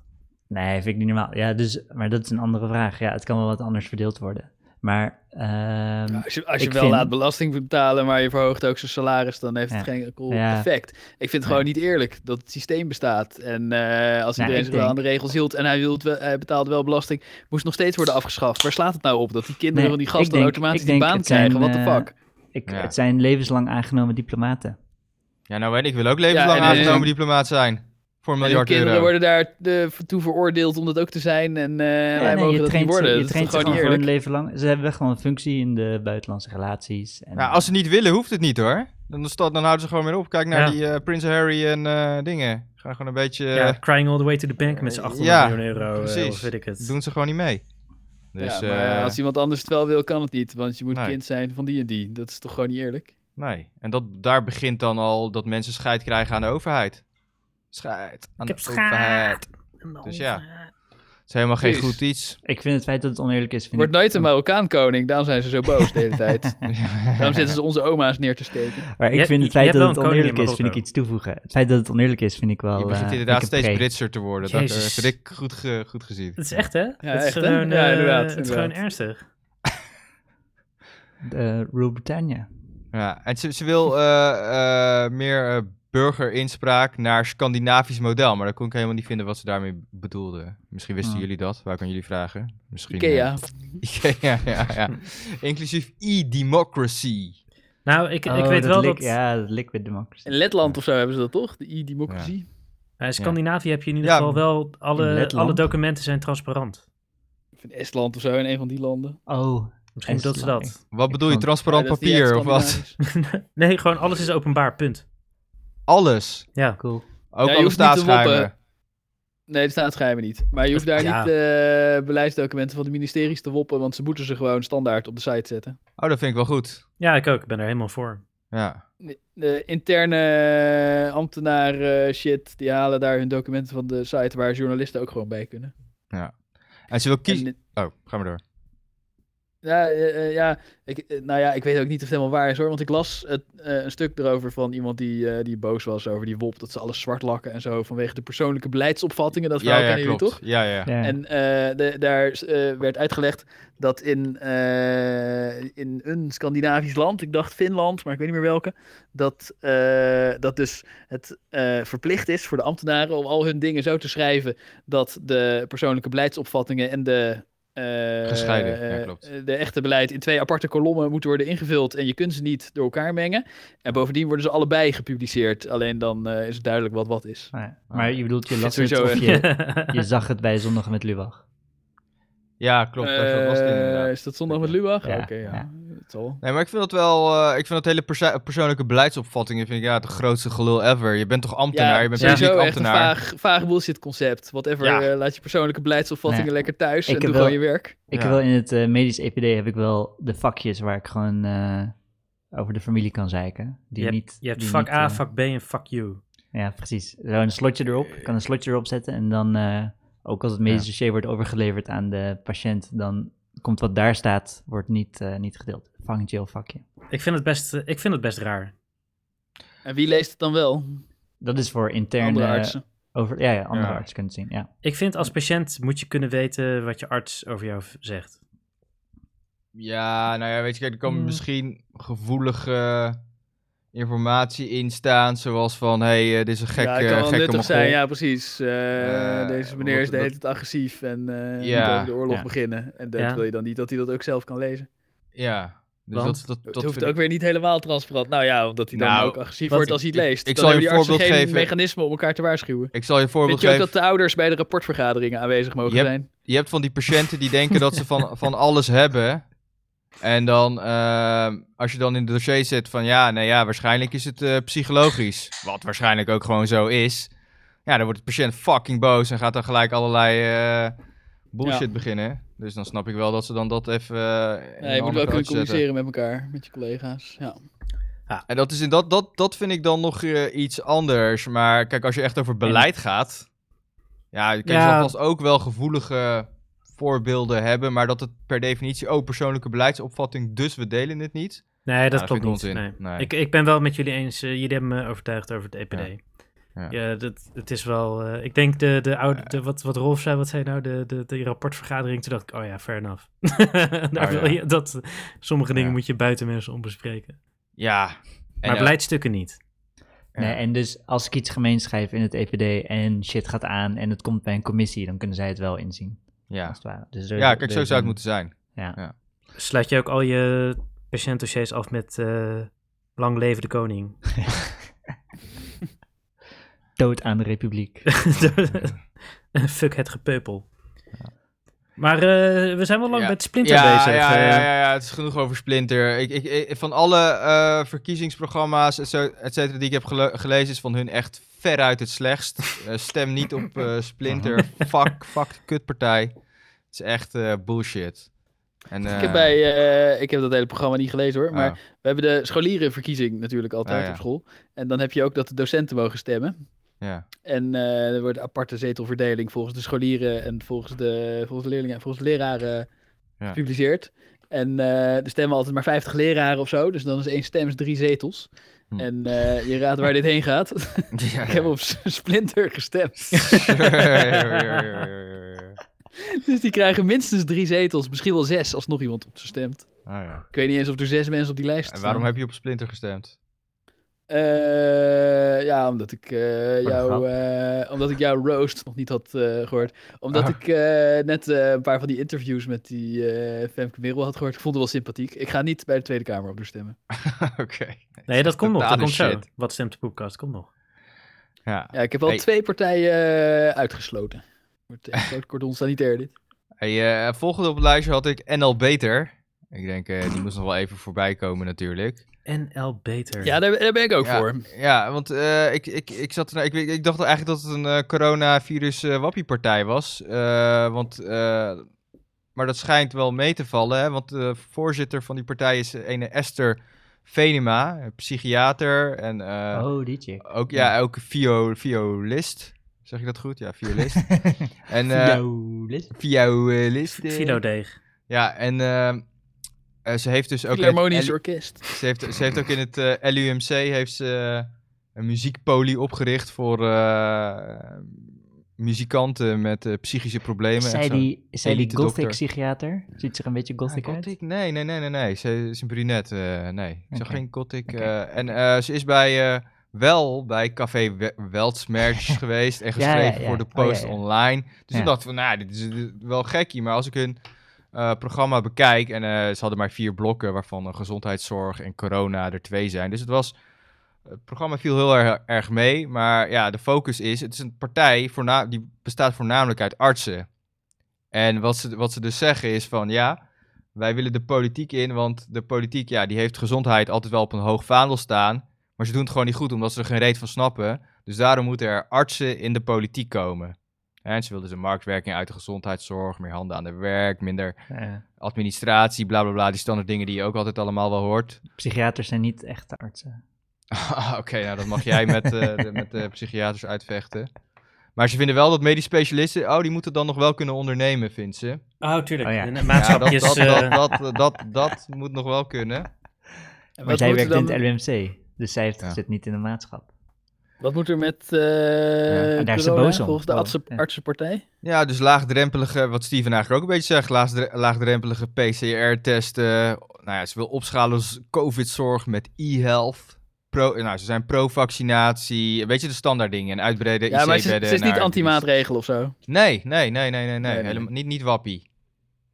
Nee, vind ik niet normaal. Ja, dus, maar dat is een andere vraag. Ja, het kan wel wat anders verdeeld worden. Maar ehm,
Als je, als je
Ik
wel
vind-
laat belasting betalen, maar je verhoogt ook zijn salaris, dan heeft het
Ja.
geen cool
Ja.
effect. Ik vind het gewoon niet eerlijk dat het systeem bestaat. En eh, als
Nou,
iedereen
ik
zich wel
denk-
aan de regels hield en hij, hield wel, hij betaalde wel belasting, moest nog steeds worden afgeschaft. Waar slaat het nou op dat die kinderen
Nee,
van die
ik
gasten
denk-
automatisch
ik
die
denk
baan
het zijn,
krijgen? What the
eh,
fuck?
ik,
Ja.
het zijn levenslang aangenomen diplomaten.
Ja, nou en ik wil ook levenslang
en- en-
aangenomen
en-
diplomaat zijn. Voor een
En die
miljard
kinderen
euro.
worden daar eh, toe veroordeeld om dat ook te zijn en eh wij
nee,
mogen
je
dat niet
traint ze-
worden.
Je
dat is
traint
toch
ze
gewoon
gewoon
niet
voor hun
eerlijk.
leven lang. Ze hebben gewoon een functie in de buitenlandse relaties. En,
Nou, als ze niet willen, hoeft het niet hoor. Dan, sta- dan houden ze gewoon weer op. Kijk naar
Ja.
die eh, Prins Harry en eh, dingen. Gaan gewoon een beetje... eh,
ja, crying all the way to the bank met z'n 800
ja,
miljoen euro. eh,
precies.
of weet ik het.
Doen ze gewoon niet mee. Dus,
ja, maar
eh,
als iemand anders het wel wil, kan het niet. Want je moet
nee.
kind zijn van die en die. Dat is toch gewoon niet eerlijk?
Nee. En dat, daar begint dan al dat mensen scheid krijgen aan de overheid. Scheid. Aan
Ik heb
de overheid.
schaat.
Dus ja. is helemaal geen
Precies.
goed iets.
Ik vind het feit dat het oneerlijk is. Vind
Wordt
ik...
nooit een Marokkaan koning, daarom zijn ze zo boos de hele tijd. Daarom zitten ze onze oma's neer te steken.
Maar
Je-
ik vind
je
het feit
hebt
dat
wel
het
een koning in
oneerlijk is, vind ik
Marokko.
iets toevoegen. Het feit dat het oneerlijk is, vind ik wel.
Je
eh,
begint
vind ik
inderdaad
een
steeds
pre.
Britser te worden. Dat eh,
Jezus.
vind ik goed, ge- goed gezien.
Het is echt, hè? het is
echt, hè?
gewoon,
Ja,
eh,
inderdaad,
Het is gewoon
inderdaad.
ernstig.
De Eh, Rule Britannia.
Ja, en ze, ze wil eh, eh, meer eh, burgerinspraak naar Scandinavisch model. Maar dat kon ik helemaal niet vinden wat ze daarmee bedoelden. Misschien wisten
Ah.
jullie dat. Waar kan jullie vragen? Misschien. eh,
Hmm. Ikea.
Ikea, ja, ja. Inclusief e-democracy.
Nou, ik, ik
Oh,
weet wel
lik-
dat...
Ja, dat liquid democracy.
In Letland of zo hebben ze dat toch? De e-democratie.
eh, Scandinavië heb je in ieder
Ja.
geval wel...
In
Alle,
Letland.
alle documenten zijn transparant.
Of in Estland of zo, in een van die landen.
Oh,
Misschien
En
dat ze
slang.
dat.
Wat
Ik
bedoel je,
vond-
transparant
Ja, dat is niet
papier
echt
of wat?
Scandinavisch.
Nee, gewoon alles is openbaar, punt.
Alles.
Ja.
cool.
Ook
je
alle
hoeft niet te woppen.
staatsgeheimen.
Nee, de staatsgeheimen niet. Maar je hoeft daar
Ja.
niet eh, beleidsdocumenten van de ministeries te woppen, want ze moeten ze gewoon standaard op de site zetten.
Oh, dat vind ik wel goed.
ja, ik ook. Ik ben er helemaal voor.
Ja.
De interne eh, ambtenaren shit, die halen daar hun documenten van de site waar journalisten ook gewoon bij kunnen.
En ze wil kiezen...
En,
Oh, ga maar door.
ja, eh, eh, ja, ik, eh, nou ja, ik weet ook niet of het helemaal waar is hoor, want ik las het, eh, een stuk erover van iemand die, eh, die boos was over die WOP, dat ze alles zwart lakken en zo, vanwege de persoonlijke beleidsopvattingen, dat verhaal
ja, ja,
kennen jullie
klopt.
toch?
Ja, ja.
Ja.
En eh, de- daar eh, werd uitgelegd dat in, eh, in een Scandinavisch land, ik dacht Finland, maar ik weet niet meer welke, dat, eh, dat dus het eh, verplicht is voor de ambtenaren om al hun dingen zo te schrijven dat de persoonlijke beleidsopvattingen en de. eh,
Gescheiden, ja, klopt.
eh, De echte beleid in twee aparte kolommen moeten worden ingevuld en je kunt ze niet door elkaar mengen. En bovendien worden ze allebei gepubliceerd, alleen dan eh, is het duidelijk wat wat is.
Maar, maar je bedoelt, je las het
sowieso
of je, je zag het bij Zondag met Lubach.
Ja, klopt. Dat was het
Eh,
inderdaad.
is dat zondag met Lubach?
Ja,
Oké, ja.
ja.
Dat zal.
Nee, maar ik vind dat wel... eh, ik vind dat hele perso- persoonlijke beleidsopvattingen... vind ik ja, de grootste gelul ever. Je bent toch ambtenaar? je bent
sowieso
politiek
echt een
ambtenaar.
vaag, vaag bullshit concept. Whatever,
Ja.
eh, laat je persoonlijke beleidsopvattingen
Nee.
lekker thuis
Ik
en
heb
doe
wel-
gewoon je werk.
Ik
Ja.
heb wel in het eh, medisch EPD heb ik wel de vakjes waar ik gewoon eh, over de familie kan zeiken. Die
je, hebt-
niet,
je hebt
die
vak
niet,
A,
eh,
vak B en vak U.
Ja, precies. Zo een slotje erop. Ik kan een slotje erop zetten en dan, eh, ook als het medisch
Ja.
dossier wordt overgeleverd aan de patiënt, dan komt wat daar staat, wordt niet, eh, niet gedeeld. Vang jail vakje.
Ik vind het best, eh, ik vind het best raar.
En wie leest het dan wel?
Dat is voor interne...
Andere artsen.
Over, ja, ja, andere
Ja.
artsen kunnen het zien, ja.
Ik vind als patiënt moet je kunnen weten wat je arts over jou v- zegt.
Ja, nou ja, weet je, kijk, er kan
Hmm.
misschien gevoelige informatie in staan, zoals van, hé, hey, eh, dit is een gek,
ja,
ja,
het kan wel
gekke
nuttig zijn.
Mongool.
Ja, precies. Eh,
Eh,
deze meneer is
wat-
de hele
dat-
tijd agressief en eh
Ja.
moet over de oorlog
Ja.
beginnen. En dat
Ja.
wil je dan niet dat hij dat ook zelf kan lezen.
Ja, dus
Want?
dat, dat, dat
Het hoeft
vind
ook
ik-
weer niet helemaal transparant. Nou ja, omdat hij dan
Nou,
ook agressief
wat
wordt
ik-
als hij het
ik-
leest.
ik zal
Dan
je
hebben die artsen
voorbeeld
geen
geven.
mechanisme om elkaar te waarschuwen.
Ik zal je een voorbeeld
Vind je ook
geven.
dat eh, de ouders bij de rapportvergaderingen aanwezig mogen
Yep.
zijn?
Je hebt van die patiënten die denken dat ze van, van alles hebben. En dan, ehm, als je dan in het dossier zit van, ja, nou ja, waarschijnlijk is het eh, psychologisch. Wat waarschijnlijk ook gewoon zo is. Ja, dan wordt de patiënt fucking boos en gaat dan gelijk allerlei eh, bullshit
Ja.
beginnen. Dus dan snap ik wel dat ze dan dat even... eh, in
Nee,
een
je moet
ander
wel kunnen
kantje zetten.
communiceren met elkaar, met je collega's. Ja.
En dat, is in dat, dat, dat vind ik dan nog eh, iets anders. Maar kijk, als je echt over beleid gaat. Ja, je kan
Ja.
alvast ook wel gevoelige voorbeelden hebben. Maar dat het per definitie. Oh, persoonlijke beleidsopvatting. Dus we delen het niet.
Nee, dat
dat
klopt
vind
niet.
ik Nou, onzin.
Nee.
Nee.
Ik, ik ben wel met jullie eens. eh, jullie hebben me overtuigd over het EPD. Ja,
Ja.
dat, het is wel... eh, ik denk de, de oude... de- wat, wat Rolf zei, wat zei nou? De, de, de rapportvergadering. Toen dacht ik, oh ja, fair enough. Daar
Oh
wil
ja.
je, dat, sommige dingen
Ja.
moet je buiten mensen onbespreken.
Ja. En,
Maar
eh,
beleidstukken niet.
ja.
Nee, en dus als ik iets gemeen schrijf in het EPD en shit gaat aan en het komt bij een commissie, dan kunnen zij het wel inzien,
ja.
als het ware. Dus er-
ja, kijk,
er
zo
is
zou het
een-
moeten zijn.
Sluit je ook al je patiëntdossiers af met... eh, Lang leven de koning.
Dood aan de republiek.
Fuck het gepeupel. Maar eh, we zijn wel lang
Ja.
met Splinter bezig.
Ja,
eh.
ja, ja, ja, het is genoeg over Splinter. Ik, ik, ik- van alle eh, verkiezingsprogramma's, et zo- et cetera, die ik heb gele- gelezen, is van hun echt veruit het slechtst. Eh, stem niet op eh, Splinter. fuck, fuck, kutpartij. Het is echt eh, bullshit. En,
Ik
eh,
heb, bij, eh, ik heb dat hele programma niet gelezen hoor.
oh,
Maar we hebben de scholierenverkiezing natuurlijk altijd
Ah, ja.
op school. En dan heb je ook dat de docenten mogen stemmen.
Ja.
En eh, er wordt een aparte zetelverdeling volgens de scholieren en volgens de, volgens de leerlingen en volgens de leraren
Ja.
gepubliceerd. En eh, er stemmen altijd maar 50 leraren of zo. Dus dan is één stem is drie zetels.
Hm.
En eh, je raadt waar dit heen gaat.
ja,
Ik heb op Splinter gestemd. Dus die krijgen minstens drie zetels. Misschien wel zes als nog iemand op ze stemt.
Ah, ja.
Ik weet niet eens of er zes mensen op die lijst
En
staan.
waarom heb je op Splinter gestemd?
Eh, ja, omdat ik, eh,
de grap.
jou, eh, omdat ik jouw roast nog niet had eh, gehoord. Omdat
Ah.
ik eh, net eh, een paar van die interviews met die eh Femke Merel had gehoord. Ik vond het wel sympathiek. Ik ga niet bij de Tweede Kamer op haar stemmen.
Oké.
Nee, dat komt nog. Dat
Totale
komt zo.
shit.
Wat stemt de podcast? Komt nog.
Ja.
Ja, ik heb wel
Hey.
twee partijen eh, uitgesloten. Wordt echt groot cordon sanitair dit.
Hey, eh, volgende op het lijstje had ik NL Beter. Ik denk, eh, die moest nog wel even voorbij komen natuurlijk.
NL Beter.
Ja, daar, daar ben ik ook
Ja.
voor.
Ja, want eh, ik, ik, ik, zat ernaar- ik, weet- ik dacht eigenlijk dat het een eh, coronavirus eh wappiepartij was. Eh, want, eh, maar dat schijnt wel mee te vallen. Hè? Want de voorzitter van die partij is eh, ene Esther Venema, een psychiater. En eh,
oh, die chick.
ook, ja, ook vio, violist. Zeg ik dat goed? Ja, violist. en, eh
Violist.
violist. eh.
Filodeeg.
Ja, en eh, eh, ze heeft dus ook... in het
Harmonisch
L-
orkest.
ze heeft, ze heeft ook in het eh, LUMC heeft ze, eh, een muziekpolie opgericht voor eh, muzikanten met eh, psychische problemen.
Is
en
zij
zo.
die, is zij die
elite
gothic
dokter.
psychiater? Ziet er een beetje
Ah,
gothic uit?
gothic? Nee, nee, nee, nee, nee. Ze is een brunette. eh, nee, ze
Oké.
zag geen gothic.
Oké.
eh, en eh, ze is bij eh, wel bij Café We- Weltsmerch geweest en
Ja, ja,
geschreven
ja.
voor de
Oh, ja,
Post
ja.
Online. Dus
Ja.
ik dacht van, nou, dit is eh, wel gekkie. Maar als ik hun eh, programma bekijk en eh, ze hadden maar vier blokken waarvan eh, gezondheidszorg en corona er twee zijn. Dus het was het programma viel heel erg, erg mee, maar ja, de focus is, het is een partij voorna- die bestaat voornamelijk uit artsen. En wat ze, wat ze dus zeggen is van, ja, wij willen de politiek in, want de politiek, ja, die heeft gezondheid altijd wel op een hoog vaandel staan, maar ze doen het gewoon niet goed, omdat ze er geen reet van snappen. Dus daarom moeten er artsen in de politiek komen. En ze wilden dus een marktwerking uit de gezondheidszorg, meer handen aan de werk, minder
Ja.
administratie, bla bla bla, die standaard dingen die je ook altijd allemaal wel hoort.
Psychiaters zijn niet echte artsen.
Ah, Oké, nou dat mag jij met, eh, de, met de psychiaters uitvechten. Maar ze vinden wel dat medisch specialisten, oh, die moeten dan nog wel kunnen ondernemen, vindt ze.
Oh, tuurlijk.
Oh, ja.
En
Ja, dat,
Maatschapjes.
dat,
eh,
dat, dat, dat, dat moet nog wel kunnen.
En
Maar
wat,
zij
moet er
werkt
dan,
in het LUMC. Dus zij heeft,
Ja.
zit niet in de maatschap.
wat moet er met eh
en daar is ze
corona,
boos om.
volgens de
Oh,
artsen,
ja.
artsenpartij?
Ja, dus laagdrempelige, wat Steven eigenlijk ook een beetje zegt, laagdre- laagdrempelige PCR-testen. Nou ja, ze wil opschalen z- COVID-zorg met e-health. Pro, nou, ze zijn pro-vaccinatie, een beetje de standaard dingen. En uitbreiden
Ja, maar ze,
IC-bedden
ze is niet
naar-
anti-maatregelen of zo.
Nee, nee, nee, nee, nee,
Nee,
nee.
nee.
Helemaal, niet, niet wappie.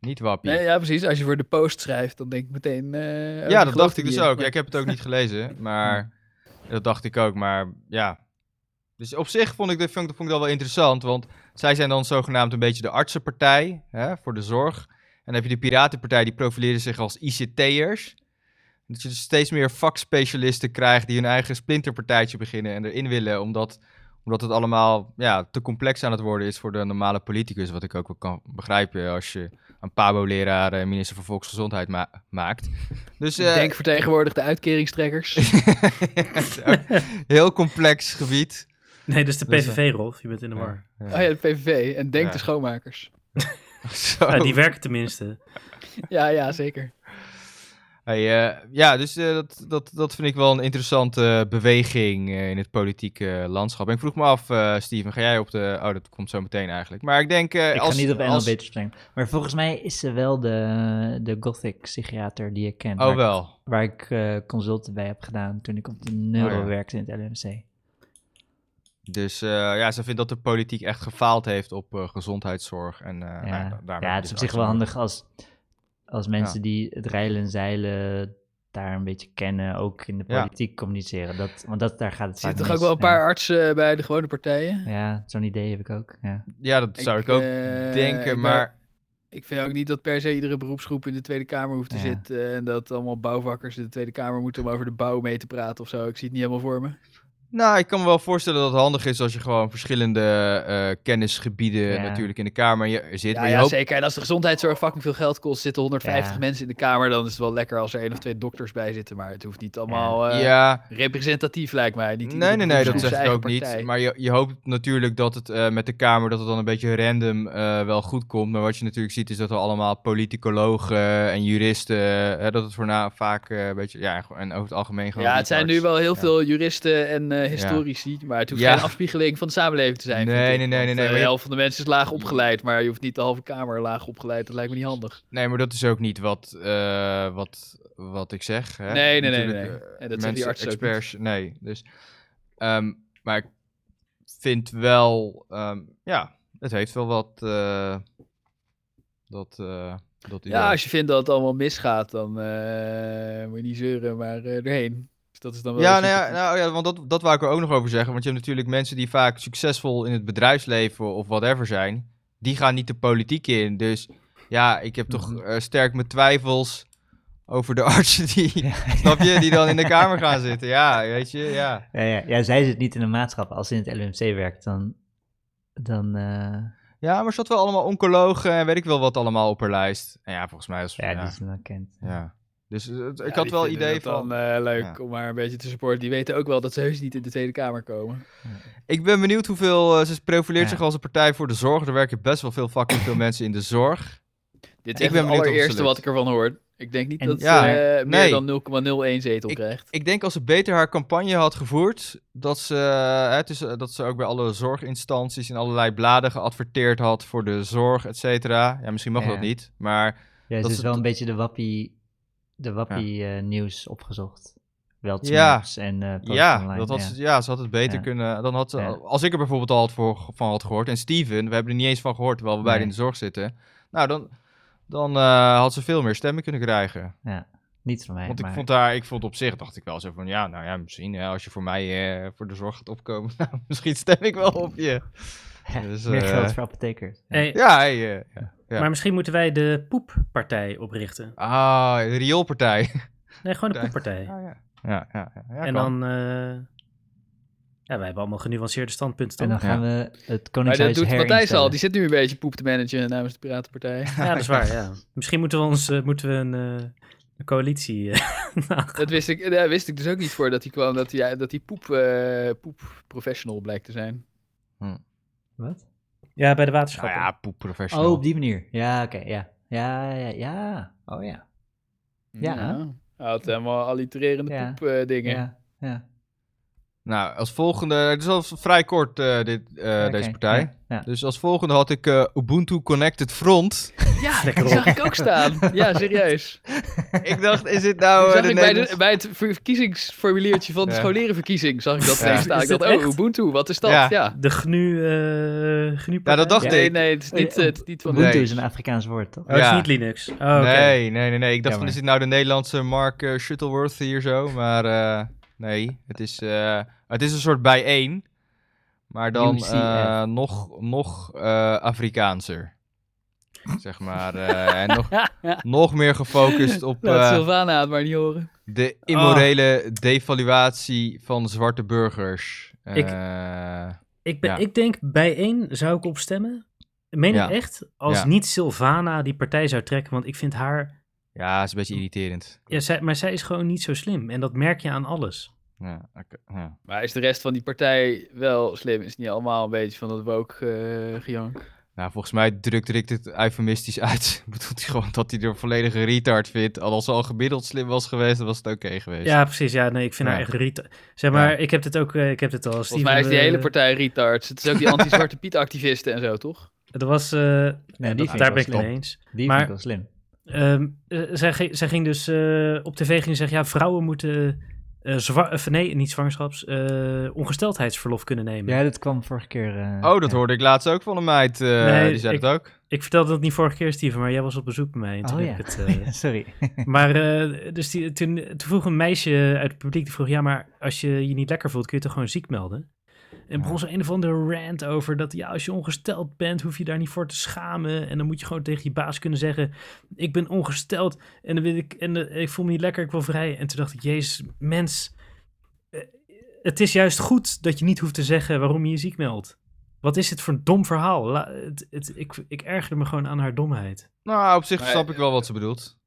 Niet wappie.
Nee, ja, precies. Als je voor de post schrijft, dan denk ik meteen... eh, oh, die
Ja, dat
gelooft
dacht ik
het
dus
niet.
ook. Ja, ik heb het ook niet gelezen, maar dat dacht ik ook. Maar ja, dus op zich vond ik, dat- vond, ik- vond ik dat wel interessant, want zij zijn dan zogenaamd een beetje de artsenpartij hè, voor de zorg. En dan heb je de piratenpartij, die profileren zich als ICT'ers. Dat je dus steeds meer vakspecialisten krijgt die hun eigen splinterpartijtje beginnen en erin willen, omdat, omdat het allemaal ja, te complex aan het worden is voor de normale politicus. Wat ik ook wel kan begrijpen als je een Pabo-leraar eh, minister van Volksgezondheid ma- maakt. Dus, eh,
Ik denk vertegenwoordig de uitkeringstrekkers.
Ook heel complex gebied.
Nee, dus de
Dus, eh,
PVV, Rolf. Je bent in de war.
Oh ja, de PVV. En denk
Ja.
de schoonmakers.
Zo.
Nou, die werken tenminste.
Ja, ja, zeker.
Hey, eh, ja, dus eh, dat, dat, dat vind ik wel een interessante beweging eh, in het politieke landschap. En ik vroeg me af, eh, Steven, ga jij op de... Oh, dat komt zo meteen eigenlijk. Maar ik denk... eh,
Ik
als,
ga niet op NL
als...
beter springen. Maar volgens mij is ze wel de, de gothic psychiater die ik ken.
Oh,
waar,
wel.
waar ik eh consulten bij heb gedaan toen ik op de neuro
Oh, ja.
werkte in het LUMC.
Dus eh, ja, ze vindt dat de politiek echt gefaald heeft op eh, gezondheidszorg. En, eh, nou, da-
ja,
daarmee
ja het
dus
is op
artsen-
zich wel handig als, als mensen die het reilen en zeilen daar een beetje kennen, ook in de
Ja.
politiek communiceren. Dat, want dat, daar gaat het
Er zitten toch
vaak mis.
ook wel een
Ja.
paar artsen eh, bij de gewone partijen?
Ja, zo'n idee heb ik ook. Ja.
Ja, dat zou ik,
Ik,
ook
eh, ik
denken,
ben-
maar...
Ik vind ook niet dat per se iedere beroepsgroep in de Tweede Kamer hoeft te
Ja.
zitten. En dat allemaal bouwvakkers in de Tweede Kamer moeten om over de bouw mee te praten of zo. Ik zie het niet helemaal voor me.
Nou, ik kan me wel voorstellen dat het handig is als je gewoon verschillende eh, kennisgebieden
Ja.
natuurlijk in de kamer je- zit.
Ja,
maar je
ja
hoopt-
zeker. En als de gezondheidszorg fucking veel geld kost, zitten 150
Ja.
mensen in de kamer, dan is het wel lekker als er één of twee dokters bij zitten. Maar het hoeft niet allemaal eh,
ja,
representatief, lijkt mij. Niet
nee,
iedere
nee,
groep
nee, dat
zoekt
zeg
zijn
ik ook
eigen partij.
niet. Maar je, je hoopt natuurlijk dat het eh, met de Kamer, dat het dan een beetje random eh, wel goed komt. Maar wat je natuurlijk ziet is dat er allemaal politicologen en juristen, eh, dat het voorna vaak eh, een beetje, ja, en over het algemeen gewoon...
Ja, het zijn nu
retards.
wel heel
Ja.
veel juristen en eh, historici, maar het hoeft
Ja.
geen afspiegeling van de samenleving te zijn.
Nee,
vind
nee,
ik.
nee, nee, nee,
Want, eh,
maar
de
je-
helft van de mensen is laag opgeleid, maar je hoeft niet de halve kamer laag opgeleid. Dat lijkt me niet handig.
Nee, maar dat is ook niet wat, eh, wat, wat ik zeg. Hè?
Nee, nee, nee,
Natuurlijk,
nee.
eh,
En dat zeggen die
mensen,
artsen ook
experts, nee. Dus, ehm, maar ik vind wel, ehm, ja, het heeft wel wat. eh, dat, eh, dat idee.
Ja, als je vindt dat het allemaal misgaat, dan eh, moet je niet zeuren, maar eh, erheen. Dus dat is dan wel
Ja,
een
nou ja,
soort-
nou ja, want dat, dat wou ik er ook nog over zeggen. Want je hebt natuurlijk mensen die vaak succesvol in het bedrijfsleven of whatever zijn. Die gaan niet de politiek in. Dus ja, ik heb toch
Mhm.
eh, sterk mijn twijfels over de artsen die, snap je, die dan in de kamer gaan zitten. Ja, weet je, ja.
Ja, ja, ja, zij zit niet in de maatschappij. Als ze in het LMC werkt, dan... dan eh,
Ja, maar ze had wel allemaal oncologen en weet ik wel wat allemaal op haar lijst. En ja, volgens mij was
ja,
ja,
die is wel kent.
ja. Dus eh, het- ik
Ja,
had
die
wel
vinden
idee
het
van...
dan eh, leuk
Ja.
om maar een beetje te supporten. Die weten ook wel dat ze heus niet in de Tweede Kamer komen.
Ik ben benieuwd hoeveel... eh, ze profileert
Ja.
zich als een partij voor de zorg. Er werken best wel veel fucking veel mensen in de zorg. Ik
Dit is
ben
echt het
benieuwd of ze
allereerste
lukt.
wat ik ervan hoor. Ik denk niet
En-
dat ze
Ja, nee.
eh, meer dan 0,01 zetel
Ik-
krijgt.
Ik denk als ze beter haar campagne had gevoerd, dat ze, eh, hè, dus, eh, dat ze ook bij alle zorginstanties en allerlei bladen geadverteerd had voor de zorg, et cetera. Ja, misschien mag
Ja.
dat niet, maar
Ja,
Dat
ze is
is-
wel een beetje de wappie, de wappie eh, nieuws opgezocht. Wel
Ja.
ja. en eh, post
ja,
online,
dat had
ja.
Ze, ja, ze had het beter
Ja.
kunnen. Dan had ze,
Ja.
Als ik er bijvoorbeeld al had voor, van had gehoord, en Steven, we hebben er niet eens van gehoord, terwijl we beide
Nee.
in de zorg zitten. Nou, dan, dan eh, had ze veel meer stemmen kunnen krijgen.
Niet van mij,
Want ik
maar-
vond haar, ik vond op zich, dacht ik wel zo van, ja, nou ja, misschien ja, als je voor mij eh, voor de zorg gaat opkomen, nou, misschien stem ik wel op je. Dus,
meer
eh,
geld voor apothekers. Ja.
Hey,
Ja, hey, eh, ja. ja.
Maar misschien moeten wij de poeppartij oprichten.
Ah, de rioolpartij.
Nee, gewoon de
Ja.
poeppartij.
ja. Ja, ja, ja,
en dan... eh, ja, wij hebben allemaal genuanceerde standpunten.
En
toch?
dan gaan we het
Maar dat
Koningshuis
doet Matthijs
herinstellen.
al. Die zit nu een beetje poep te managen namens de Piratenpartij.
Ja, dat is waar, ja. Misschien moeten we, ons, eh, moeten we een, eh, een coalitie... eh,
Dat wist ik, daar wist ik dus ook niet voor dat hij kwam. Dat hij, dat hij poep, eh, poep-professional blijkt te zijn.
Wat?
ja, bij de
Nou
waterschappen.
ja,
Oh,
poepprofessional.
op die manier. Ja, oké, ja. ja. Ja, ja, Oh ja. Ja.
Nou, Hij had helemaal allitererende eh,
Ja.
poep-dingen.
Ja, ja.
Nou, als volgende, het is al vrij kort eh, dit, eh,
Ja,
deze
oké,
partij.
Ja, ja.
Dus als volgende had ik eh, Ubuntu Connected Front.
Ja,
Lekker
die
op.
zag ik ook staan. Ja, serieus.
ik dacht, is dit
Die
nou... eh,
zag
de
ik bij, de,
Nederlands-
bij het verkiezingsformuliertje van de
Ja.
scholerenverkiezing zag ik dat
Ja.
ineens staan.
Is
Ik
dat
dacht, oh,
echt?
Ubuntu, wat is dat?
Ja.
Ja,
De gnu, eh gnu
Ja, dat dacht
Ja.
nee,
ik.
nee, het is niet,
Eh,
het is niet van...
Ubuntu
Nee.
is een Afrikaans woord, toch?
Oh, het is
Ja.
niet Linux. Oh, oké.
Nee, nee, nee, nee. Ik dacht, van,
Jammer.
is dit nou de Nederlandse Mark eh, Shuttleworth hier zo? Maar eh, nee, het is, eh, het is een soort bijeen. Maar dan
UCF.
eh, nog, nog eh, Afrikaanser. Zeg maar. eh, en nog, nog meer gefocust op
Laat
eh,
Sylvana het maar niet horen.
de immorele devaluatie van zwarte burgers.
Ik-
Eh,
Ik, ben,
Ja.
ik denk bijeen zou ik opstemmen. Meen
Ja.
ik echt? Als
Ja.
niet Sylvana die partij zou trekken. Want ik vind haar...
ja, is een beetje irriterend.
Ja, zij, maar zij is gewoon niet zo slim. En dat merk je aan alles.
Ja, oké, ja.
Maar is de rest van die partij wel slim? Is het niet allemaal een beetje van dat woke eh, gejank?
Nou, volgens mij drukt Rick dit eufemistisch uit. Bedoelt hij gewoon dat hij er volledige retard vindt. Al als ze al gemiddeld slim was geweest, dan was het oké geweest.
Ja, precies. Ja, nee, ik vind
Ja.
haar echt riet. Zeg maar,
Ja.
ik heb dit ook... eh, ik heb dit al...
Volgens mij is die hele partij retards. Het is ook die anti-zwarte Piet-activisten en zo, toch?
Er was... eh,
Nee,
dat-
die
daar
vind ik
ben
wel
ik het mee
slim.
eens.
Die
Maar-
vind ik wel slim.
Ehm, eh, zij, ging- zij ging dus eh, op tv ging zeggen, ja, vrouwen moeten eh zwa- of nee, niet zwangerschaps, eh, ongesteldheidsverlof kunnen nemen.
Ja, dat kwam vorige keer. eh,
Oh, dat
ja.
hoorde ik laatst ook van een meid. eh,
Nee,
die zei
ik-
dat ook.
Ik vertelde dat niet vorige keer, Steven, maar jij was op bezoek bij mij. En toen
Oh,
heb
ja.
ik het, eh,
Sorry.
maar eh, dus die, toen, toen vroeg een meisje uit het publiek, die vroeg, ja, maar als je je niet lekker voelt, kun je toch gewoon ziek melden? En begon ze een of andere rant over dat, ja, als je ongesteld bent, hoef je daar niet voor te schamen. En dan moet je gewoon tegen je baas kunnen zeggen, ik ben ongesteld en, dan wil ik, en eh, ik voel me niet lekker, ik wil vrij. En toen dacht ik, jezus, mens, eh, het is juist goed dat je niet hoeft te zeggen waarom je je ziek meldt. Wat is dit voor een dom verhaal? La- het, het, ik, ik ergerde me gewoon aan haar domheid.
Nou, op zich
Maar-
snap ik wel wat ze bedoelt. Want,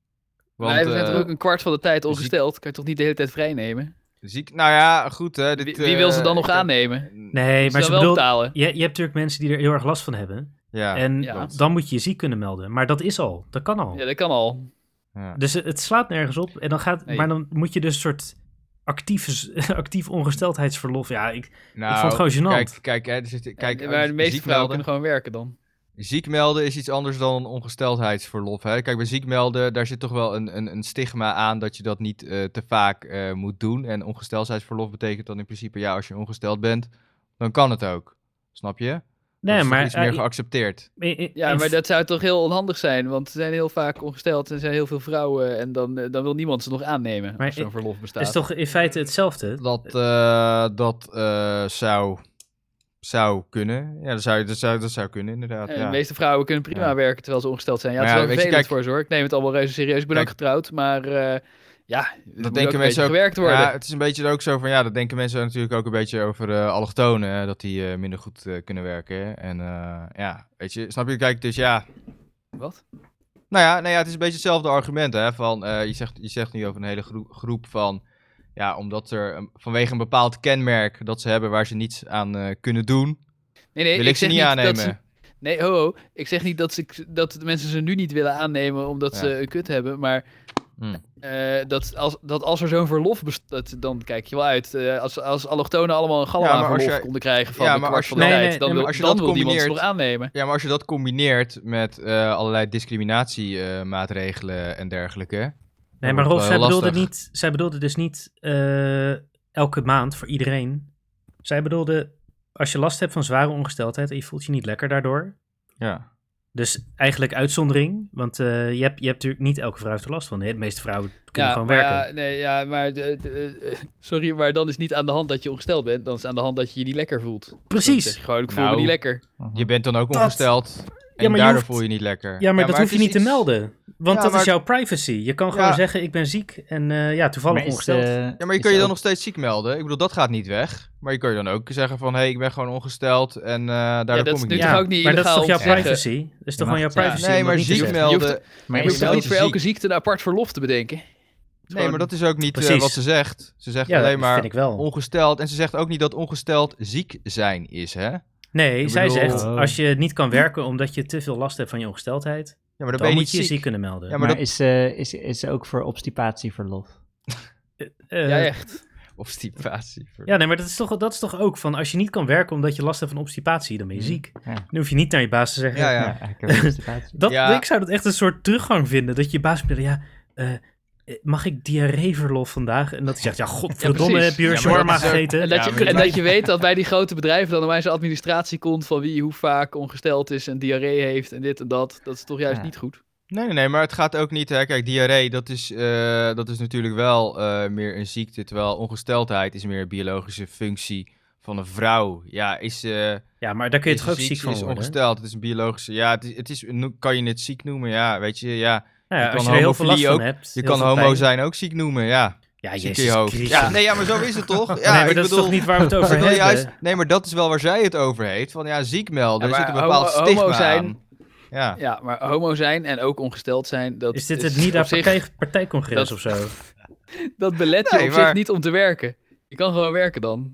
maar hij heeft
eh,
er ook een kwart van de tijd
ziek-
ongesteld. Kan je toch niet de hele tijd vrijnemen?
ziek. Nou ja, goed hè. Dit,
Wie, wie wil ze dan
eh,
nog
ik heb-
aannemen?
Nee,
Ze
maar
maar
ze
wel
bedoelt...
betalen.
Je, je hebt natuurlijk mensen die er heel erg last van hebben.
Ja.
en
ja.
dan moet je je ziek kunnen melden. Maar dat is al. Dat kan al.
Ja, dat kan al.
ja.
Dus het, het slaat nergens op. En dan gaat,
Nee.
Maar dan moet je dus een soort actief, actief ongesteldheidsverlof. Ja, ik,
Nou,
vond het gewoon
Kijk,
gênant.
kijk, hè, er zit, kijk eh,
En- maar de meeste
ziek
vrouwen
melden,
kunnen gewoon werken dan.
ziek melden is iets anders dan een ongesteldheidsverlof. Hè? Kijk, bij ziek melden, daar zit toch wel een, een, een stigma aan dat je dat niet eh, te vaak eh, moet doen. En ongesteldheidsverlof betekent dan in principe, ja, als je ongesteld bent, dan kan het ook. Snap je? Dus Dat
nee,
is
maar...
iets meer
eh,
geaccepteerd.
in- in-
Ja,
in-
maar dat zou toch heel onhandig zijn, want ze zijn heel vaak ongesteld en er zijn heel veel vrouwen en dan, eh, dan wil niemand ze nog aannemen
Maar
als zo'n
ik-
verlof bestaat.
is toch in feite hetzelfde?
Dat, eh, dat eh, zou, zou kunnen. Ja, dat zou, dat zou, dat zou kunnen, inderdaad.
En
ja.
De meeste vrouwen kunnen prima
Ja.
werken terwijl ze ongesteld zijn. Ja, het
Maar
is
ja,
wel
weet je,
vervelend
kijk-
voor ze hoor. Ik neem het allemaal reuze serieus. Ik ben
Kijk-
ook getrouwd, maar eh, ja, dat
denken
denken
mensen
mensen
ook-
gewerkt worden.
Ja, het is een beetje ook zo van, ja, dat denken mensen natuurlijk ook een beetje over eh, allochtonen, hè, dat die eh, minder goed eh, kunnen werken. En eh, ja, weet je, snap je? Kijk, dus ja,
Wat?
nou ja, nou ja, het is een beetje hetzelfde argument, hè, van, eh, je, zegt, je zegt nu over een hele groe- groep van, ja, omdat er een- vanwege een bepaald kenmerk dat ze hebben waar ze niets aan eh, kunnen doen,
Nee, nee,
wil ik ze
zeg
niet
dat
aannemen.
ze- nee, ho, ho. Ik zeg niet dat, ze, dat de mensen ze nu niet willen aannemen omdat
Ja.
ze een kut hebben, maar
Hmm.
eh, dat, als, dat als er zo'n verlof bestaat, dan kijk je wel uit. Eh, als, als allochtonen allemaal een galm
Ja,
aan
maar als
verlof
jij-
konden krijgen van
Ja,
een
maar
kwart
als je
van de
dat-
tijd,
Nee,
dan
nee,
wil,
als je
dan
dat
wil niemand ze nog
combineert-
aannemen.
Ja, maar als je dat combineert met eh, allerlei discriminatiemaatregelen en dergelijke.
Nee,
Dat
maar Rolf,
wordt wel
zij
heel
bedoelde,
lastig.
niet, zij bedoelde dus niet eh, elke maand voor iedereen. Zij bedoelde, als je last hebt van zware ongesteldheid en je voelt je niet lekker daardoor.
Ja.
Dus eigenlijk uitzondering, want eh, je, hebt, je hebt natuurlijk niet elke vrouw heeft er last van. De meeste vrouwen kunnen gewoon
maar
werken.
Ja, nee, ja, maar de- de- eh, sorry, maar dan is niet aan de hand dat je ongesteld bent. Dan is aan de hand dat je je niet lekker voelt. Dan zeg
Precies.
je gewoon, ik voel
Nou,
me niet lekker.
Je bent dan ook
Dat-
ongesteld en
Ja, maar je
daardoor
hoeft-
voel je niet lekker.
Ja, maar dat
het
hoef je
is
niet te
iets-
melden, want
Ja,
dat
maar-
is jouw privacy. Je kan gewoon
Ja.
zeggen, ik ben ziek en eh, ja, toevallig
Maar is,
ongesteld.
eh,
Ja, maar je
is
kan je
ook-
dan nog steeds ziek melden. Ik bedoel, dat gaat niet weg. Maar je kan je dan ook zeggen van, hé, hey, ik ben gewoon ongesteld en eh daardoor
Ja, dat is
kom ik
nu
niet.
toch ook niet
maar dat is
illegaal
toch jouw
om te zeggen.
privacy? Dat is toch
mag
gewoon jouw
het- ja.
privacy? om
Nee,
dat
maar
niet te
ziek
zeggen?
Je hoeft-
melden.
Maar
Je
is
hoeft
wel
er
het ook-
niet voor
ziek?
elke ziekte een apart verlof te bedenken.
Nee, maar dat is ook niet eh,
Precies.
wat ze zegt. Ze zegt
Ja,
alleen
dat vind
maar
ik wel.
ongesteld. En ze zegt ook niet dat ongesteld ziek zijn is, hè?
Nee,
Ik
zij
bedoel-
zegt
Oh.
als je niet kan werken omdat je te veel last hebt van je ongesteldheid,
Ja, maar dan,
dan,
ben je niet
moet je je
ziek.
ziek kunnen melden.
Ja, maar
maar
dat-
is, eh is, is ook voor obstipatieverlof.
Eh,
ja, echt.
Of stipatie.
ja, nee, maar dat is, toch, dat is toch ook van als je niet kan werken omdat je last hebt van obstipatie, dan ben je
Ja.
ziek.
Ja.
Dan hoef je niet naar je baas te zeggen.
Ja, ja.
Ja, ik heb obstipatie.
Dat,
Ja.
Ik zou dat echt een soort teruggang vinden, dat je je baas belt, ja, eh, eh, mag ik diarreeverlof vandaag? En dat hij zegt, ja, godverdomme,
precies.
heb je weer
Ja, maar dat
shawarma
is ook-
gegeten?
En dat,
Ja, maar
je, en
dat-
dat je weet dat bij die grote bedrijven dan opeens een administratie komt van wie hoe vaak ongesteld is en diarree heeft en dit en dat. Dat is toch juist
Ja.
niet goed.
Nee, nee, nee, maar het gaat ook niet. Hè. Kijk, diarree, dat is, eh, dat is natuurlijk wel eh, meer een ziekte. Terwijl ongesteldheid is meer een biologische functie van een vrouw. Ja, is. eh
Ja, maar daar kun je
is
toch ook
ziek,
ziek
is
van worden?
ongesteld. Het is een biologische. Ja, het is, het is, no- kan je het ziek noemen? Ja, weet je. Ja,
Nou ja,
Je
als je
kan
er heel veel last
homofilie
van hebt.
je
heel
kan
veel
homo
pijn.
zijn ook ziek noemen. Ja,
Ja,
ziek
jezus
in je hoofd.
Christus. Oh,
Ja, nee, ja, maar zo is het toch? Ja,
nee, maar
ik
dat is
bedoel,
toch niet waar we het over
ik wil
hebben?
juist, nee, maar dat is wel waar zij het over heeft. Van ja, ziek melden.
Ja,
er zit
maar
een bepaald
homo-
stigma
homo zijn-
aan. Ja.
Ja, maar homo zijn en ook ongesteld zijn, dat
Is dit het NIDA
op zich-
partij, partijcongres
dat-
of zo?
Dat belet je
Nee,
op
maar-
zich niet om te werken. Je kan gewoon werken dan.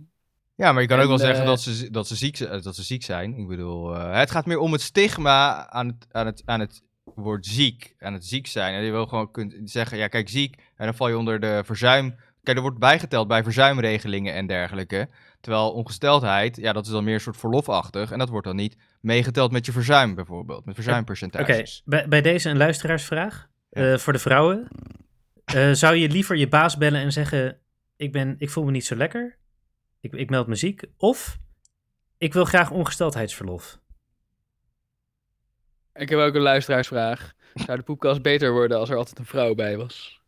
Ja, maar je kan ook
En,
wel zeggen
eh,
dat ze, zi- dat, ze ziek, z- eh, dat ze ziek zijn. Ik bedoel, eh, het gaat meer om het stigma aan het, aan het, aan het woord ziek. Aan het ziek zijn. En je wil gewoon kunt zeggen, ja kijk, ziek. En dan val je onder de verzuim. Kijk, er wordt bijgeteld bij verzuimregelingen en dergelijke. Terwijl ongesteldheid, ja, dat is dan meer een soort verlofachtig. En dat wordt dan niet meegeteld met je verzuim bijvoorbeeld. Met
Oké,
verzuimpercentages.
bij, bij deze een luisteraarsvraag
Ja.
eh, voor de vrouwen. Eh, zou je liever je baas bellen en zeggen: ik, ben, ik voel me niet zo lekker, ik, ik meld me ziek, of ik wil graag ongesteldheidsverlof?
Ik heb ook een luisteraarsvraag. Zou de poepkast beter worden als er altijd een vrouw bij was?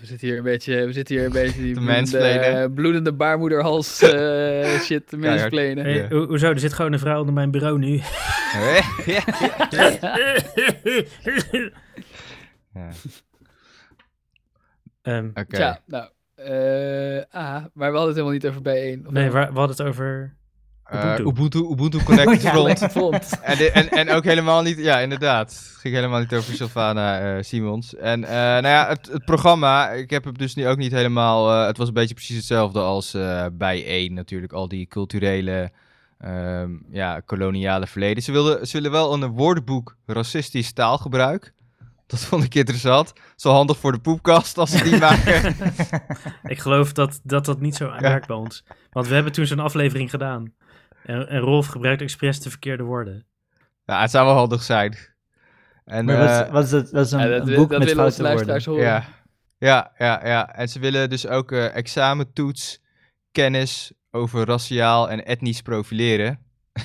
We zitten hier een beetje, we zitten hier een beetje die
Te
bloedende,
mansplainen.
bloedende baarmoederhals eh, shit te mensplenen.
Eh, ho- hoezo? Er zit gewoon een vrouw onder mijn bureau nu.
Ja.
Ehm,
Oké.
Ehm,
Tja, nou, Eh, ah, maar we hadden het helemaal niet over bijeen. Of
Nee,
wel?
waar- we hadden het over...
Ubuntu.
Ubuntu.
eh, Ubuntu, Ubuntu
Oh
Connect
Ja,
Front.
Connect Front.
En, de- en, en ook helemaal niet, ja, inderdaad. Het ging helemaal niet over Sylvana eh, Simons. En eh, nou ja, het, het programma, ik heb het dus nu ook niet helemaal. eh, het was een beetje precies hetzelfde als eh, bij één natuurlijk. Al die culturele, ehm, ja, koloniale verleden. Ze wilden, ze willen wel een woordenboek racistisch taalgebruik. Dat vond ik interessant. Zo handig voor de poepkast als ze die maken.
Ik geloof dat dat, dat niet zo werkt bij ons. Want we hebben toen zo'n aflevering gedaan. En, en Rolf gebruikt expres de verkeerde woorden.
nou, het zou wel handig zijn. En,
Maar wat,
eh,
is- wat is dat? Dat is een,
Ja, dat
een
wil-
boek
dat
met
willen onze
foute woorden.
luisteraars horen.
Ja. ja, ja, ja. En ze willen dus ook eh, examentoets, kennis over raciaal en etnisch profileren.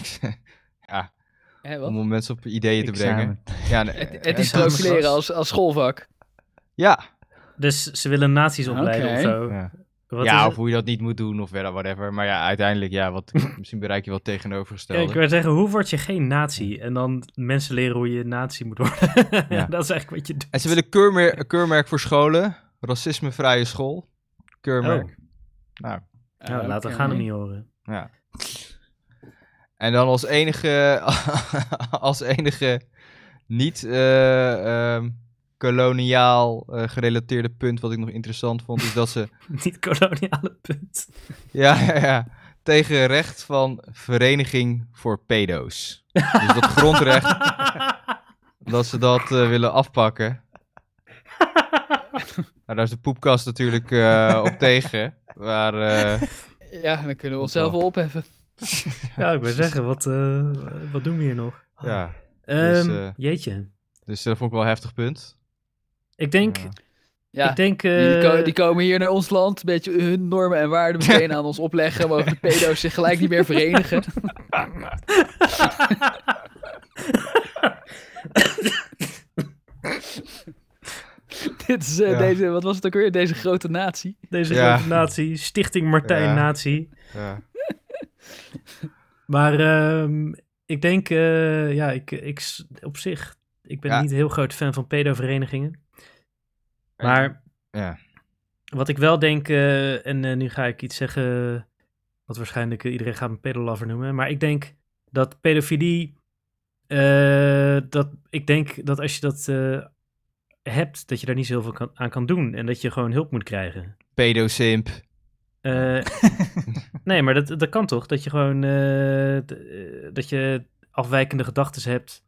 ja,
Hè, wat?
om mensen op ideeën te brengen.
Examen.
Ja, nee,
Het,
eh,
het is
eh,
Examens.
profileren als, als schoolvak.
Ja,
Dus ze willen nazi's opleiden
Oké.
of zo.
ja.
Wat is
ja
het?
of hoe je dat niet moet doen of verder, whatever. Maar ja, uiteindelijk, ja, wat, misschien bereik je wel het
Ja, ik
tegenovergestelde.
wil zeggen, hoe word je geen nazi? En dan mensen leren hoe je nazi moet worden.
Ja.
dat is eigenlijk wat je doet.
en ze willen keurmerk, een keurmerk voor scholen, racismevrije school. Keurmerk.
Oh.
Nou,
Nou,
Ah,
laten we
oké.
gaan hem niet horen.
Ja. En dan als enige, als enige niet eh, ehm, koloniaal eh, gerelateerde punt wat ik nog interessant vond, is dat ze
Niet koloniale punt.
ja, ja, ja, tegen recht van Vereniging voor Pedo's. Dus dat grondrecht, dat ze dat eh, willen afpakken. Nou, daar is de poepkast natuurlijk eh, op tegen. Maar eh,
Ja, dan kunnen we onszelf wel opheffen.
ja, ik wil zeggen, wat, eh, wat doen we hier nog?
ja,
Ehm,
eh,
Jeetje.
dus dat vond ik wel een heftig punt.
Ik denk...
Ja.
Ja,
Ik denk
die, die
eh,
ko- die komen hier naar ons land, een beetje hun normen en waarden meteen aan ons opleggen. Mogen de pedo's zich gelijk niet meer verenigen. Dit is, eh,
Ja.
deze, wat was het ook weer? Deze grote natie.
deze
Ja.
grote natie, Stichting Martijn
Ja.
Natie.
Ja.
Maar ehm, ik denk, eh, ja, ik, ik, s- op zich, ik ben
Ja.
niet heel groot fan van pedoverenigingen. Maar
Ja.
wat ik wel denk, eh, en eh, nu ga ik iets zeggen wat waarschijnlijk eh, iedereen gaat me pedolover noemen, maar ik denk dat pedofilie, eh, dat, ik denk dat als je dat eh, hebt, dat je daar niet zoveel kan, aan kan doen en dat je gewoon hulp moet krijgen.
Pedo-simp.
Eh, nee, maar dat, dat kan toch? Dat je gewoon eh, d- eh, dat je afwijkende gedachten hebt.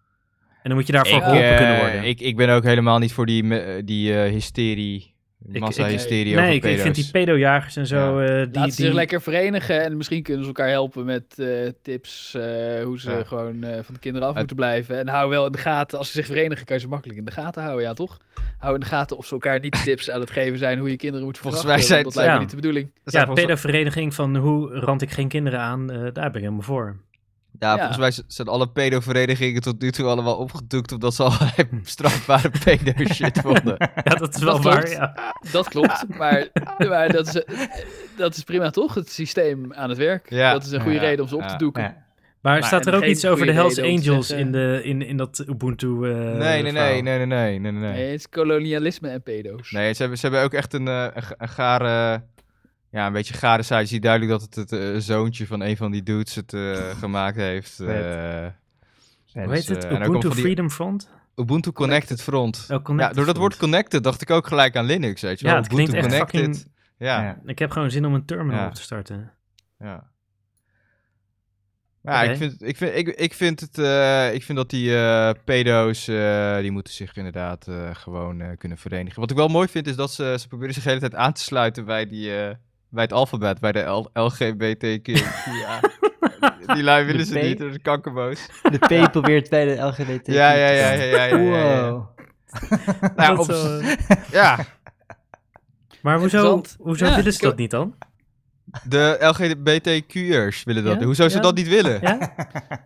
En dan moet je daarvoor
Ik,
geholpen
eh,
kunnen worden.
Ik, ik ben ook helemaal niet voor die, me- die eh, hysterie,
ik-
massa-hysterie over
nee, ik, ik
pedo's.
vind die pedojagers en zo. eh, die,
Laten ze zich
die-
lekker verenigen en misschien kunnen ze elkaar helpen met eh, tips eh, hoe ze
Ja.
gewoon eh, van de kinderen af
Het-
moeten blijven. En hou wel in de gaten, als ze zich verenigen kan je ze makkelijk in de gaten houden, ja toch? Hou in de gaten of ze elkaar niet tips aan het geven zijn hoe je kinderen moet
Volgens
verwachten.
mij zijn
want
het-
ja.
dat lijkt me niet de bedoeling.
Dat
ja,
zijn volgens-
pedovereniging van hoe rand ik geen kinderen aan. eh, daar ben ik helemaal voor.
ja, volgens
ja.
mij z- zijn alle pedoverenigingen tot nu toe allemaal opgedoekt omdat ze allerlei strafbare pedo-shit vonden.
Ja, dat is wel
Dat
waar.
klopt.
Ja.
Dat klopt, maar, maar dat, is, eh, dat is prima toch? Het systeem aan het werk.
Ja.
Dat is een goede
Ja.
reden om ze op
Ja.
te doeken.
Ja.
Maar
Maar
staat er
en
ook
geen
iets over de
goede
Hells
reden om te
Angels in,
zeggen-
de, in, in dat Ubuntu? eh,
nee, nee,
verhaal?
nee, nee, nee, nee, nee, nee.
Nee, het is kolonialisme en pedo's.
Nee, ze hebben, ze hebben ook echt een, eh, een, ga- een gare... Ja, een beetje gare site. Je ziet duidelijk dat het het eh, zoontje van een van die dudes het eh, gemaakt heeft.
Vet.
eh.
Hoe heet
Dus,
het?
eh, en ook allemaal
Ubuntu
van die-
Freedom Front?
Ubuntu Connected Front.
Oh,
ja,
Connected
door dat
Front.
woord connected dacht ik ook gelijk aan Linux, weet je
Ja,
wel.
het klinkt
Ubuntu
echt
connected.
fucking-
Ja, ja.
Ja.
Ik heb gewoon zin om een terminal
Ja. Nou
op te starten.
ja. Maar ja,
Oké.
ik, vind, ik, vind, ik, ik, vind het, eh, ik vind dat die eh, pedo's, eh, die moeten zich inderdaad eh, gewoon eh, kunnen verenigen. Wat ik wel mooi vind, is dat ze, ze proberen zich de hele tijd aan te sluiten bij, die, eh, bij het alfabet, bij de L- LGBTQ. ja. Die lui willen
De
ze
P.
niet, dat is kankerboos.
De P probeert bij de LGBT.
Ja, ja, ja, ja, ja, ja, ja, ja.
Wow.
Nou,
Dat
op-
zou, eh,
ja.
Maar hoezo,
Interessant.
hoezo
Ja,
willen ze
ik
dat
heb-
niet dan?
De LGBTQ'ers willen dat.
Ja?
doen. Hoezo ze
Ja?
dat niet willen?
Ja?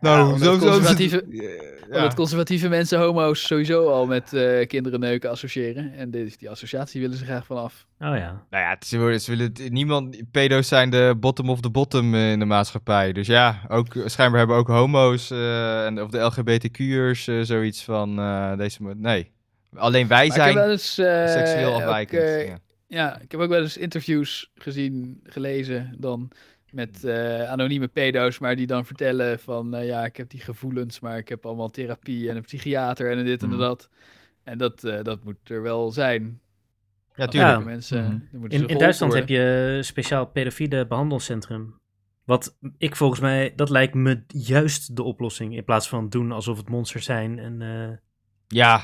Nou, hoezo
omdat
zouden ze- Ja.
Omdat conservatieve mensen homo's sowieso al met eh, kinderen neuken associëren. En dit, die associatie willen ze graag vanaf.
Oh ja.
Nou ja, het- ze willen, ze willen het- niemand. Pedo's zijn de bottom of the bottom eh, in de maatschappij. Dus ja, ook, schijnbaar hebben ook homo's eh, en, of de LGBTQ'ers eh, zoiets van eh, deze. mo- Nee, alleen wij
Maar ik
zijn
heb wel eens, eh,
seksueel
ook,
afwijkend.
eh,
ja.
Ja, ik heb ook wel eens interviews gezien, gelezen dan
Hmm.
met eh, anonieme pedo's, maar die dan vertellen van eh, ja, ik heb die gevoelens, maar ik heb allemaal therapie en een psychiater en dit en
Hmm.
Mhm.
dat. En dat, eh, dat moet er wel zijn.
Ja,
Tuurlijk.
tuurlijk.
Mensen,
Mhm.
die moeten ze
In, in
geholpen
Duitsland heb
worden.
je een speciaal pedofiele behandelcentrum. Wat ik volgens mij, dat lijkt me juist de oplossing. In plaats van doen alsof het monsters zijn. En, eh,
Ja,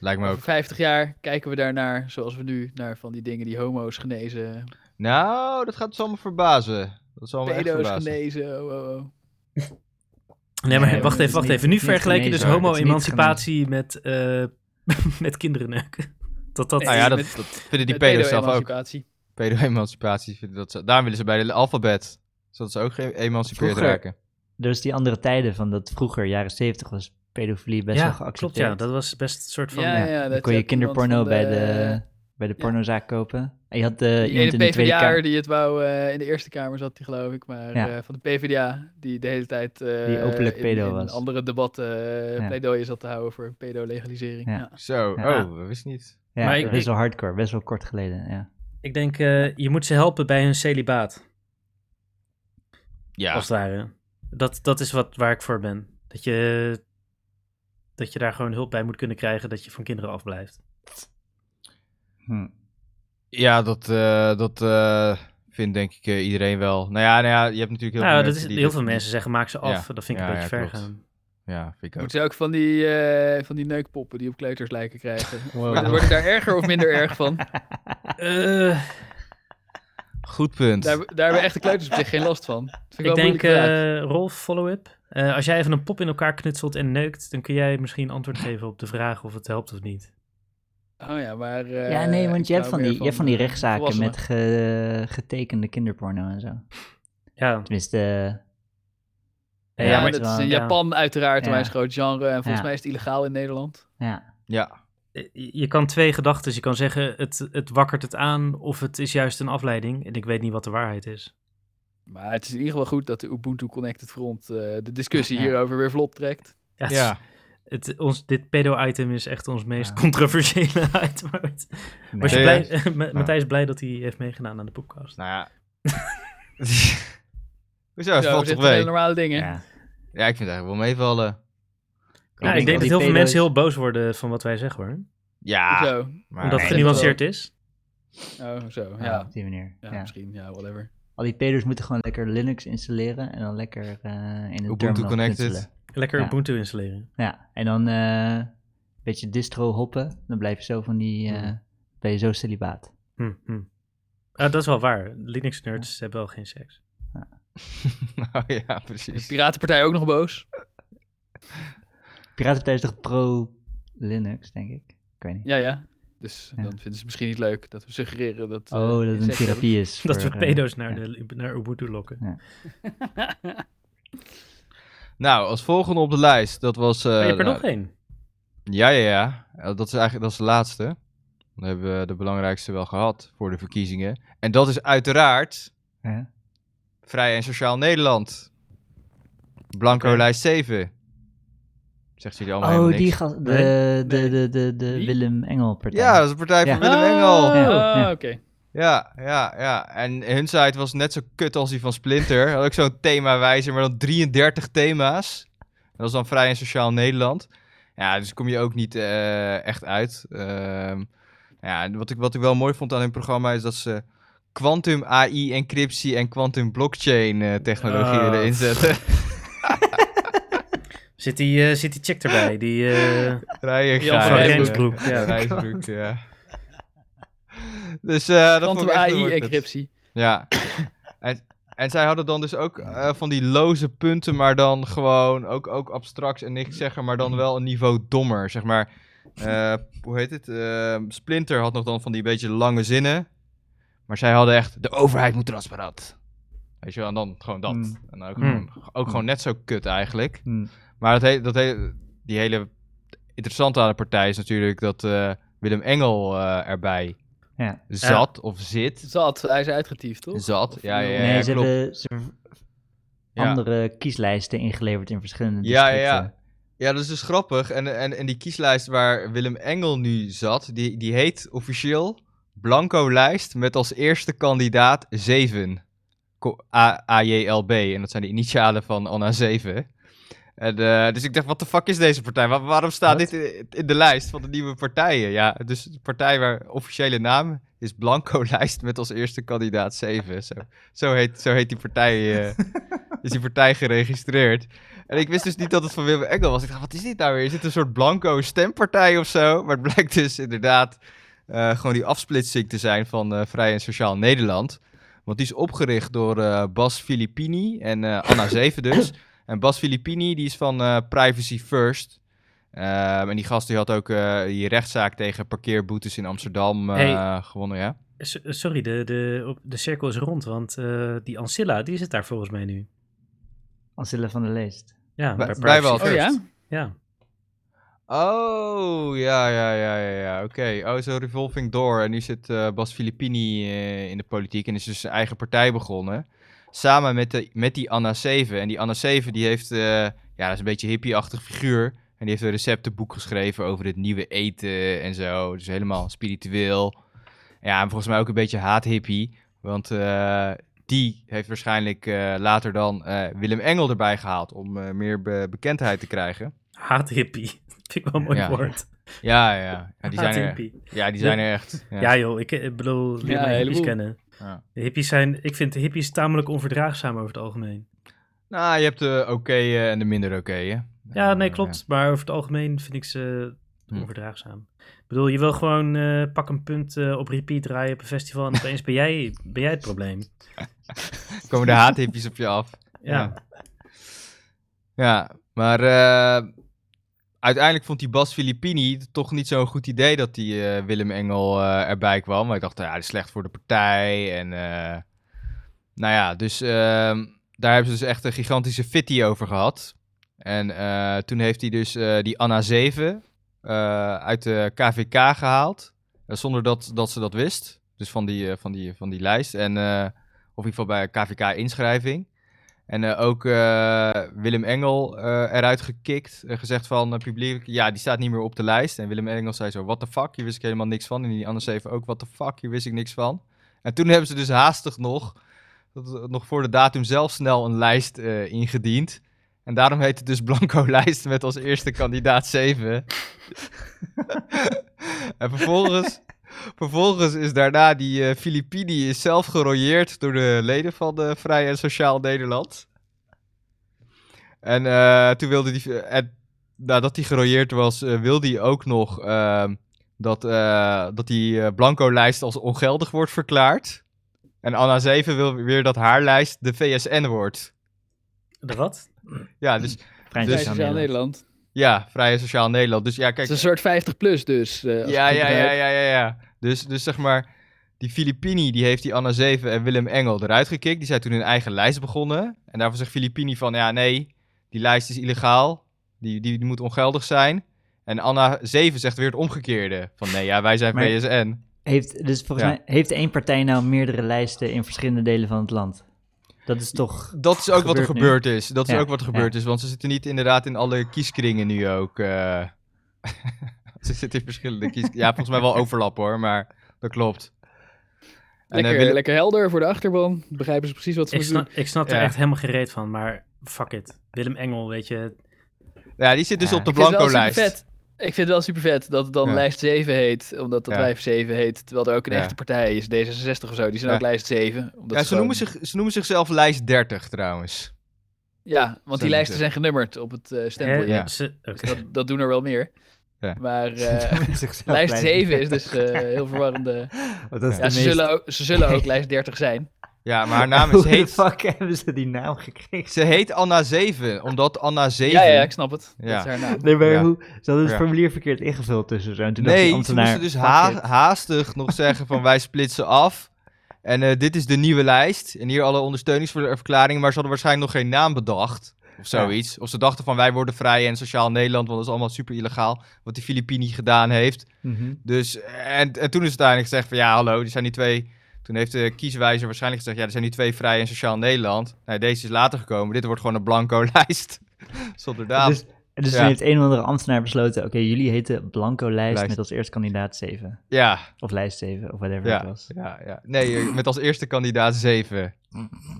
lijkt me ook.
Over 50 jaar kijken we daarnaar, zoals we nu, naar van die dingen die homo's genezen,
Nou, dat gaat zomaar verbazen. Dat zal me echt
pedo's
verbazen.
genezen, oh, oh, oh.
Nee, maar
Nee,
wacht even,
dat is
wacht
niet-
even. Nu
niet
vergelijk je
genezen,
dus
hoor. Dat is niet
homo-emancipatie met, eh, met kinderen neuken. Dat dat...
Nou ja,
Nee,
dat,
met-
dat vinden die
Met
pedo's zelf ook.
pedo-emancipatie.
Pedo-emancipatie. vinden dat ze- Daarom willen ze bij de alfabet. Zodat ze ook geëmancipeerd
Vroeger-
raken.
Dus die andere tijden van dat vroeger, jaren 70 was pedofilie best wel
ja, klopt.
geaccepteerd.
Ja, dat was best een soort van...
Ja,
Ja,
ja,
dan
dat
kon je
heb iemand van
kinderporno bij
de-
de, bij de pornozaak kopen. En je had de,
Die
eh, iemand
ene
in de Tweede
PvdA'er
Kamer.
die het wou eh, in de Eerste Kamer zat, die geloof ik, maar
Ja.
eh, van de PvdA, die de hele tijd eh,
Die openlijk
in-
pedo
in,
was.
andere debatten eh,
Ja.
pleidooien zat te houden voor pedo-legalisering.
Ja.
Ja.
Zo,
Ja.
oh, we wisten niet.
Ja,
Maar ik-
best wel hardcore, best wel kort geleden. Ja.
Ik denk, eh, je moet ze helpen bij hun celibaat,
Ja,
als het ware. Dat, dat is wat, waar ik voor ben. Dat je, dat je daar gewoon hulp bij moet kunnen krijgen, dat je van kinderen afblijft.
Hm.
ja dat, eh, dat eh, vindt denk ik eh, iedereen wel. Nou ja, nou ja, je hebt natuurlijk heel
Nou,
veel
dat
mensen
is,
die
heel
dit
veel
niet-
mensen zeggen, maak ze af. Dat vind ik
Ja,
een beetje
ja,
ver
klopt.
gaan.
Ja, vind ik ook.
Moeten ze ook van die, eh, van die neukpoppen die op kleuterslijken krijgen? Wordt-
Wow.
Wordt het daar erger of minder erg van?
Eh,
Goed punt.
Daar, daar hebben echte kleuters op zich geen last van. Dat vind
ik
ik, wel
denk,
moeilijk praten.
eh Rolf, follow-up. Eh, als jij even een pop in elkaar knutselt en neukt, dan kun jij misschien antwoord geven op de vraag of het helpt of niet.
Oh ja, maar... eh,
ja, nee, want
ik
je hebt
hou
van die,
meer
je hebt van die
eh,
rechtszaken
volwassenen.
met ge- getekende kinderporno en zo.
Ja,
Tenminste, eh,
ja,
Ja,
Ja,
maar
dat is
wel-
in
ja.
Japan uiteraard
Ja.
een groot genre. En volgens
Ja.
mij is het illegaal in Nederland.
ja.
Ja,
eh, je kan twee gedachten. Je kan zeggen, het, het wakkert het aan of het is juist een afleiding. En ik weet niet wat de waarheid is.
Maar het is in ieder geval goed dat de Ubuntu Connected Front eh, de discussie
Ja.
hierover weer vlot trekt.
Ja, het is-
ja.
het, ons, dit pedo-item is echt ons meest
Ja.
controversiële item ooit. Was je
Nee,
blij,
ja.
Ma- Matthijs blij dat hij heeft meegedaan aan de podcast?
Nou ja. Hoezo, het
Zo,
valt toch
dit zijn
mee?
hele normale dingen.
ja.
Ja, ik vind het eigenlijk wel meevallen.
Nou, ik denk dat heel
die
veel
pedo's-
mensen heel boos worden van wat wij zeggen hoor.
Ja,
Zo.
maar...
Omdat
nee,
het
dat
genuanceerd is.
Oh, zo.
Ja,
Ja.
op die manier.
Ja,
Ja,
misschien. Ja, whatever.
Al die pedo's moeten gewoon lekker Linux installeren en dan lekker eh, in een
Ubuntu
terminal
connected.
knutselen.
Lekker
Ja.
Ubuntu installeren.
Ja, en dan eh, een beetje distro hoppen, dan blijf je zo van die, eh, ben je zo celibaat.
Hm, hm. Ah, dat is wel waar. Linux nerds hebben wel geen seks.
nou ja,
Is de
Dus-
precies.
Piratenpartij ook nog boos?
Piratenpartij is toch pro-Linux, denk ik? Ik weet niet.
Ja, ja. Dus
Ja.
dan vinden ze het misschien niet leuk dat we suggereren dat... eh,
Oh, dat het een
insecten
therapie is.
Dat we
voor, eh,
pedo's naar,
ja.
de, naar Ubuntu lokken.
Eh,
hebben.
Nou, als volgende op de lijst, dat was... eh,
Maar Oh, je hebt er
nou,
nog één.
Ja, ja, ja. Eh, Dat is eigenlijk dat is de laatste. Dan hebben we de belangrijkste wel gehad voor de verkiezingen. En dat is uiteraard
Ja.
Vrij en Sociaal Nederland. Blanco
Oké.
lijst 7. Zegt jullie allemaal
Oh,
helemaal
die
niks.
gast, de,
Nee,
de, de, de, de
Wie?
Willem Engel partij.
Ja, dat is de partij van
Ja.
Willem Engel.
Oh,
Ja.
oké.
Ja, ja, ja. En hun site was net zo kut als die van Splinter. Had ook zo'n themawijzer, maar dan 33 thema's. Dat is dan Vrij en Sociaal Nederland. Ja, dus kom je ook niet eh, echt uit. Ehm, ja, en wat ik, wat ik wel mooi vond aan hun programma is dat ze quantum AI encryptie en quantum blockchain eh, technologie
Ah.
willen inzetten.
Zit die, eh, zit die chick erbij? Die eh,
Rijen
Jan
van
ja,
Rijnsbroek.
Ja,
Ja.
Rijnsbroek, ja. Dus eh dat vond
Quantum
ik echt een mooi punt.
AI-encryptie.
Ja. en, en zij hadden dan dus ook eh, van die loze punten, maar dan gewoon ook, ook abstract en niks zeggen, maar dan wel een niveau dommer, zeg maar. Eh, hoe heet het? Eh, Splinter had nog dan van die beetje lange zinnen, maar zij hadden echt, de overheid moet transparant. Weet je wel, en dan gewoon dat.
Mm.
En dan ook,
Mm.
gewoon, ook gewoon net zo kut eigenlijk.
Hm.
Maar dat he- dat he- die hele interessante aan de partij is natuurlijk dat eh, Willem Engel eh, erbij
Ja.
zat of zit.
Zat, hij is uitgetiefd, toch?
Zat, ja, ja, ja,
nee, ze
klopt.
hebben ze hebben
Ja.
andere kieslijsten ingeleverd in verschillende
Ja, ja,
districten.
ja. Ja, dat is dus grappig. En, en, en die kieslijst waar Willem Engel nu zat, die, die heet officieel blanco lijst met als eerste kandidaat 7. Ko- A- AJLB. En dat zijn de initialen van Anna 7. En, eh, dus ik dacht, wat de fuck is deze partij? Wa- waarom staat
Wat?
dit in- in de lijst van de nieuwe partijen? Ja, dus de partij waar officiële naam is Blanco lijst met als eerste kandidaat 7. Zo, zo, heet, zo heet die partij. eh, is die partij geregistreerd. En ik wist dus niet dat het van Willem Engel was. Ik dacht, wat is dit nou weer? Is dit een soort blanco stempartij of zo? Maar het blijkt dus inderdaad eh, gewoon die afsplitsing te zijn van eh, Vrij en Sociaal Nederland. Want die is opgericht door eh, Bas Filippini en eh, Anna Zeven dus. En Bas Filippini die is van eh, Privacy First. Ehm, en die gast die had ook eh, die rechtszaak tegen parkeerboetes in Amsterdam eh,
Hey.
gewonnen, ja?
S- sorry, de, de, op- de cirkel is rond, want eh, die Ancilla, die zit daar volgens mij nu.
Ancilla van der Leest.
Ja,
Bij-
bij
bij
Privacy
Walter.
Oh
First.
ja?
Ja.
Oh, ja, ja, ja, ja, ja. Oké. Oh, zo revolving door. En nu zit eh, Bas Filippini eh, in de politiek en is dus zijn eigen partij begonnen. Samen met, de, met die Anna Seven. En die Anna Seven, die heeft... eh, ja, dat is een beetje een hippie-achtig figuur. En die heeft een receptenboek geschreven over het nieuwe eten en zo. Dus helemaal spiritueel. Ja, en volgens mij ook een beetje haathippie. Want eh, die heeft waarschijnlijk eh, later dan eh, Willem Engel erbij gehaald... om eh, meer be- bekendheid te krijgen.
Haathippie. Vind ik wel een mooi
Ja.
woord.
Ja, ja. ja die zijn er...
Haathippie.
Ja, die zijn er echt. Ja.
Ah, Ja. joh, ik eh, bedoel, leer maar hippies
heleboel.
kennen.
Ja.
De hippies zijn, ik vind de hippies tamelijk onverdraagzaam over het algemeen.
Nou, je hebt de oké en de minder oké.
Ja, nee, klopt. Maar over het algemeen vind ik ze
Eh, Hm.
onverdraagzaam. Ik bedoel, je wil gewoon eh, pak een punt eh, op repeat draaien op een festival en opeens ben jij, ben jij het probleem.
Komen de haathippies op je af.
Ja.
Ja, maar eh, uiteindelijk vond die Bas Filippini het toch niet zo'n goed idee dat die eh, Willem Engel eh, erbij kwam. Maar ik dacht, ja, dat is slecht voor de partij. En eh, nou ja, dus ehm, daar hebben ze dus echt een gigantische fitty over gehad. En eh, toen heeft hij dus eh, die Anna 7 eh, uit de KVK gehaald. eh, zonder dat, dat ze dat wist. Dus van die, eh, van die, van die lijst. En, eh, of in ieder geval bij KVK-inschrijving. En eh, ook eh, Willem Engel eh, eruit gekikt. en gezegd van eh, publiek, ja, die staat niet meer op de lijst. En Willem Engel zei zo, what the fuck, hier wist ik helemaal niks van. En die anders even ook, what the fuck, hier wist ik niks van. En toen hebben ze dus haastig nog, dat- eh, nog voor de datum zelf snel een lijst eh, ingediend. En daarom heet het dus Blanco Lijst met als eerste kandidaat 7. en vervolgens, vervolgens is daarna die eh Filippini is zelf gerooieerd door de leden van de Vrij en Sociaal Nederland. En eh, toen wilde die. En nadat hij gerooieerd was, eh, wilde hij ook nog ehm, dat, eh, dat die eh, Blanco-lijst als ongeldig wordt verklaard. En Anna 7 wil weer dat haar lijst de VSN wordt.
De wat?
Ja, dus
Vrij
Dus-
Vrij Sociaal Nederland.
ja, Vrij en Sociaal Nederland. Dus ja, kijk.
Het is een soort 50 plus dus. eh, als
ja,
ik het
ja,
begrijp.
ja, ja, ja, ja. Dus, dus zeg maar, die Filippini, die heeft die Anna 7 en Willem Engel eruit gekikt. Die zijn toen hun eigen lijst begonnen. En daarvan zegt Filippini van, ja, nee, die lijst is illegaal. Die, die, die moet ongeldig zijn. En Anna 7 zegt weer het omgekeerde. Van, nee, ja, wij zijn
Maar-
PSN.
Heeft, dus volgens
Ja.
mij heeft één partij nou meerdere lijsten in verschillende delen van het land. Dat is toch...
Dat is ook wat er
Gebeurt nu.
gebeurd is. Dat is
Ja,
ook wat er
ja.
gebeurd is. Want ze zitten niet inderdaad in alle kieskringen nu ook. eh. ze zitten in verschillende kieskringen. Ja, volgens mij wel overlap hoor, maar dat klopt. En, eh,
Lekker,
Willem-
lekker helder voor de achterban. Begrijpen ze precies wat ze
Ik
moeten doen.
snap, ik snap er
Ja.
echt helemaal gereed van, maar fuck it. Willem Engel, weet je.
Ja, die zit dus
Ja.
op de
Ik vind het wel
blanco-lijst.
supervet. Ik vind het wel super vet dat het dan
Ja.
lijst 7 heet, omdat dat
Ja.
lijst 7 heet. Terwijl er ook een
Ja.
echte partij is, D66 of zo. Die zijn
Ja.
ook lijst 7. Omdat
Ja,
ze
ze,
gewoon-
noemen zich, ze noemen zichzelf lijst 30 trouwens.
Ja, want
Zo
die lijsten
moeten.
zijn genummerd op het eh
Hè,
stempel.
Ja.
ze- oké.
Dat, dat doen er wel meer.
Ja.
Maar eh,
Zichzelf
lijst
lijst-
7 is dus eh, heel verwarrende.
Want dat is
Ja,
de
ze,
meest-
zullen ook, ze zullen ook lijst 30 zijn.
Ja, maar haar naam is
Hoe de
heet...
fuck hebben ze die naam gekregen?
Ze heet Anna 7, omdat Anna 7...
Ja, ja, ik snap het.
Ja.
Dat is haar naam.
Nee, maar
Ja.
hoe, ze hadden het
Ja.
formulier verkeerd ingevuld tussen zo. En toen dacht die
Nee, ze
ambtenaar,
moesten dus
fuck
ha-
it.
haastig nog zeggen van wij splitsen af. En eh, dit is de nieuwe lijst. En hier alle ondersteuningsverklaringen. Maar ze hadden waarschijnlijk nog geen naam bedacht. Of zoiets. Of ze dachten van wij worden vrij en sociaal Nederland. Want dat is allemaal super illegaal. Wat die Filippini gedaan heeft.
Mhm.
Dus, en, en toen is het uiteindelijk gezegd van ja, hallo, er zijn die twee. Toen heeft de kieswijzer waarschijnlijk gezegd, ja, er zijn die twee Vrij en Sociaal Nederland. Nou, deze is later gekomen. Dit wordt gewoon een blanco lijst. Zonder naam.
Dus En dus
Ja.
toen heeft een of andere ambtenaar besloten... oké, jullie heten Blanco Lijst,
Lijst.
met als eerste kandidaat 7.
Ja,
Of Lijst 7, of whatever het
ja,
was.
ja, ja. Nee, eh, met als eerste kandidaat 7.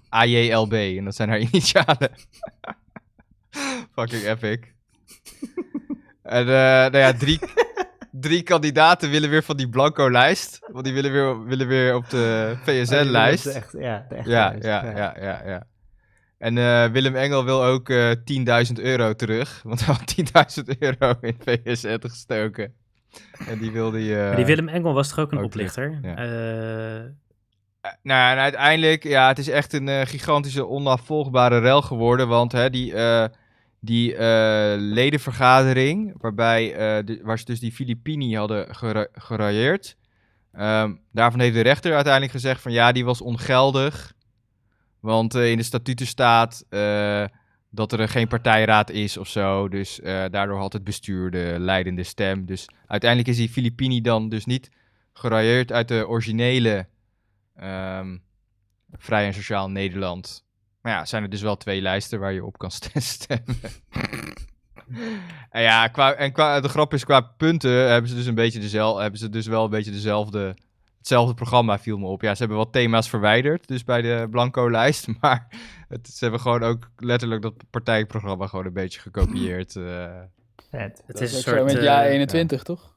AJLB. En dat zijn haar initialen. Fucking epic. en eh, nou ja, drie, drie kandidaten willen weer van die blanco lijst. Want die willen weer, willen weer op de
Oh, dat is
VSN-lijst.
echt- Ja, de echte
Ja,
lijst,
ja, ja, ja, ja. En eh, Willem Engel wil ook eh 10.000 euro terug. Want hij had 10.000 euro in VSN gestoken. En die wil die... eh,
Maar die Willem Engel was toch ook een
ook
oplichter?
ja.
Eh,
Eh, Nou, ja, en uiteindelijk, ja, het is echt een eh, gigantische onafvolgbare rel geworden. Want hè, die, eh, die eh, ledenvergadering, waarbij, eh, de- waar ze dus die Filipini hadden gera geraaieerd. ehm, daarvan heeft de rechter uiteindelijk gezegd van ja, die was ongeldig. Want eh, in de statuten staat eh, dat er geen partijraad is of zo. Dus eh, daardoor had het bestuur de leidende stem. Dus uiteindelijk is die Filipini dan dus niet geraaieerd uit de originele ehm, Vrij en Sociaal Nederland. Maar ja, zijn er dus wel twee lijsten waar je op kan st- stemmen. en ja, qua, en qua, de grap is, qua punten hebben ze dus een beetje dezelfde, hebben ze dus wel een beetje dezelfde, hetzelfde programma viel me op. Ja, ze hebben wat thema's verwijderd, dus bij de blanco lijst, maar het, ze hebben gewoon ook letterlijk dat partijprogramma gewoon een beetje gekopieerd. eh.
Vet.
het is een soort...
Dat zijn met
eh,
ja 21, toch?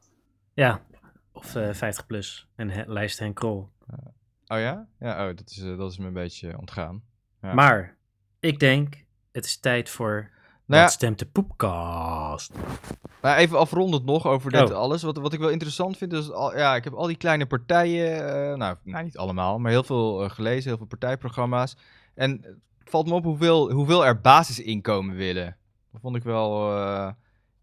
ja, of eh, 50 plus. En he- lijst Henk Krol.
Oh ja? Ja, oh, dat is, eh, dat is me een beetje ontgaan. Ja.
Maar ik denk, het is tijd voor...
ja.
Nou stemt de poepkast?
Maar even afrondend nog over dit
Oh.
alles. Wat, wat ik wel interessant vind, is al, ja, ik heb al die kleine partijen, eh, nou, nou niet allemaal, maar heel veel eh, gelezen, heel veel partijprogramma's. En het valt me op hoeveel, hoeveel er basisinkomen willen. Dat vond ik wel eh,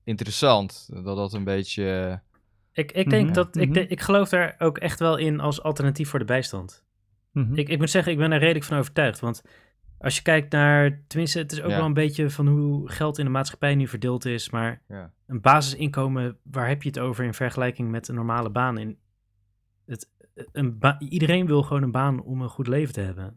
interessant. Dat dat een beetje... eh,
Ik, ik denk
Mhm.
dat ik,
Mhm.
de- ik geloof daar ook echt wel in als alternatief voor de bijstand.
Mhm.
Ik, ik moet zeggen, ik ben er redelijk van overtuigd. Want als je kijkt naar, tenminste, het is ook
Ja.
wel een beetje van hoe geld in de maatschappij nu verdeeld is. Maar
Ja.
een basisinkomen, waar heb je het over in vergelijking met een normale baan? In het, een ba- iedereen wil gewoon een baan om een goed leven te hebben.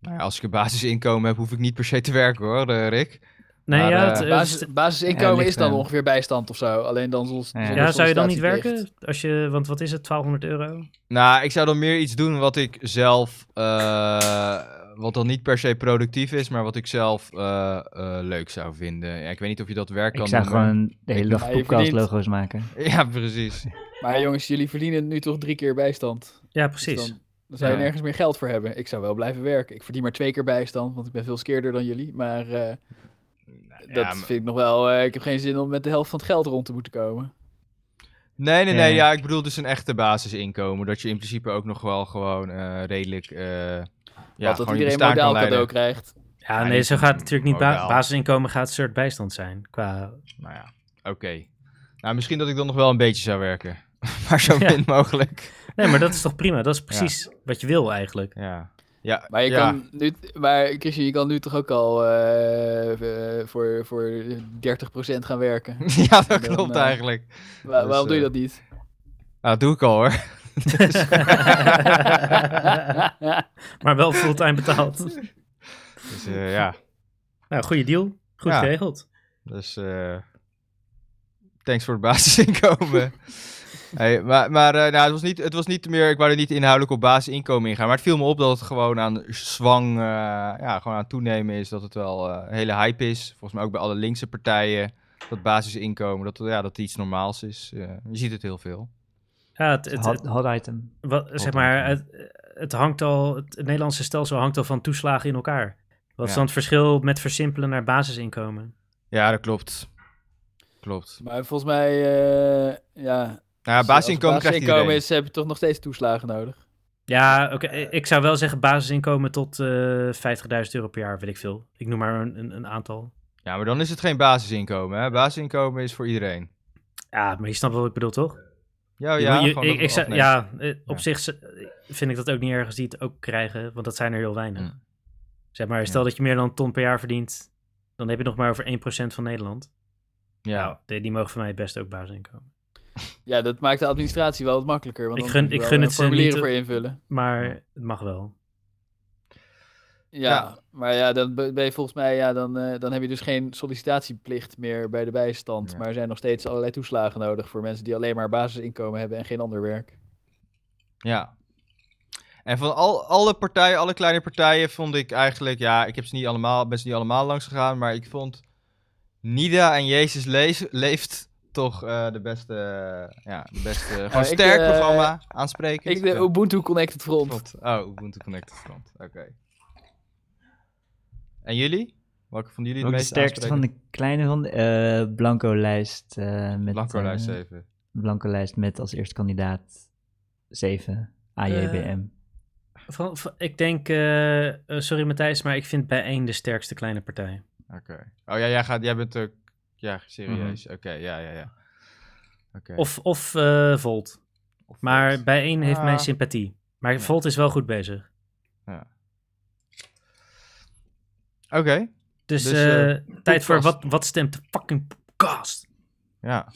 nou ja, als ik een basisinkomen heb, hoef ik niet per se te werken hoor, eh, Rick.
Nee,
Maar,
ja,
eh,
het- het
Basis,
is-
Ja,
basisinkomen
ligt
is dan
eraan.
ongeveer bijstand of zo. Alleen dan zonder
Ja.
zonder
ja zou je dan niet
sollicitatieplicht.
werken? Als je, want wat is het, 1200 euro?
Nou, ik zou dan meer iets doen wat ik zelf... eh, wat dan niet per se productief is, maar wat ik zelf eh, eh, leuk zou vinden. Ja, ik weet niet of je dat werk kan
Ik zou
noemen.
gewoon de hele dag
Maar je
podcast
verdient-
logo's maken.
Ja, precies.
Maar jongens, jullie verdienen nu toch drie keer bijstand.
Ja,
Dus
precies.
dan, dan zou je
Ja.
nergens meer geld voor hebben. Ik zou wel blijven werken. Ik verdien maar twee keer bijstand, want ik ben veel skeerder dan jullie. Maar eh, dat
Nou maar-
vind ik nog wel... eh, ik heb geen zin om met de helft van het geld rond te moeten komen.
Nee, nee,
Ja.
nee. Ja, ik bedoel dus een echte basisinkomen. Dat je in principe ook nog wel gewoon eh, redelijk... eh ja,
Want dat
gewoon je bestaan
iedereen
kan
modaal
leiden.
cadeau krijgt.
Ja,
Ja,
nee,
die-
zo gaat het natuurlijk niet. Ba-
modaal.
basisinkomen gaat een soort bijstand zijn. Qua...
Nou ja, oké. Nou, misschien dat ik dan nog wel een beetje zou werken. maar zo
Ja.
min mogelijk.
Nee, maar dat is toch prima? Dat is precies wat je wil eigenlijk.
Ja. Ja,
Maar, je
ja.
kan nu, maar Christian, je kan nu toch ook al eh, eh, voor, voor 30% gaan werken.
ja, dat
Dan,
klopt
eh,
eigenlijk.
Wa-
Dus,
waarom doe je
eh,
dat niet?
Nou, dat doe ik al hoor.
maar wel fulltime betaald.
Dus eh, ja,
nou, goede deal. Goed
Ja.
geregeld.
dus... eh, thanks voor het basisinkomen. Hey, maar maar eh, nou, het, was niet, het was niet meer, ik wou er niet inhoudelijk op basisinkomen ingaan. Maar het viel me op dat het gewoon aan zwang, eh, ja, gewoon aan het toenemen is. Dat het wel eh, een hele hype is. Volgens mij ook bij alle linkse partijen. Dat basisinkomen, dat ja, dat iets normaals is. Eh, je ziet het heel veel.
Ja, het, het,
Hot,
het-
hot item.
wat, zeg maar, het, het hangt al, het Nederlandse stelsel hangt al van toeslagen in elkaar. Wat is
Ja.
dan het verschil met versimpelen naar basisinkomen?
Ja, dat klopt. Klopt.
Maar volgens mij, eh, ja...
Nou ja, basisinkomen
als het
krijgt iedereen.
basisinkomen is, heb je toch nog steeds toeslagen nodig.
Ja, oké.
Eh.
Ik zou wel zeggen basisinkomen tot eh 50.000 euro per jaar, weet ik veel. Ik noem maar een, een, een aantal.
Ja, maar dan is het geen basisinkomen. Hè? Basisinkomen is voor iedereen.
Ja, maar je snapt wat ik bedoel, toch?
Ja,
Je
Oh ja,
moet- je-
gewoon
ik,
dat
ik zou-
afnemen.
ja, eh, op
Ja.
zich z- vind ik dat ook niet ergens die het ook krijgen, want dat zijn er heel weinig.
Mm.
Zeg maar, stel dat je meer dan een ton per jaar verdient, dan heb je het nog maar over 1% van Nederland.
Ja.
Nou, die, die mogen voor mij best ook basisinkomen.
Ja, dat maakt de administratie wel wat makkelijker. Want
Ik
dan
gun-
moet je eh,
ik
wel,
gun
eh,
het ze
formulieren
niet,
voor invullen.
Maar het mag wel.
Ja, maar ja, dan be- ben je volgens mij, ja, dan, eh, dan heb je dus geen sollicitatieplicht meer bij de bijstand.
Ja.
Maar er zijn nog steeds allerlei toeslagen nodig voor mensen die alleen maar basisinkomen hebben en geen ander werk.
Ja. En van al, alle partijen, alle kleine partijen, vond ik eigenlijk, ja, ik heb ze niet allemaal, ben ze niet allemaal langs gegaan, maar ik vond Nida en Jezus Lees- leeft toch eh, de beste, eh, ja, de beste, gewoon
ik,
sterk
eh,
programma, aansprekend.
Ik de
Ja,
Ubuntu Connected Front.
klopt. Oh, Ubuntu Connected Front, oké. En jullie? Welke van jullie
Ook
het
de
meest
sterkste van de kleine van de eh, blanco lijst. eh, met,
Blanco
eh,
lijst even.
blanco lijst met als eerste kandidaat 7
Eh,
AJBM.
Van- van- ik denk, eh, eh, sorry Matthijs, maar ik vind bijeen de sterkste kleine partij.
Oké. Oh ja, jij, gaat, jij bent ook, ja, serieus.
Mhm.
Oké, ja, ja, ja. Oké.
Of, of eh, Volt.
Of
Maar
wat?
bijeen heeft
Ah.
mijn sympathie. Maar Volt is wel goed bezig.
Oké,
Dus,
Dus,
eh, tijd voor
podcast.
wat, wat stemt de fucking podcast?
ja.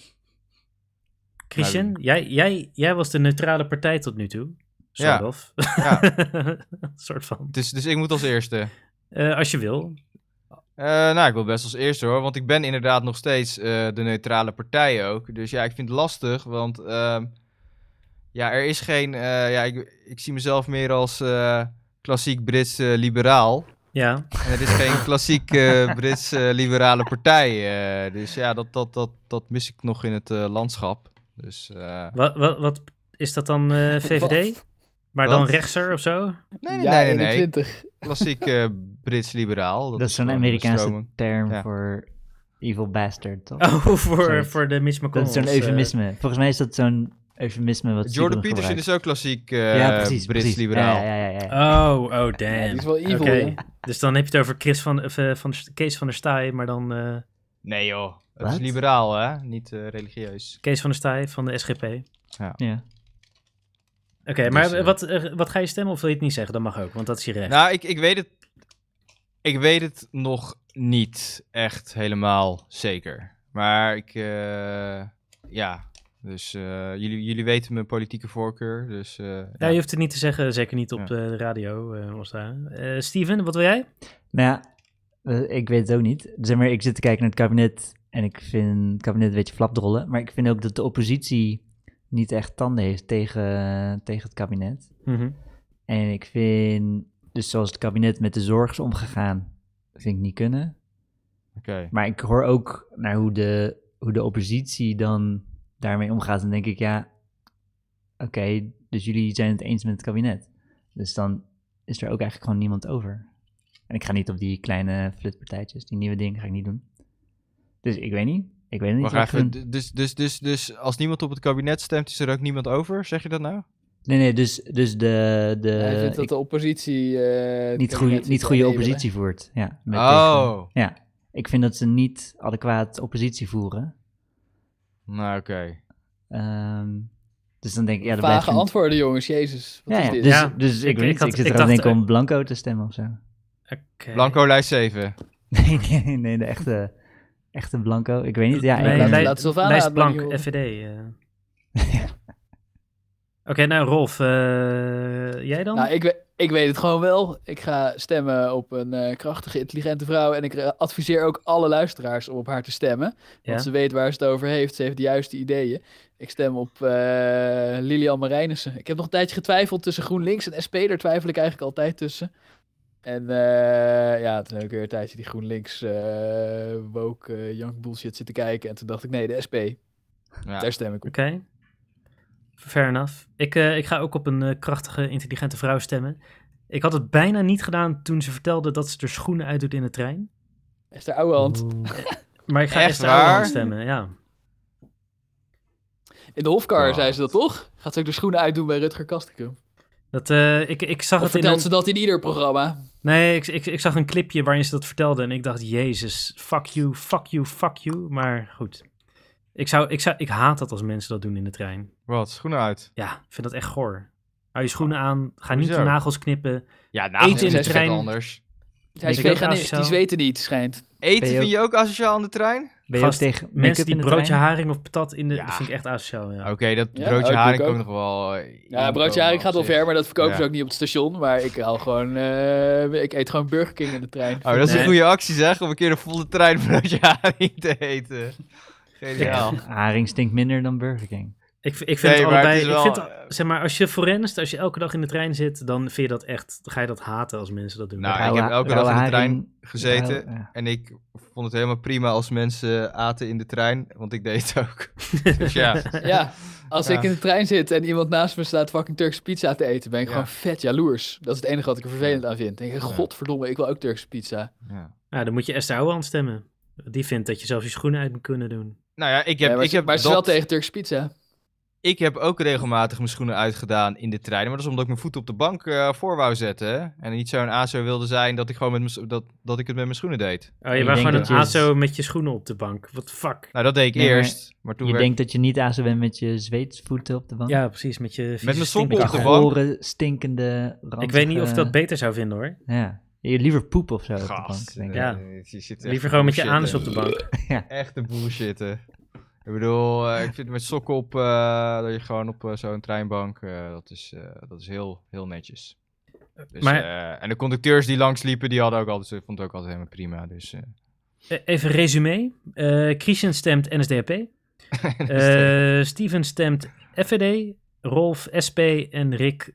Christian, jij, jij, jij was de neutrale partij tot nu toe. Sort
Ja.
of.
Ja.
soort van.
Dus, dus ik moet als eerste.
Eh, als je wil.
Eh, nou, ik wil best als eerste hoor, want ik ben inderdaad nog steeds eh, de neutrale partij ook. Dus ja, ik vind het lastig, want ehm, ja, er is geen. eh, ja, ik, ik zie mezelf meer als eh, klassiek Brits eh, liberaal.
Ja.
En het is geen klassiek eh, Brits eh, liberale partij. eh, dus ja, dat, dat, dat, dat mis ik nog in het eh, landschap. Dus, eh,
Wat, wat, wat is dat dan eh, VVD? Maar dan
Wat?
rechtser of zo?
nee, nee,
ja,
nee, nee, nee.
21.
Klassiek eh, Brits liberaal.
Dat, is zo'n
gewoon de
Amerikaanse
stroming.
term
Ja.
voor evil bastard, toch?
Oh, voor,
Zoiets.
voor de Mitch
dat is
McConnell.
zo'n eufemisme. Volgens mij is dat zo'n eufemisme wat
Jordan
Siebel
Peterson
gebruikt.
is ook klassiek eh,
ja,
Brits
precies, precies.
liberaal.
Ja, ja, ja, ja, ja.
Oh, oh,
Ja, die
damn.
is wel evil.
Oké,
hè?
dus dan heb je het over Chris van, of, eh, van der St- Kees van der Staaij, maar dan eh,
Nee joh, het is
Wat?
liberaal hè, niet eh, religieus.
Kees van der Staaij van de SGP. Oké,
Ja.
maar
Dus, eh,
wat, eh, wat ga je stemmen of wil je het niet zeggen? Dat mag ook, want dat is je recht.
Nou, ik, ik weet het... Ik weet het nog niet echt helemaal zeker. Maar ik... eh, ja, dus eh, jullie, jullie weten mijn politieke voorkeur, dus... eh,
ja,
ja.
je hoeft het niet te zeggen, zeker niet op eh, de radio. eh, of daar. Eh, Steven, wat wil jij?
Nou ja, eh, ik weet het ook niet. Zeg maar, ik zit te kijken naar het kabinet en ik vind het kabinet een beetje flapdrollen. Maar ik vind ook dat de oppositie niet echt tanden heeft tegen, tegen het kabinet.
Mhm.
En ik vind, dus zoals het kabinet met de zorg is omgegaan, vind ik niet kunnen.
Oké,
Maar ik hoor ook naar hoe de, hoe de oppositie dan daarmee omgaat. En denk ik, ja, oké, dus jullie zijn het eens met het kabinet. Dus dan is er ook eigenlijk gewoon niemand over. En ik ga niet op die kleine flutpartijtjes, die nieuwe dingen ga ik niet doen. Dus ik weet niet. Ik weet niet.
wacht
wat ik
even.
ga doen.
d- Dus, dus, dus, dus als niemand op het kabinet stemt, is er ook niemand over? Zeg je dat nou?
Nee, nee, dus, dus de. de
Hij vindt dat
ik-
de oppositie... eh, het
niet
kabinet
goede,
zit
niet
te
goede
enabelen.
oppositie voert. Ja, met tegen-
oh,
ik vind dat ze niet adequaat oppositie voeren.
nou oké.
Ehm, dus dan denk ik, ja, dat blijft
Vage
een-
antwoorden, jongens. Jezus, wat
Ja,
is
ja.
dit?
Dus,
Ja,
dus ik,
ik-
weet
ik
niet,
had-
ik zit
ik
er aan te
dacht eh,
denken
ook-
om Blanco te stemmen of zo.
Oké.
Blanco lijst 7.
Nee, nee, nee, de echte, echte Blanco. Ik weet niet, ja.
Nee,
laat-
ik, ben-
lijst-
laat Sylvana
lijst
het maar niet
Blank,
horen.
FVD. eh. Oké, nou Rolf, eh, jij dan?
Nou, ik, we- ik weet het gewoon wel. Ik ga stemmen op een eh, krachtige, intelligente vrouw. En ik eh, adviseer ook alle luisteraars om op haar te stemmen. Want
Ja.
ze weet waar ze het over heeft. Ze heeft de juiste ideeën. Ik stem op eh, Lilian Marijnissen. Ik heb nog een tijdje getwijfeld tussen GroenLinks en SP. Daar twijfel ik eigenlijk altijd tussen. En eh, ja, toen heb ik weer een tijdje die GroenLinks eh woke eh, young bullshit zitten kijken. En toen dacht ik, nee, de SP.
Ja.
Daar stem ik op.
Oké. Fair enough. Ik, eh, ik ga ook op een eh, krachtige, intelligente vrouw stemmen. Ik had het bijna niet gedaan toen ze vertelde dat ze er schoenen uit doet in de trein.
Esther Ouwehand.
Maar ik ga
Echt
echt aan
waar?
stemmen, ja.
In de Hofkar
Wow.
zei ze dat toch? Gaat ze ook de schoenen uitdoen bij Rutger Kastikum?
Dat, eh, ik, ik zag
Of
het in een,
vertelt ze dat in ieder programma?
Nee, ik, ik, ik zag een clipje waarin ze dat vertelde en ik dacht, jezus, fuck you, fuck you, fuck you. Maar goed. Ik, zou, ik, zou, ik haat dat als mensen dat doen in de trein.
Wat, schoenen uit.
Ja, ik vind dat echt goor. Hou je schoenen aan, ga niet
Hoezo?
de nagels knippen.
Ja, nou,
Eten in de
is wat
trein.
anders.
Hij is
Vind je ook
veganist, die
asociaal?
zweten niet, schijnt.
Eten
Ben je
vind je ook asociaal aan de trein?
Ben je ook
Gast,
tegen
Mensen
make-up
die
in de
broodje
trein?
haring of patat in de...
Ja.
Dat vind ik echt asociaal, ja.
Nou, Oké, dat
Ja,
broodje
oh, ik
haring
doe ik
ook nog wel. eh,
Ja,
inkomen
broodje haring
op
gaat wel
zich.
ver, maar dat verkopen ze
Ja.
ook niet op het station. Maar ik haal gewoon, eh, ik eet gewoon Burger King in de trein.
Oh, dat is
Nee.
een goede actie zeg, om een keer de volle trein broodje haring te eten. Geniaal.
Haring stinkt minder dan Burger King.
Ik, v- ik vind
Nee,
het
maar het
allebei...
is wel-
ik vind, het- zeg maar, als je forenst, als je elke dag in de trein zit, dan vind je dat echt... dan ga je dat haten als mensen dat doen.
Nou,
Ja.
ik heb elke dag in de trein gezeten.
Rauwe- ja.
En ik vond het helemaal prima als mensen aten in de trein, want ik deed het ook. dus ja,
Ja, als
Ja.
ik in de trein zit en iemand naast me staat fucking Turkse pizza te eten, ben ik
Ja.
gewoon vet jaloers. Dat is het enige wat ik er vervelend aan vind. Denk ik, godverdomme, ik wil ook Turkse pizza.
ja.
Ja, dan moet je Esther Ouwehand stemmen. Die vindt dat je zelfs je schoenen uit moet kunnen doen.
Nou ja, ik heb,
Ja, maar
ik
ze-
heb
maar ze is
dat-
wel tegen Turkse pizza.
Ik heb ook regelmatig mijn schoenen uitgedaan in de trein. Maar dat is omdat ik mijn voet op de bank eh, voor wou zetten. hè. En niet zo'n ASO wilde zijn dat ik, gewoon met mijn, s- dat, dat ik het met mijn schoenen deed.
Oh,
je
je was
denkt
gewoon een
dat je-
ASO met je dus- schoenen op de bank. What the fuck?
Nou, dat deed ik
Nee, maar
eerst. Maar, toen
Je
werd...
denkt dat je niet azen bent met je zweetvoeten op de bank?
Ja, precies. Met je vieze
mijn sokken op
stinkbak.
de bank.
Gore, stinkende,
Ik
ranzige-
weet niet of ik dat beter zou vinden hoor.
Ja. Je liever poep of zo op de bank,
Gast,
denk ik.
Ja.
eh, je zit echt
Liever
te
gewoon met je anus
bullshitten.
op de bank.
Echt een bullshitten. Ik bedoel, eh, ik vind met sokken op, eh, dat je gewoon op eh, zo'n treinbank, eh, dat is, eh, dat is heel, heel netjes. Dus,
Maar-
eh, en de conducteurs die langsliepen, die hadden ook altijd, ze vond het ook altijd helemaal prima. Dus, eh,
Eh, Even resume. Eh Christian stemt NSDAP. Eh, Steven stemt FVD. Rolf SP en Rick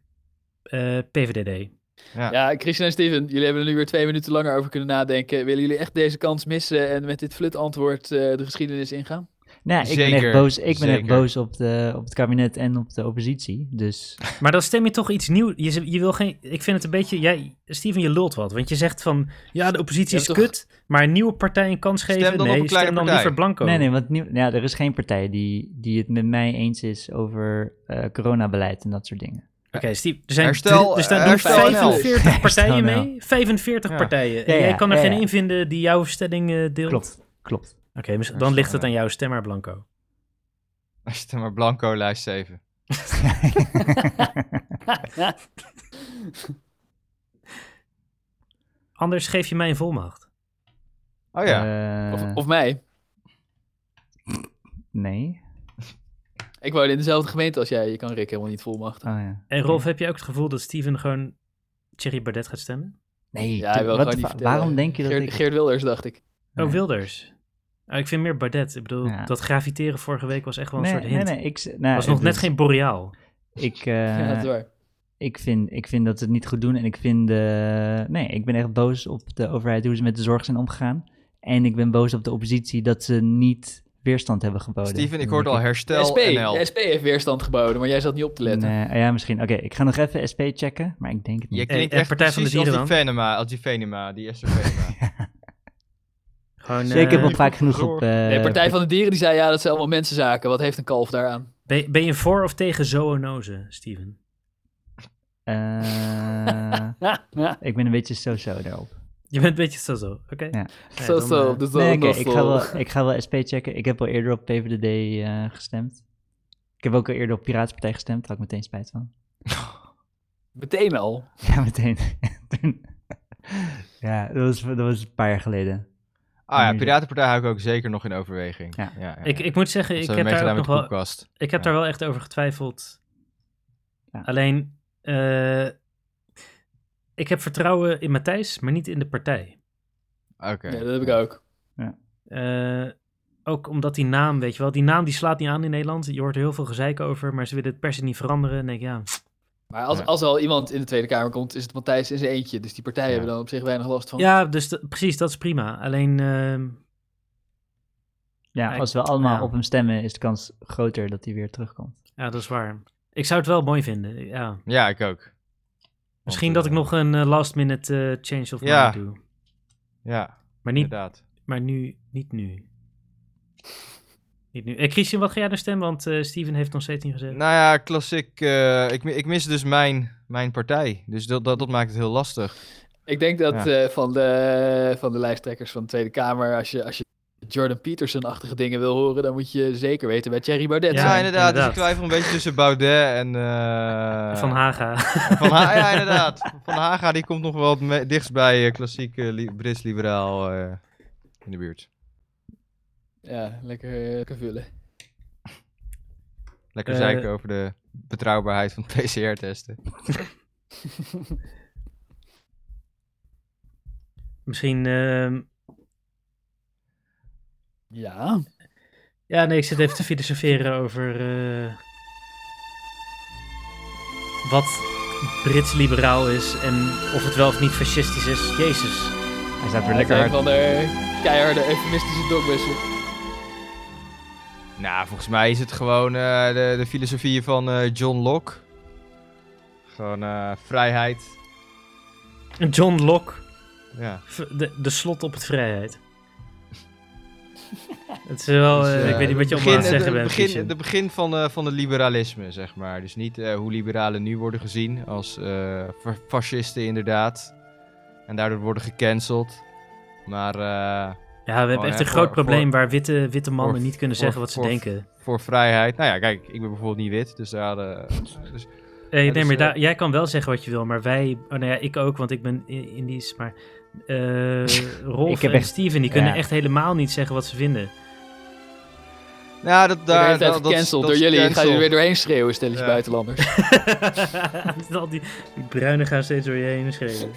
eh, PVDD.
ja.
Ja, Christian en Steven, jullie hebben er nu weer twee minuten langer over kunnen nadenken. Willen jullie echt deze kans missen en met dit flut antwoord eh, de geschiedenis ingaan?
Nou, ik ben
Zeker,
echt boos, ik ben echt
zeker.
boos op, de, op het kabinet en op de oppositie. Dus
Maar dan stem je toch iets nieuws. Je, z- je wil geen. Ik vind het een beetje. Jij, Steven, je lult wat. Want je zegt van. Ja, de oppositie
Ja,
is
toch-
kut. Maar een nieuwe partij een kans
Stem
geven.
dan op
nee,
een kleine
stem dan
partij.
liever
Oh.
blanco.
Nee, nee, want nieuw- ja, er is geen partij die, die het met mij eens is over eh, coronabeleid en dat soort dingen.
Oké, Steve, er zijn.
Herstel-
er staan doen
herstel NL.
45 partijen
Herstel NL.
mee. 45
Ja.
partijen. En
Ja, ja,
jij kan er
ja,
geen
ja.
één vinden die jouw stelling eh, deelt.
Klopt, klopt.
Oké, mis- dan ligt het aan jou. Stem maar blanco.
Als je het maar blanco lijst 7.
Anders geef je mij een volmacht.
Oh ja,
Eh,
Of, of mij?
Nee.
Ik woon in dezelfde gemeente als jij. Je kan Rick helemaal niet volmachten.
Oh, ja.
En Rolf, heb je ook het gevoel dat Steven gewoon Thierry Bardet gaat stemmen?
Nee,
Ja, hij
tu-
wil
wat
gewoon
de
niet
fa-
vertellen.
waarom denk je dat
Geert,
ik...
Geert Wilders, dacht ik.
Nee.
Oh, Wilders. Oh, ik vind meer Bardet. Ik bedoel,
Ja.
dat graviteren vorige week was echt wel een
nee,
soort hint.
nee, nee, ik... z- Nou,
was nog
het
net
is-
geen boreaal.
Ik,
ja,
eh,
dat is waar.
ik, vind, ik vind dat ze het niet goed doen en ik vind... eh, nee, ik ben echt boos op de overheid, hoe ze met de zorg zijn omgegaan. En ik ben boos op de oppositie dat ze niet weerstand hebben geboden.
Steven, ik
Dan
hoorde
denk
al
De
herstel
SP,
NL.
de SP heeft weerstand geboden, maar jij zat niet op te letten.
Nee, ah, ja, misschien. Oké, ik ga nog even SP checken, maar ik denk het
Je
niet.
klinkt
Eh, eh,
echt
Partij van de
precies als
Dieren
die Venema, als die Venema, die Esther Venema.
Gewoon,
Ja, ik heb
eh,
hem vaak genoeg op...
zorg.
eh,
Nee, Partij van de Dieren die zei ja, dat zijn allemaal mensenzaken. Wat heeft een kalf daaraan?
ben, ben je voor of tegen zoonozen, Steven?
eh, ik ben een beetje zo-zo daarop.
Je bent een beetje zo zo, oké?
Ja.
Nee,
Zo
dan,
zo,
eh,
dus
Nee,
dan
oké,
nog
ik,
zo.
ga wel- ik ga wel SP checken. Ik heb al eerder op PVDD eh, gestemd. Ik heb ook al eerder op Piratenpartij gestemd. Daar had ik meteen spijt van.
Meteen al.
Ja, meteen. Toen- ja, dat was, dat was een paar jaar geleden.
Ah ja, Piratenpartij hou ik ook zeker nog in overweging.
Ja.
Ik, ik moet zeggen, ik
Ze
heb,
hebben
daar
meegedaan
ook nog
met de
wel,
podcast.
ik heb
Ja.
daar wel echt over getwijfeld.
Ja.
Alleen, eh, ik heb vertrouwen in Matthijs, maar niet in de partij.
Oké.
Ja, dat heb ik ook.
Eh, ook omdat die naam, weet je wel, die naam die slaat niet aan in Nederland. Je hoort er heel veel gezeik over, maar ze willen het per se niet veranderen. En denk ik, ja,
Maar als,
Ja.
als er al iemand in de Tweede Kamer komt, is het Matthijs in zijn eentje. Dus die partijen
Ja.
hebben dan op zich weinig last
Oh.
van.
ja dus dat- precies, dat is prima. Alleen, ehm,
Ja,
Ik-
als we allemaal
ja.
op hem stemmen, is de kans groter dat hij weer terugkomt.
ja, dat is waar. Ik zou het wel mooi vinden, ja.
Ja, ik ook. Want,
Misschien
eh,
dat ik nog een eh, last minute eh, change of mind
Ja.
doe.
Ja,
Maar, niet,
inderdaad.
maar nu, niet nu. Niet nu. Eh, Christian, wat ga jij nou stemmen? Want eh, Steven heeft nog steeds niet gezegd.
Nou ja, klassiek. eh, ik, mi- ik mis dus mijn, mijn partij. Dus dat, dat, dat maakt het heel lastig.
Ik denk dat
Ja.
eh, van, de, van de lijsttrekkers van de Tweede Kamer, als je, als je Jordan Peterson-achtige dingen wil horen, dan moet je zeker weten bij Thierry Baudet.
Ja,
Ja,
inderdaad. Dus
inderdaad.
ik twijfel een beetje tussen Baudet en... eh,
Van Haga.
Van Ha- ja, inderdaad. Van Haga, die komt nog wel het me- dichtst bij eh, klassiek eh, li- Brits-liberaal eh, in de buurt.
Ja, lekker eh vullen.
Lekker
Eh,
zeiken over de betrouwbaarheid van PCR-testen.
Misschien. ehm,
Ja.
Ja, nee, ik zit even te filosoferen over. eh, wat Brits liberaal is en of het wel of niet fascistisch is. Jezus.
Hij staat weer
Ja,
lekker
het zijn
hard.
van de keiharde eufemistische dogmissen.
Nou, volgens mij is het gewoon eh, de, de filosofie van eh, John Locke. Gewoon eh, vrijheid.
John Locke,
Ja.
v- de, de slot op het vrijheid. het is wel.
Dus,
eh, ik
eh,
weet niet wat je allemaal
begin-
aan het zeggen
de-
bent.
Begin,
Christian.
de begin van, eh van het liberalisme, zeg maar. Dus niet eh, hoe liberalen nu worden gezien als eh, fa- fascisten inderdaad. En daardoor worden gecanceld. Maar eh,
Ja, we
Oh,
hebben echt
ja,
een groot
voor-
probleem
voor-
waar witte, witte mannen
voor-
niet kunnen
voor-
zeggen wat ze
voor-
denken.
voor vrijheid... Nou ja, kijk, ik ben bijvoorbeeld niet wit, dus daar... eh, dus,
Eh,
Ja,
nee,
dus,
maar
eh,
daar- jij kan wel zeggen wat je wil, maar wij, oh, nou ja, ik ook, want ik ben I- Indisch, maar eh Rolf
Ik heb
en
echt-
Steven, die kunnen
ja.
echt helemaal niet zeggen wat ze vinden.
nou, dat,
Daar,
daar,
werd
dat,
het
dat,
gecanceld
dat
door
is
jullie. Ik ga jullie
cancel.
weer doorheen schreeuwen, stelletje
Ja.
buitenlanders.
Al die, die bruinen gaan steeds door je heen schreeuwen.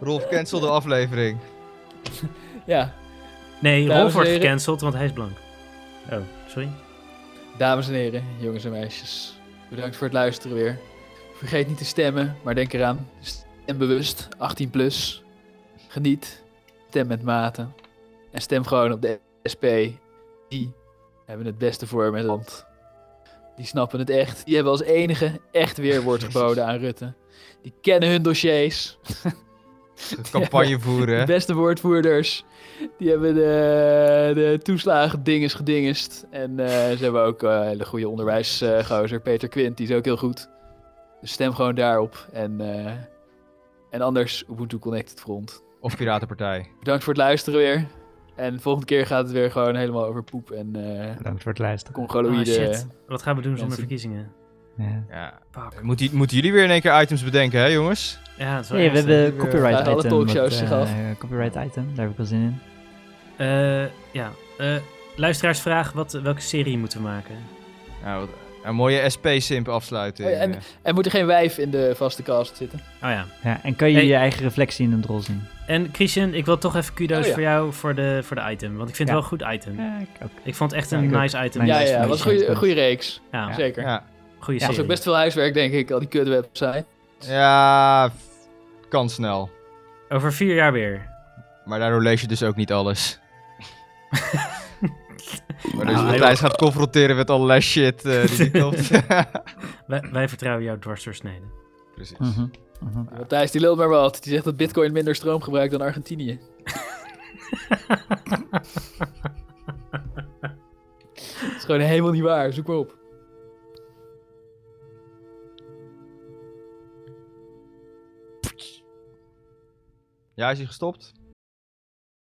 Rolf, cancel de aflevering.
Ja,
Nee,
Dames
Rolf wordt
en heren.
gecanceld, want hij is blank. Oh, sorry.
dames en heren, jongens en meisjes. Bedankt voor het luisteren weer. Vergeet niet te stemmen, maar denk eraan. Stem bewust, 18 plus. Geniet, stem met mate. En stem gewoon op de SP. Die hebben het beste voor met het land. Die snappen het echt. Die hebben als enige echt weerwoord geboden aan Rutte. Die kennen hun dossiers.
De campagne voeren. hè.
De beste woordvoerders. Die hebben de, de toeslagen dinges gedingest. En eh, ze hebben ook eh, een hele goede onderwijsgozer. Peter Quint, die is ook heel goed. Dus stem gewoon daarop. En, eh, en anders Ubuntu Connected Front.
Of Piratenpartij.
Bedankt voor het luisteren weer. En volgende keer gaat het weer gewoon helemaal over poep en eh
Bedankt voor het luisteren.
Ah,
congoloïde.
shit. Wat gaan we doen zonder
mensen.
verkiezingen?
Ja.
Ja.
Fuck.
Moeten, moeten jullie weer in één keer items bedenken, hè jongens?
Ja, het is wel
Nee, we
ernstig.
hebben copyright
Alle
item.
talkshows
wat,
zich
eh,
af.
copyright item, daar heb ik wel zin in.
Eh, ja, eh, luisteraars vragen wat, welke serie moeten we maken.
Nou, wat- een mooie SP-simp afsluiten.
Oh ja,
eh.
en moet er geen wijf in de vaste cast zitten?
Oh ja.
Ja, en kan je
Hey.
je eigen reflectie in een drol zien?
En Christian, ik wil toch even kudo's
Oh ja.
voor jou voor de, voor de item. Want ik vind
Ja.
het wel een goed item.
Ja, ik ook.
Ik vond het echt
Ja,
een
ik ook.
nice item.
Mijn
Ja,
lijst
ja,
van
was
de
een
shit.
goede reeks.
Ja,
Zeker. Ja,
Ja.
goede
was ook
serie.
best veel huiswerk, denk ik, al die kutwebsite.
ja, f- kan snel.
Over vier jaar weer.
Maar daardoor lees je dus ook niet alles. maar dus
joh.
Matthijs gaat confronteren met allerlei shit eh, die niet klopt.
Wij, wij vertrouwen jou dwars doorsneden.
Precies.
Mhm, mhm.
Matthijs, die lult maar wat. Die zegt dat bitcoin minder stroom gebruikt dan Argentinië. dat is gewoon helemaal niet waar. Zoek maar op.
Ja, is hij gestopt?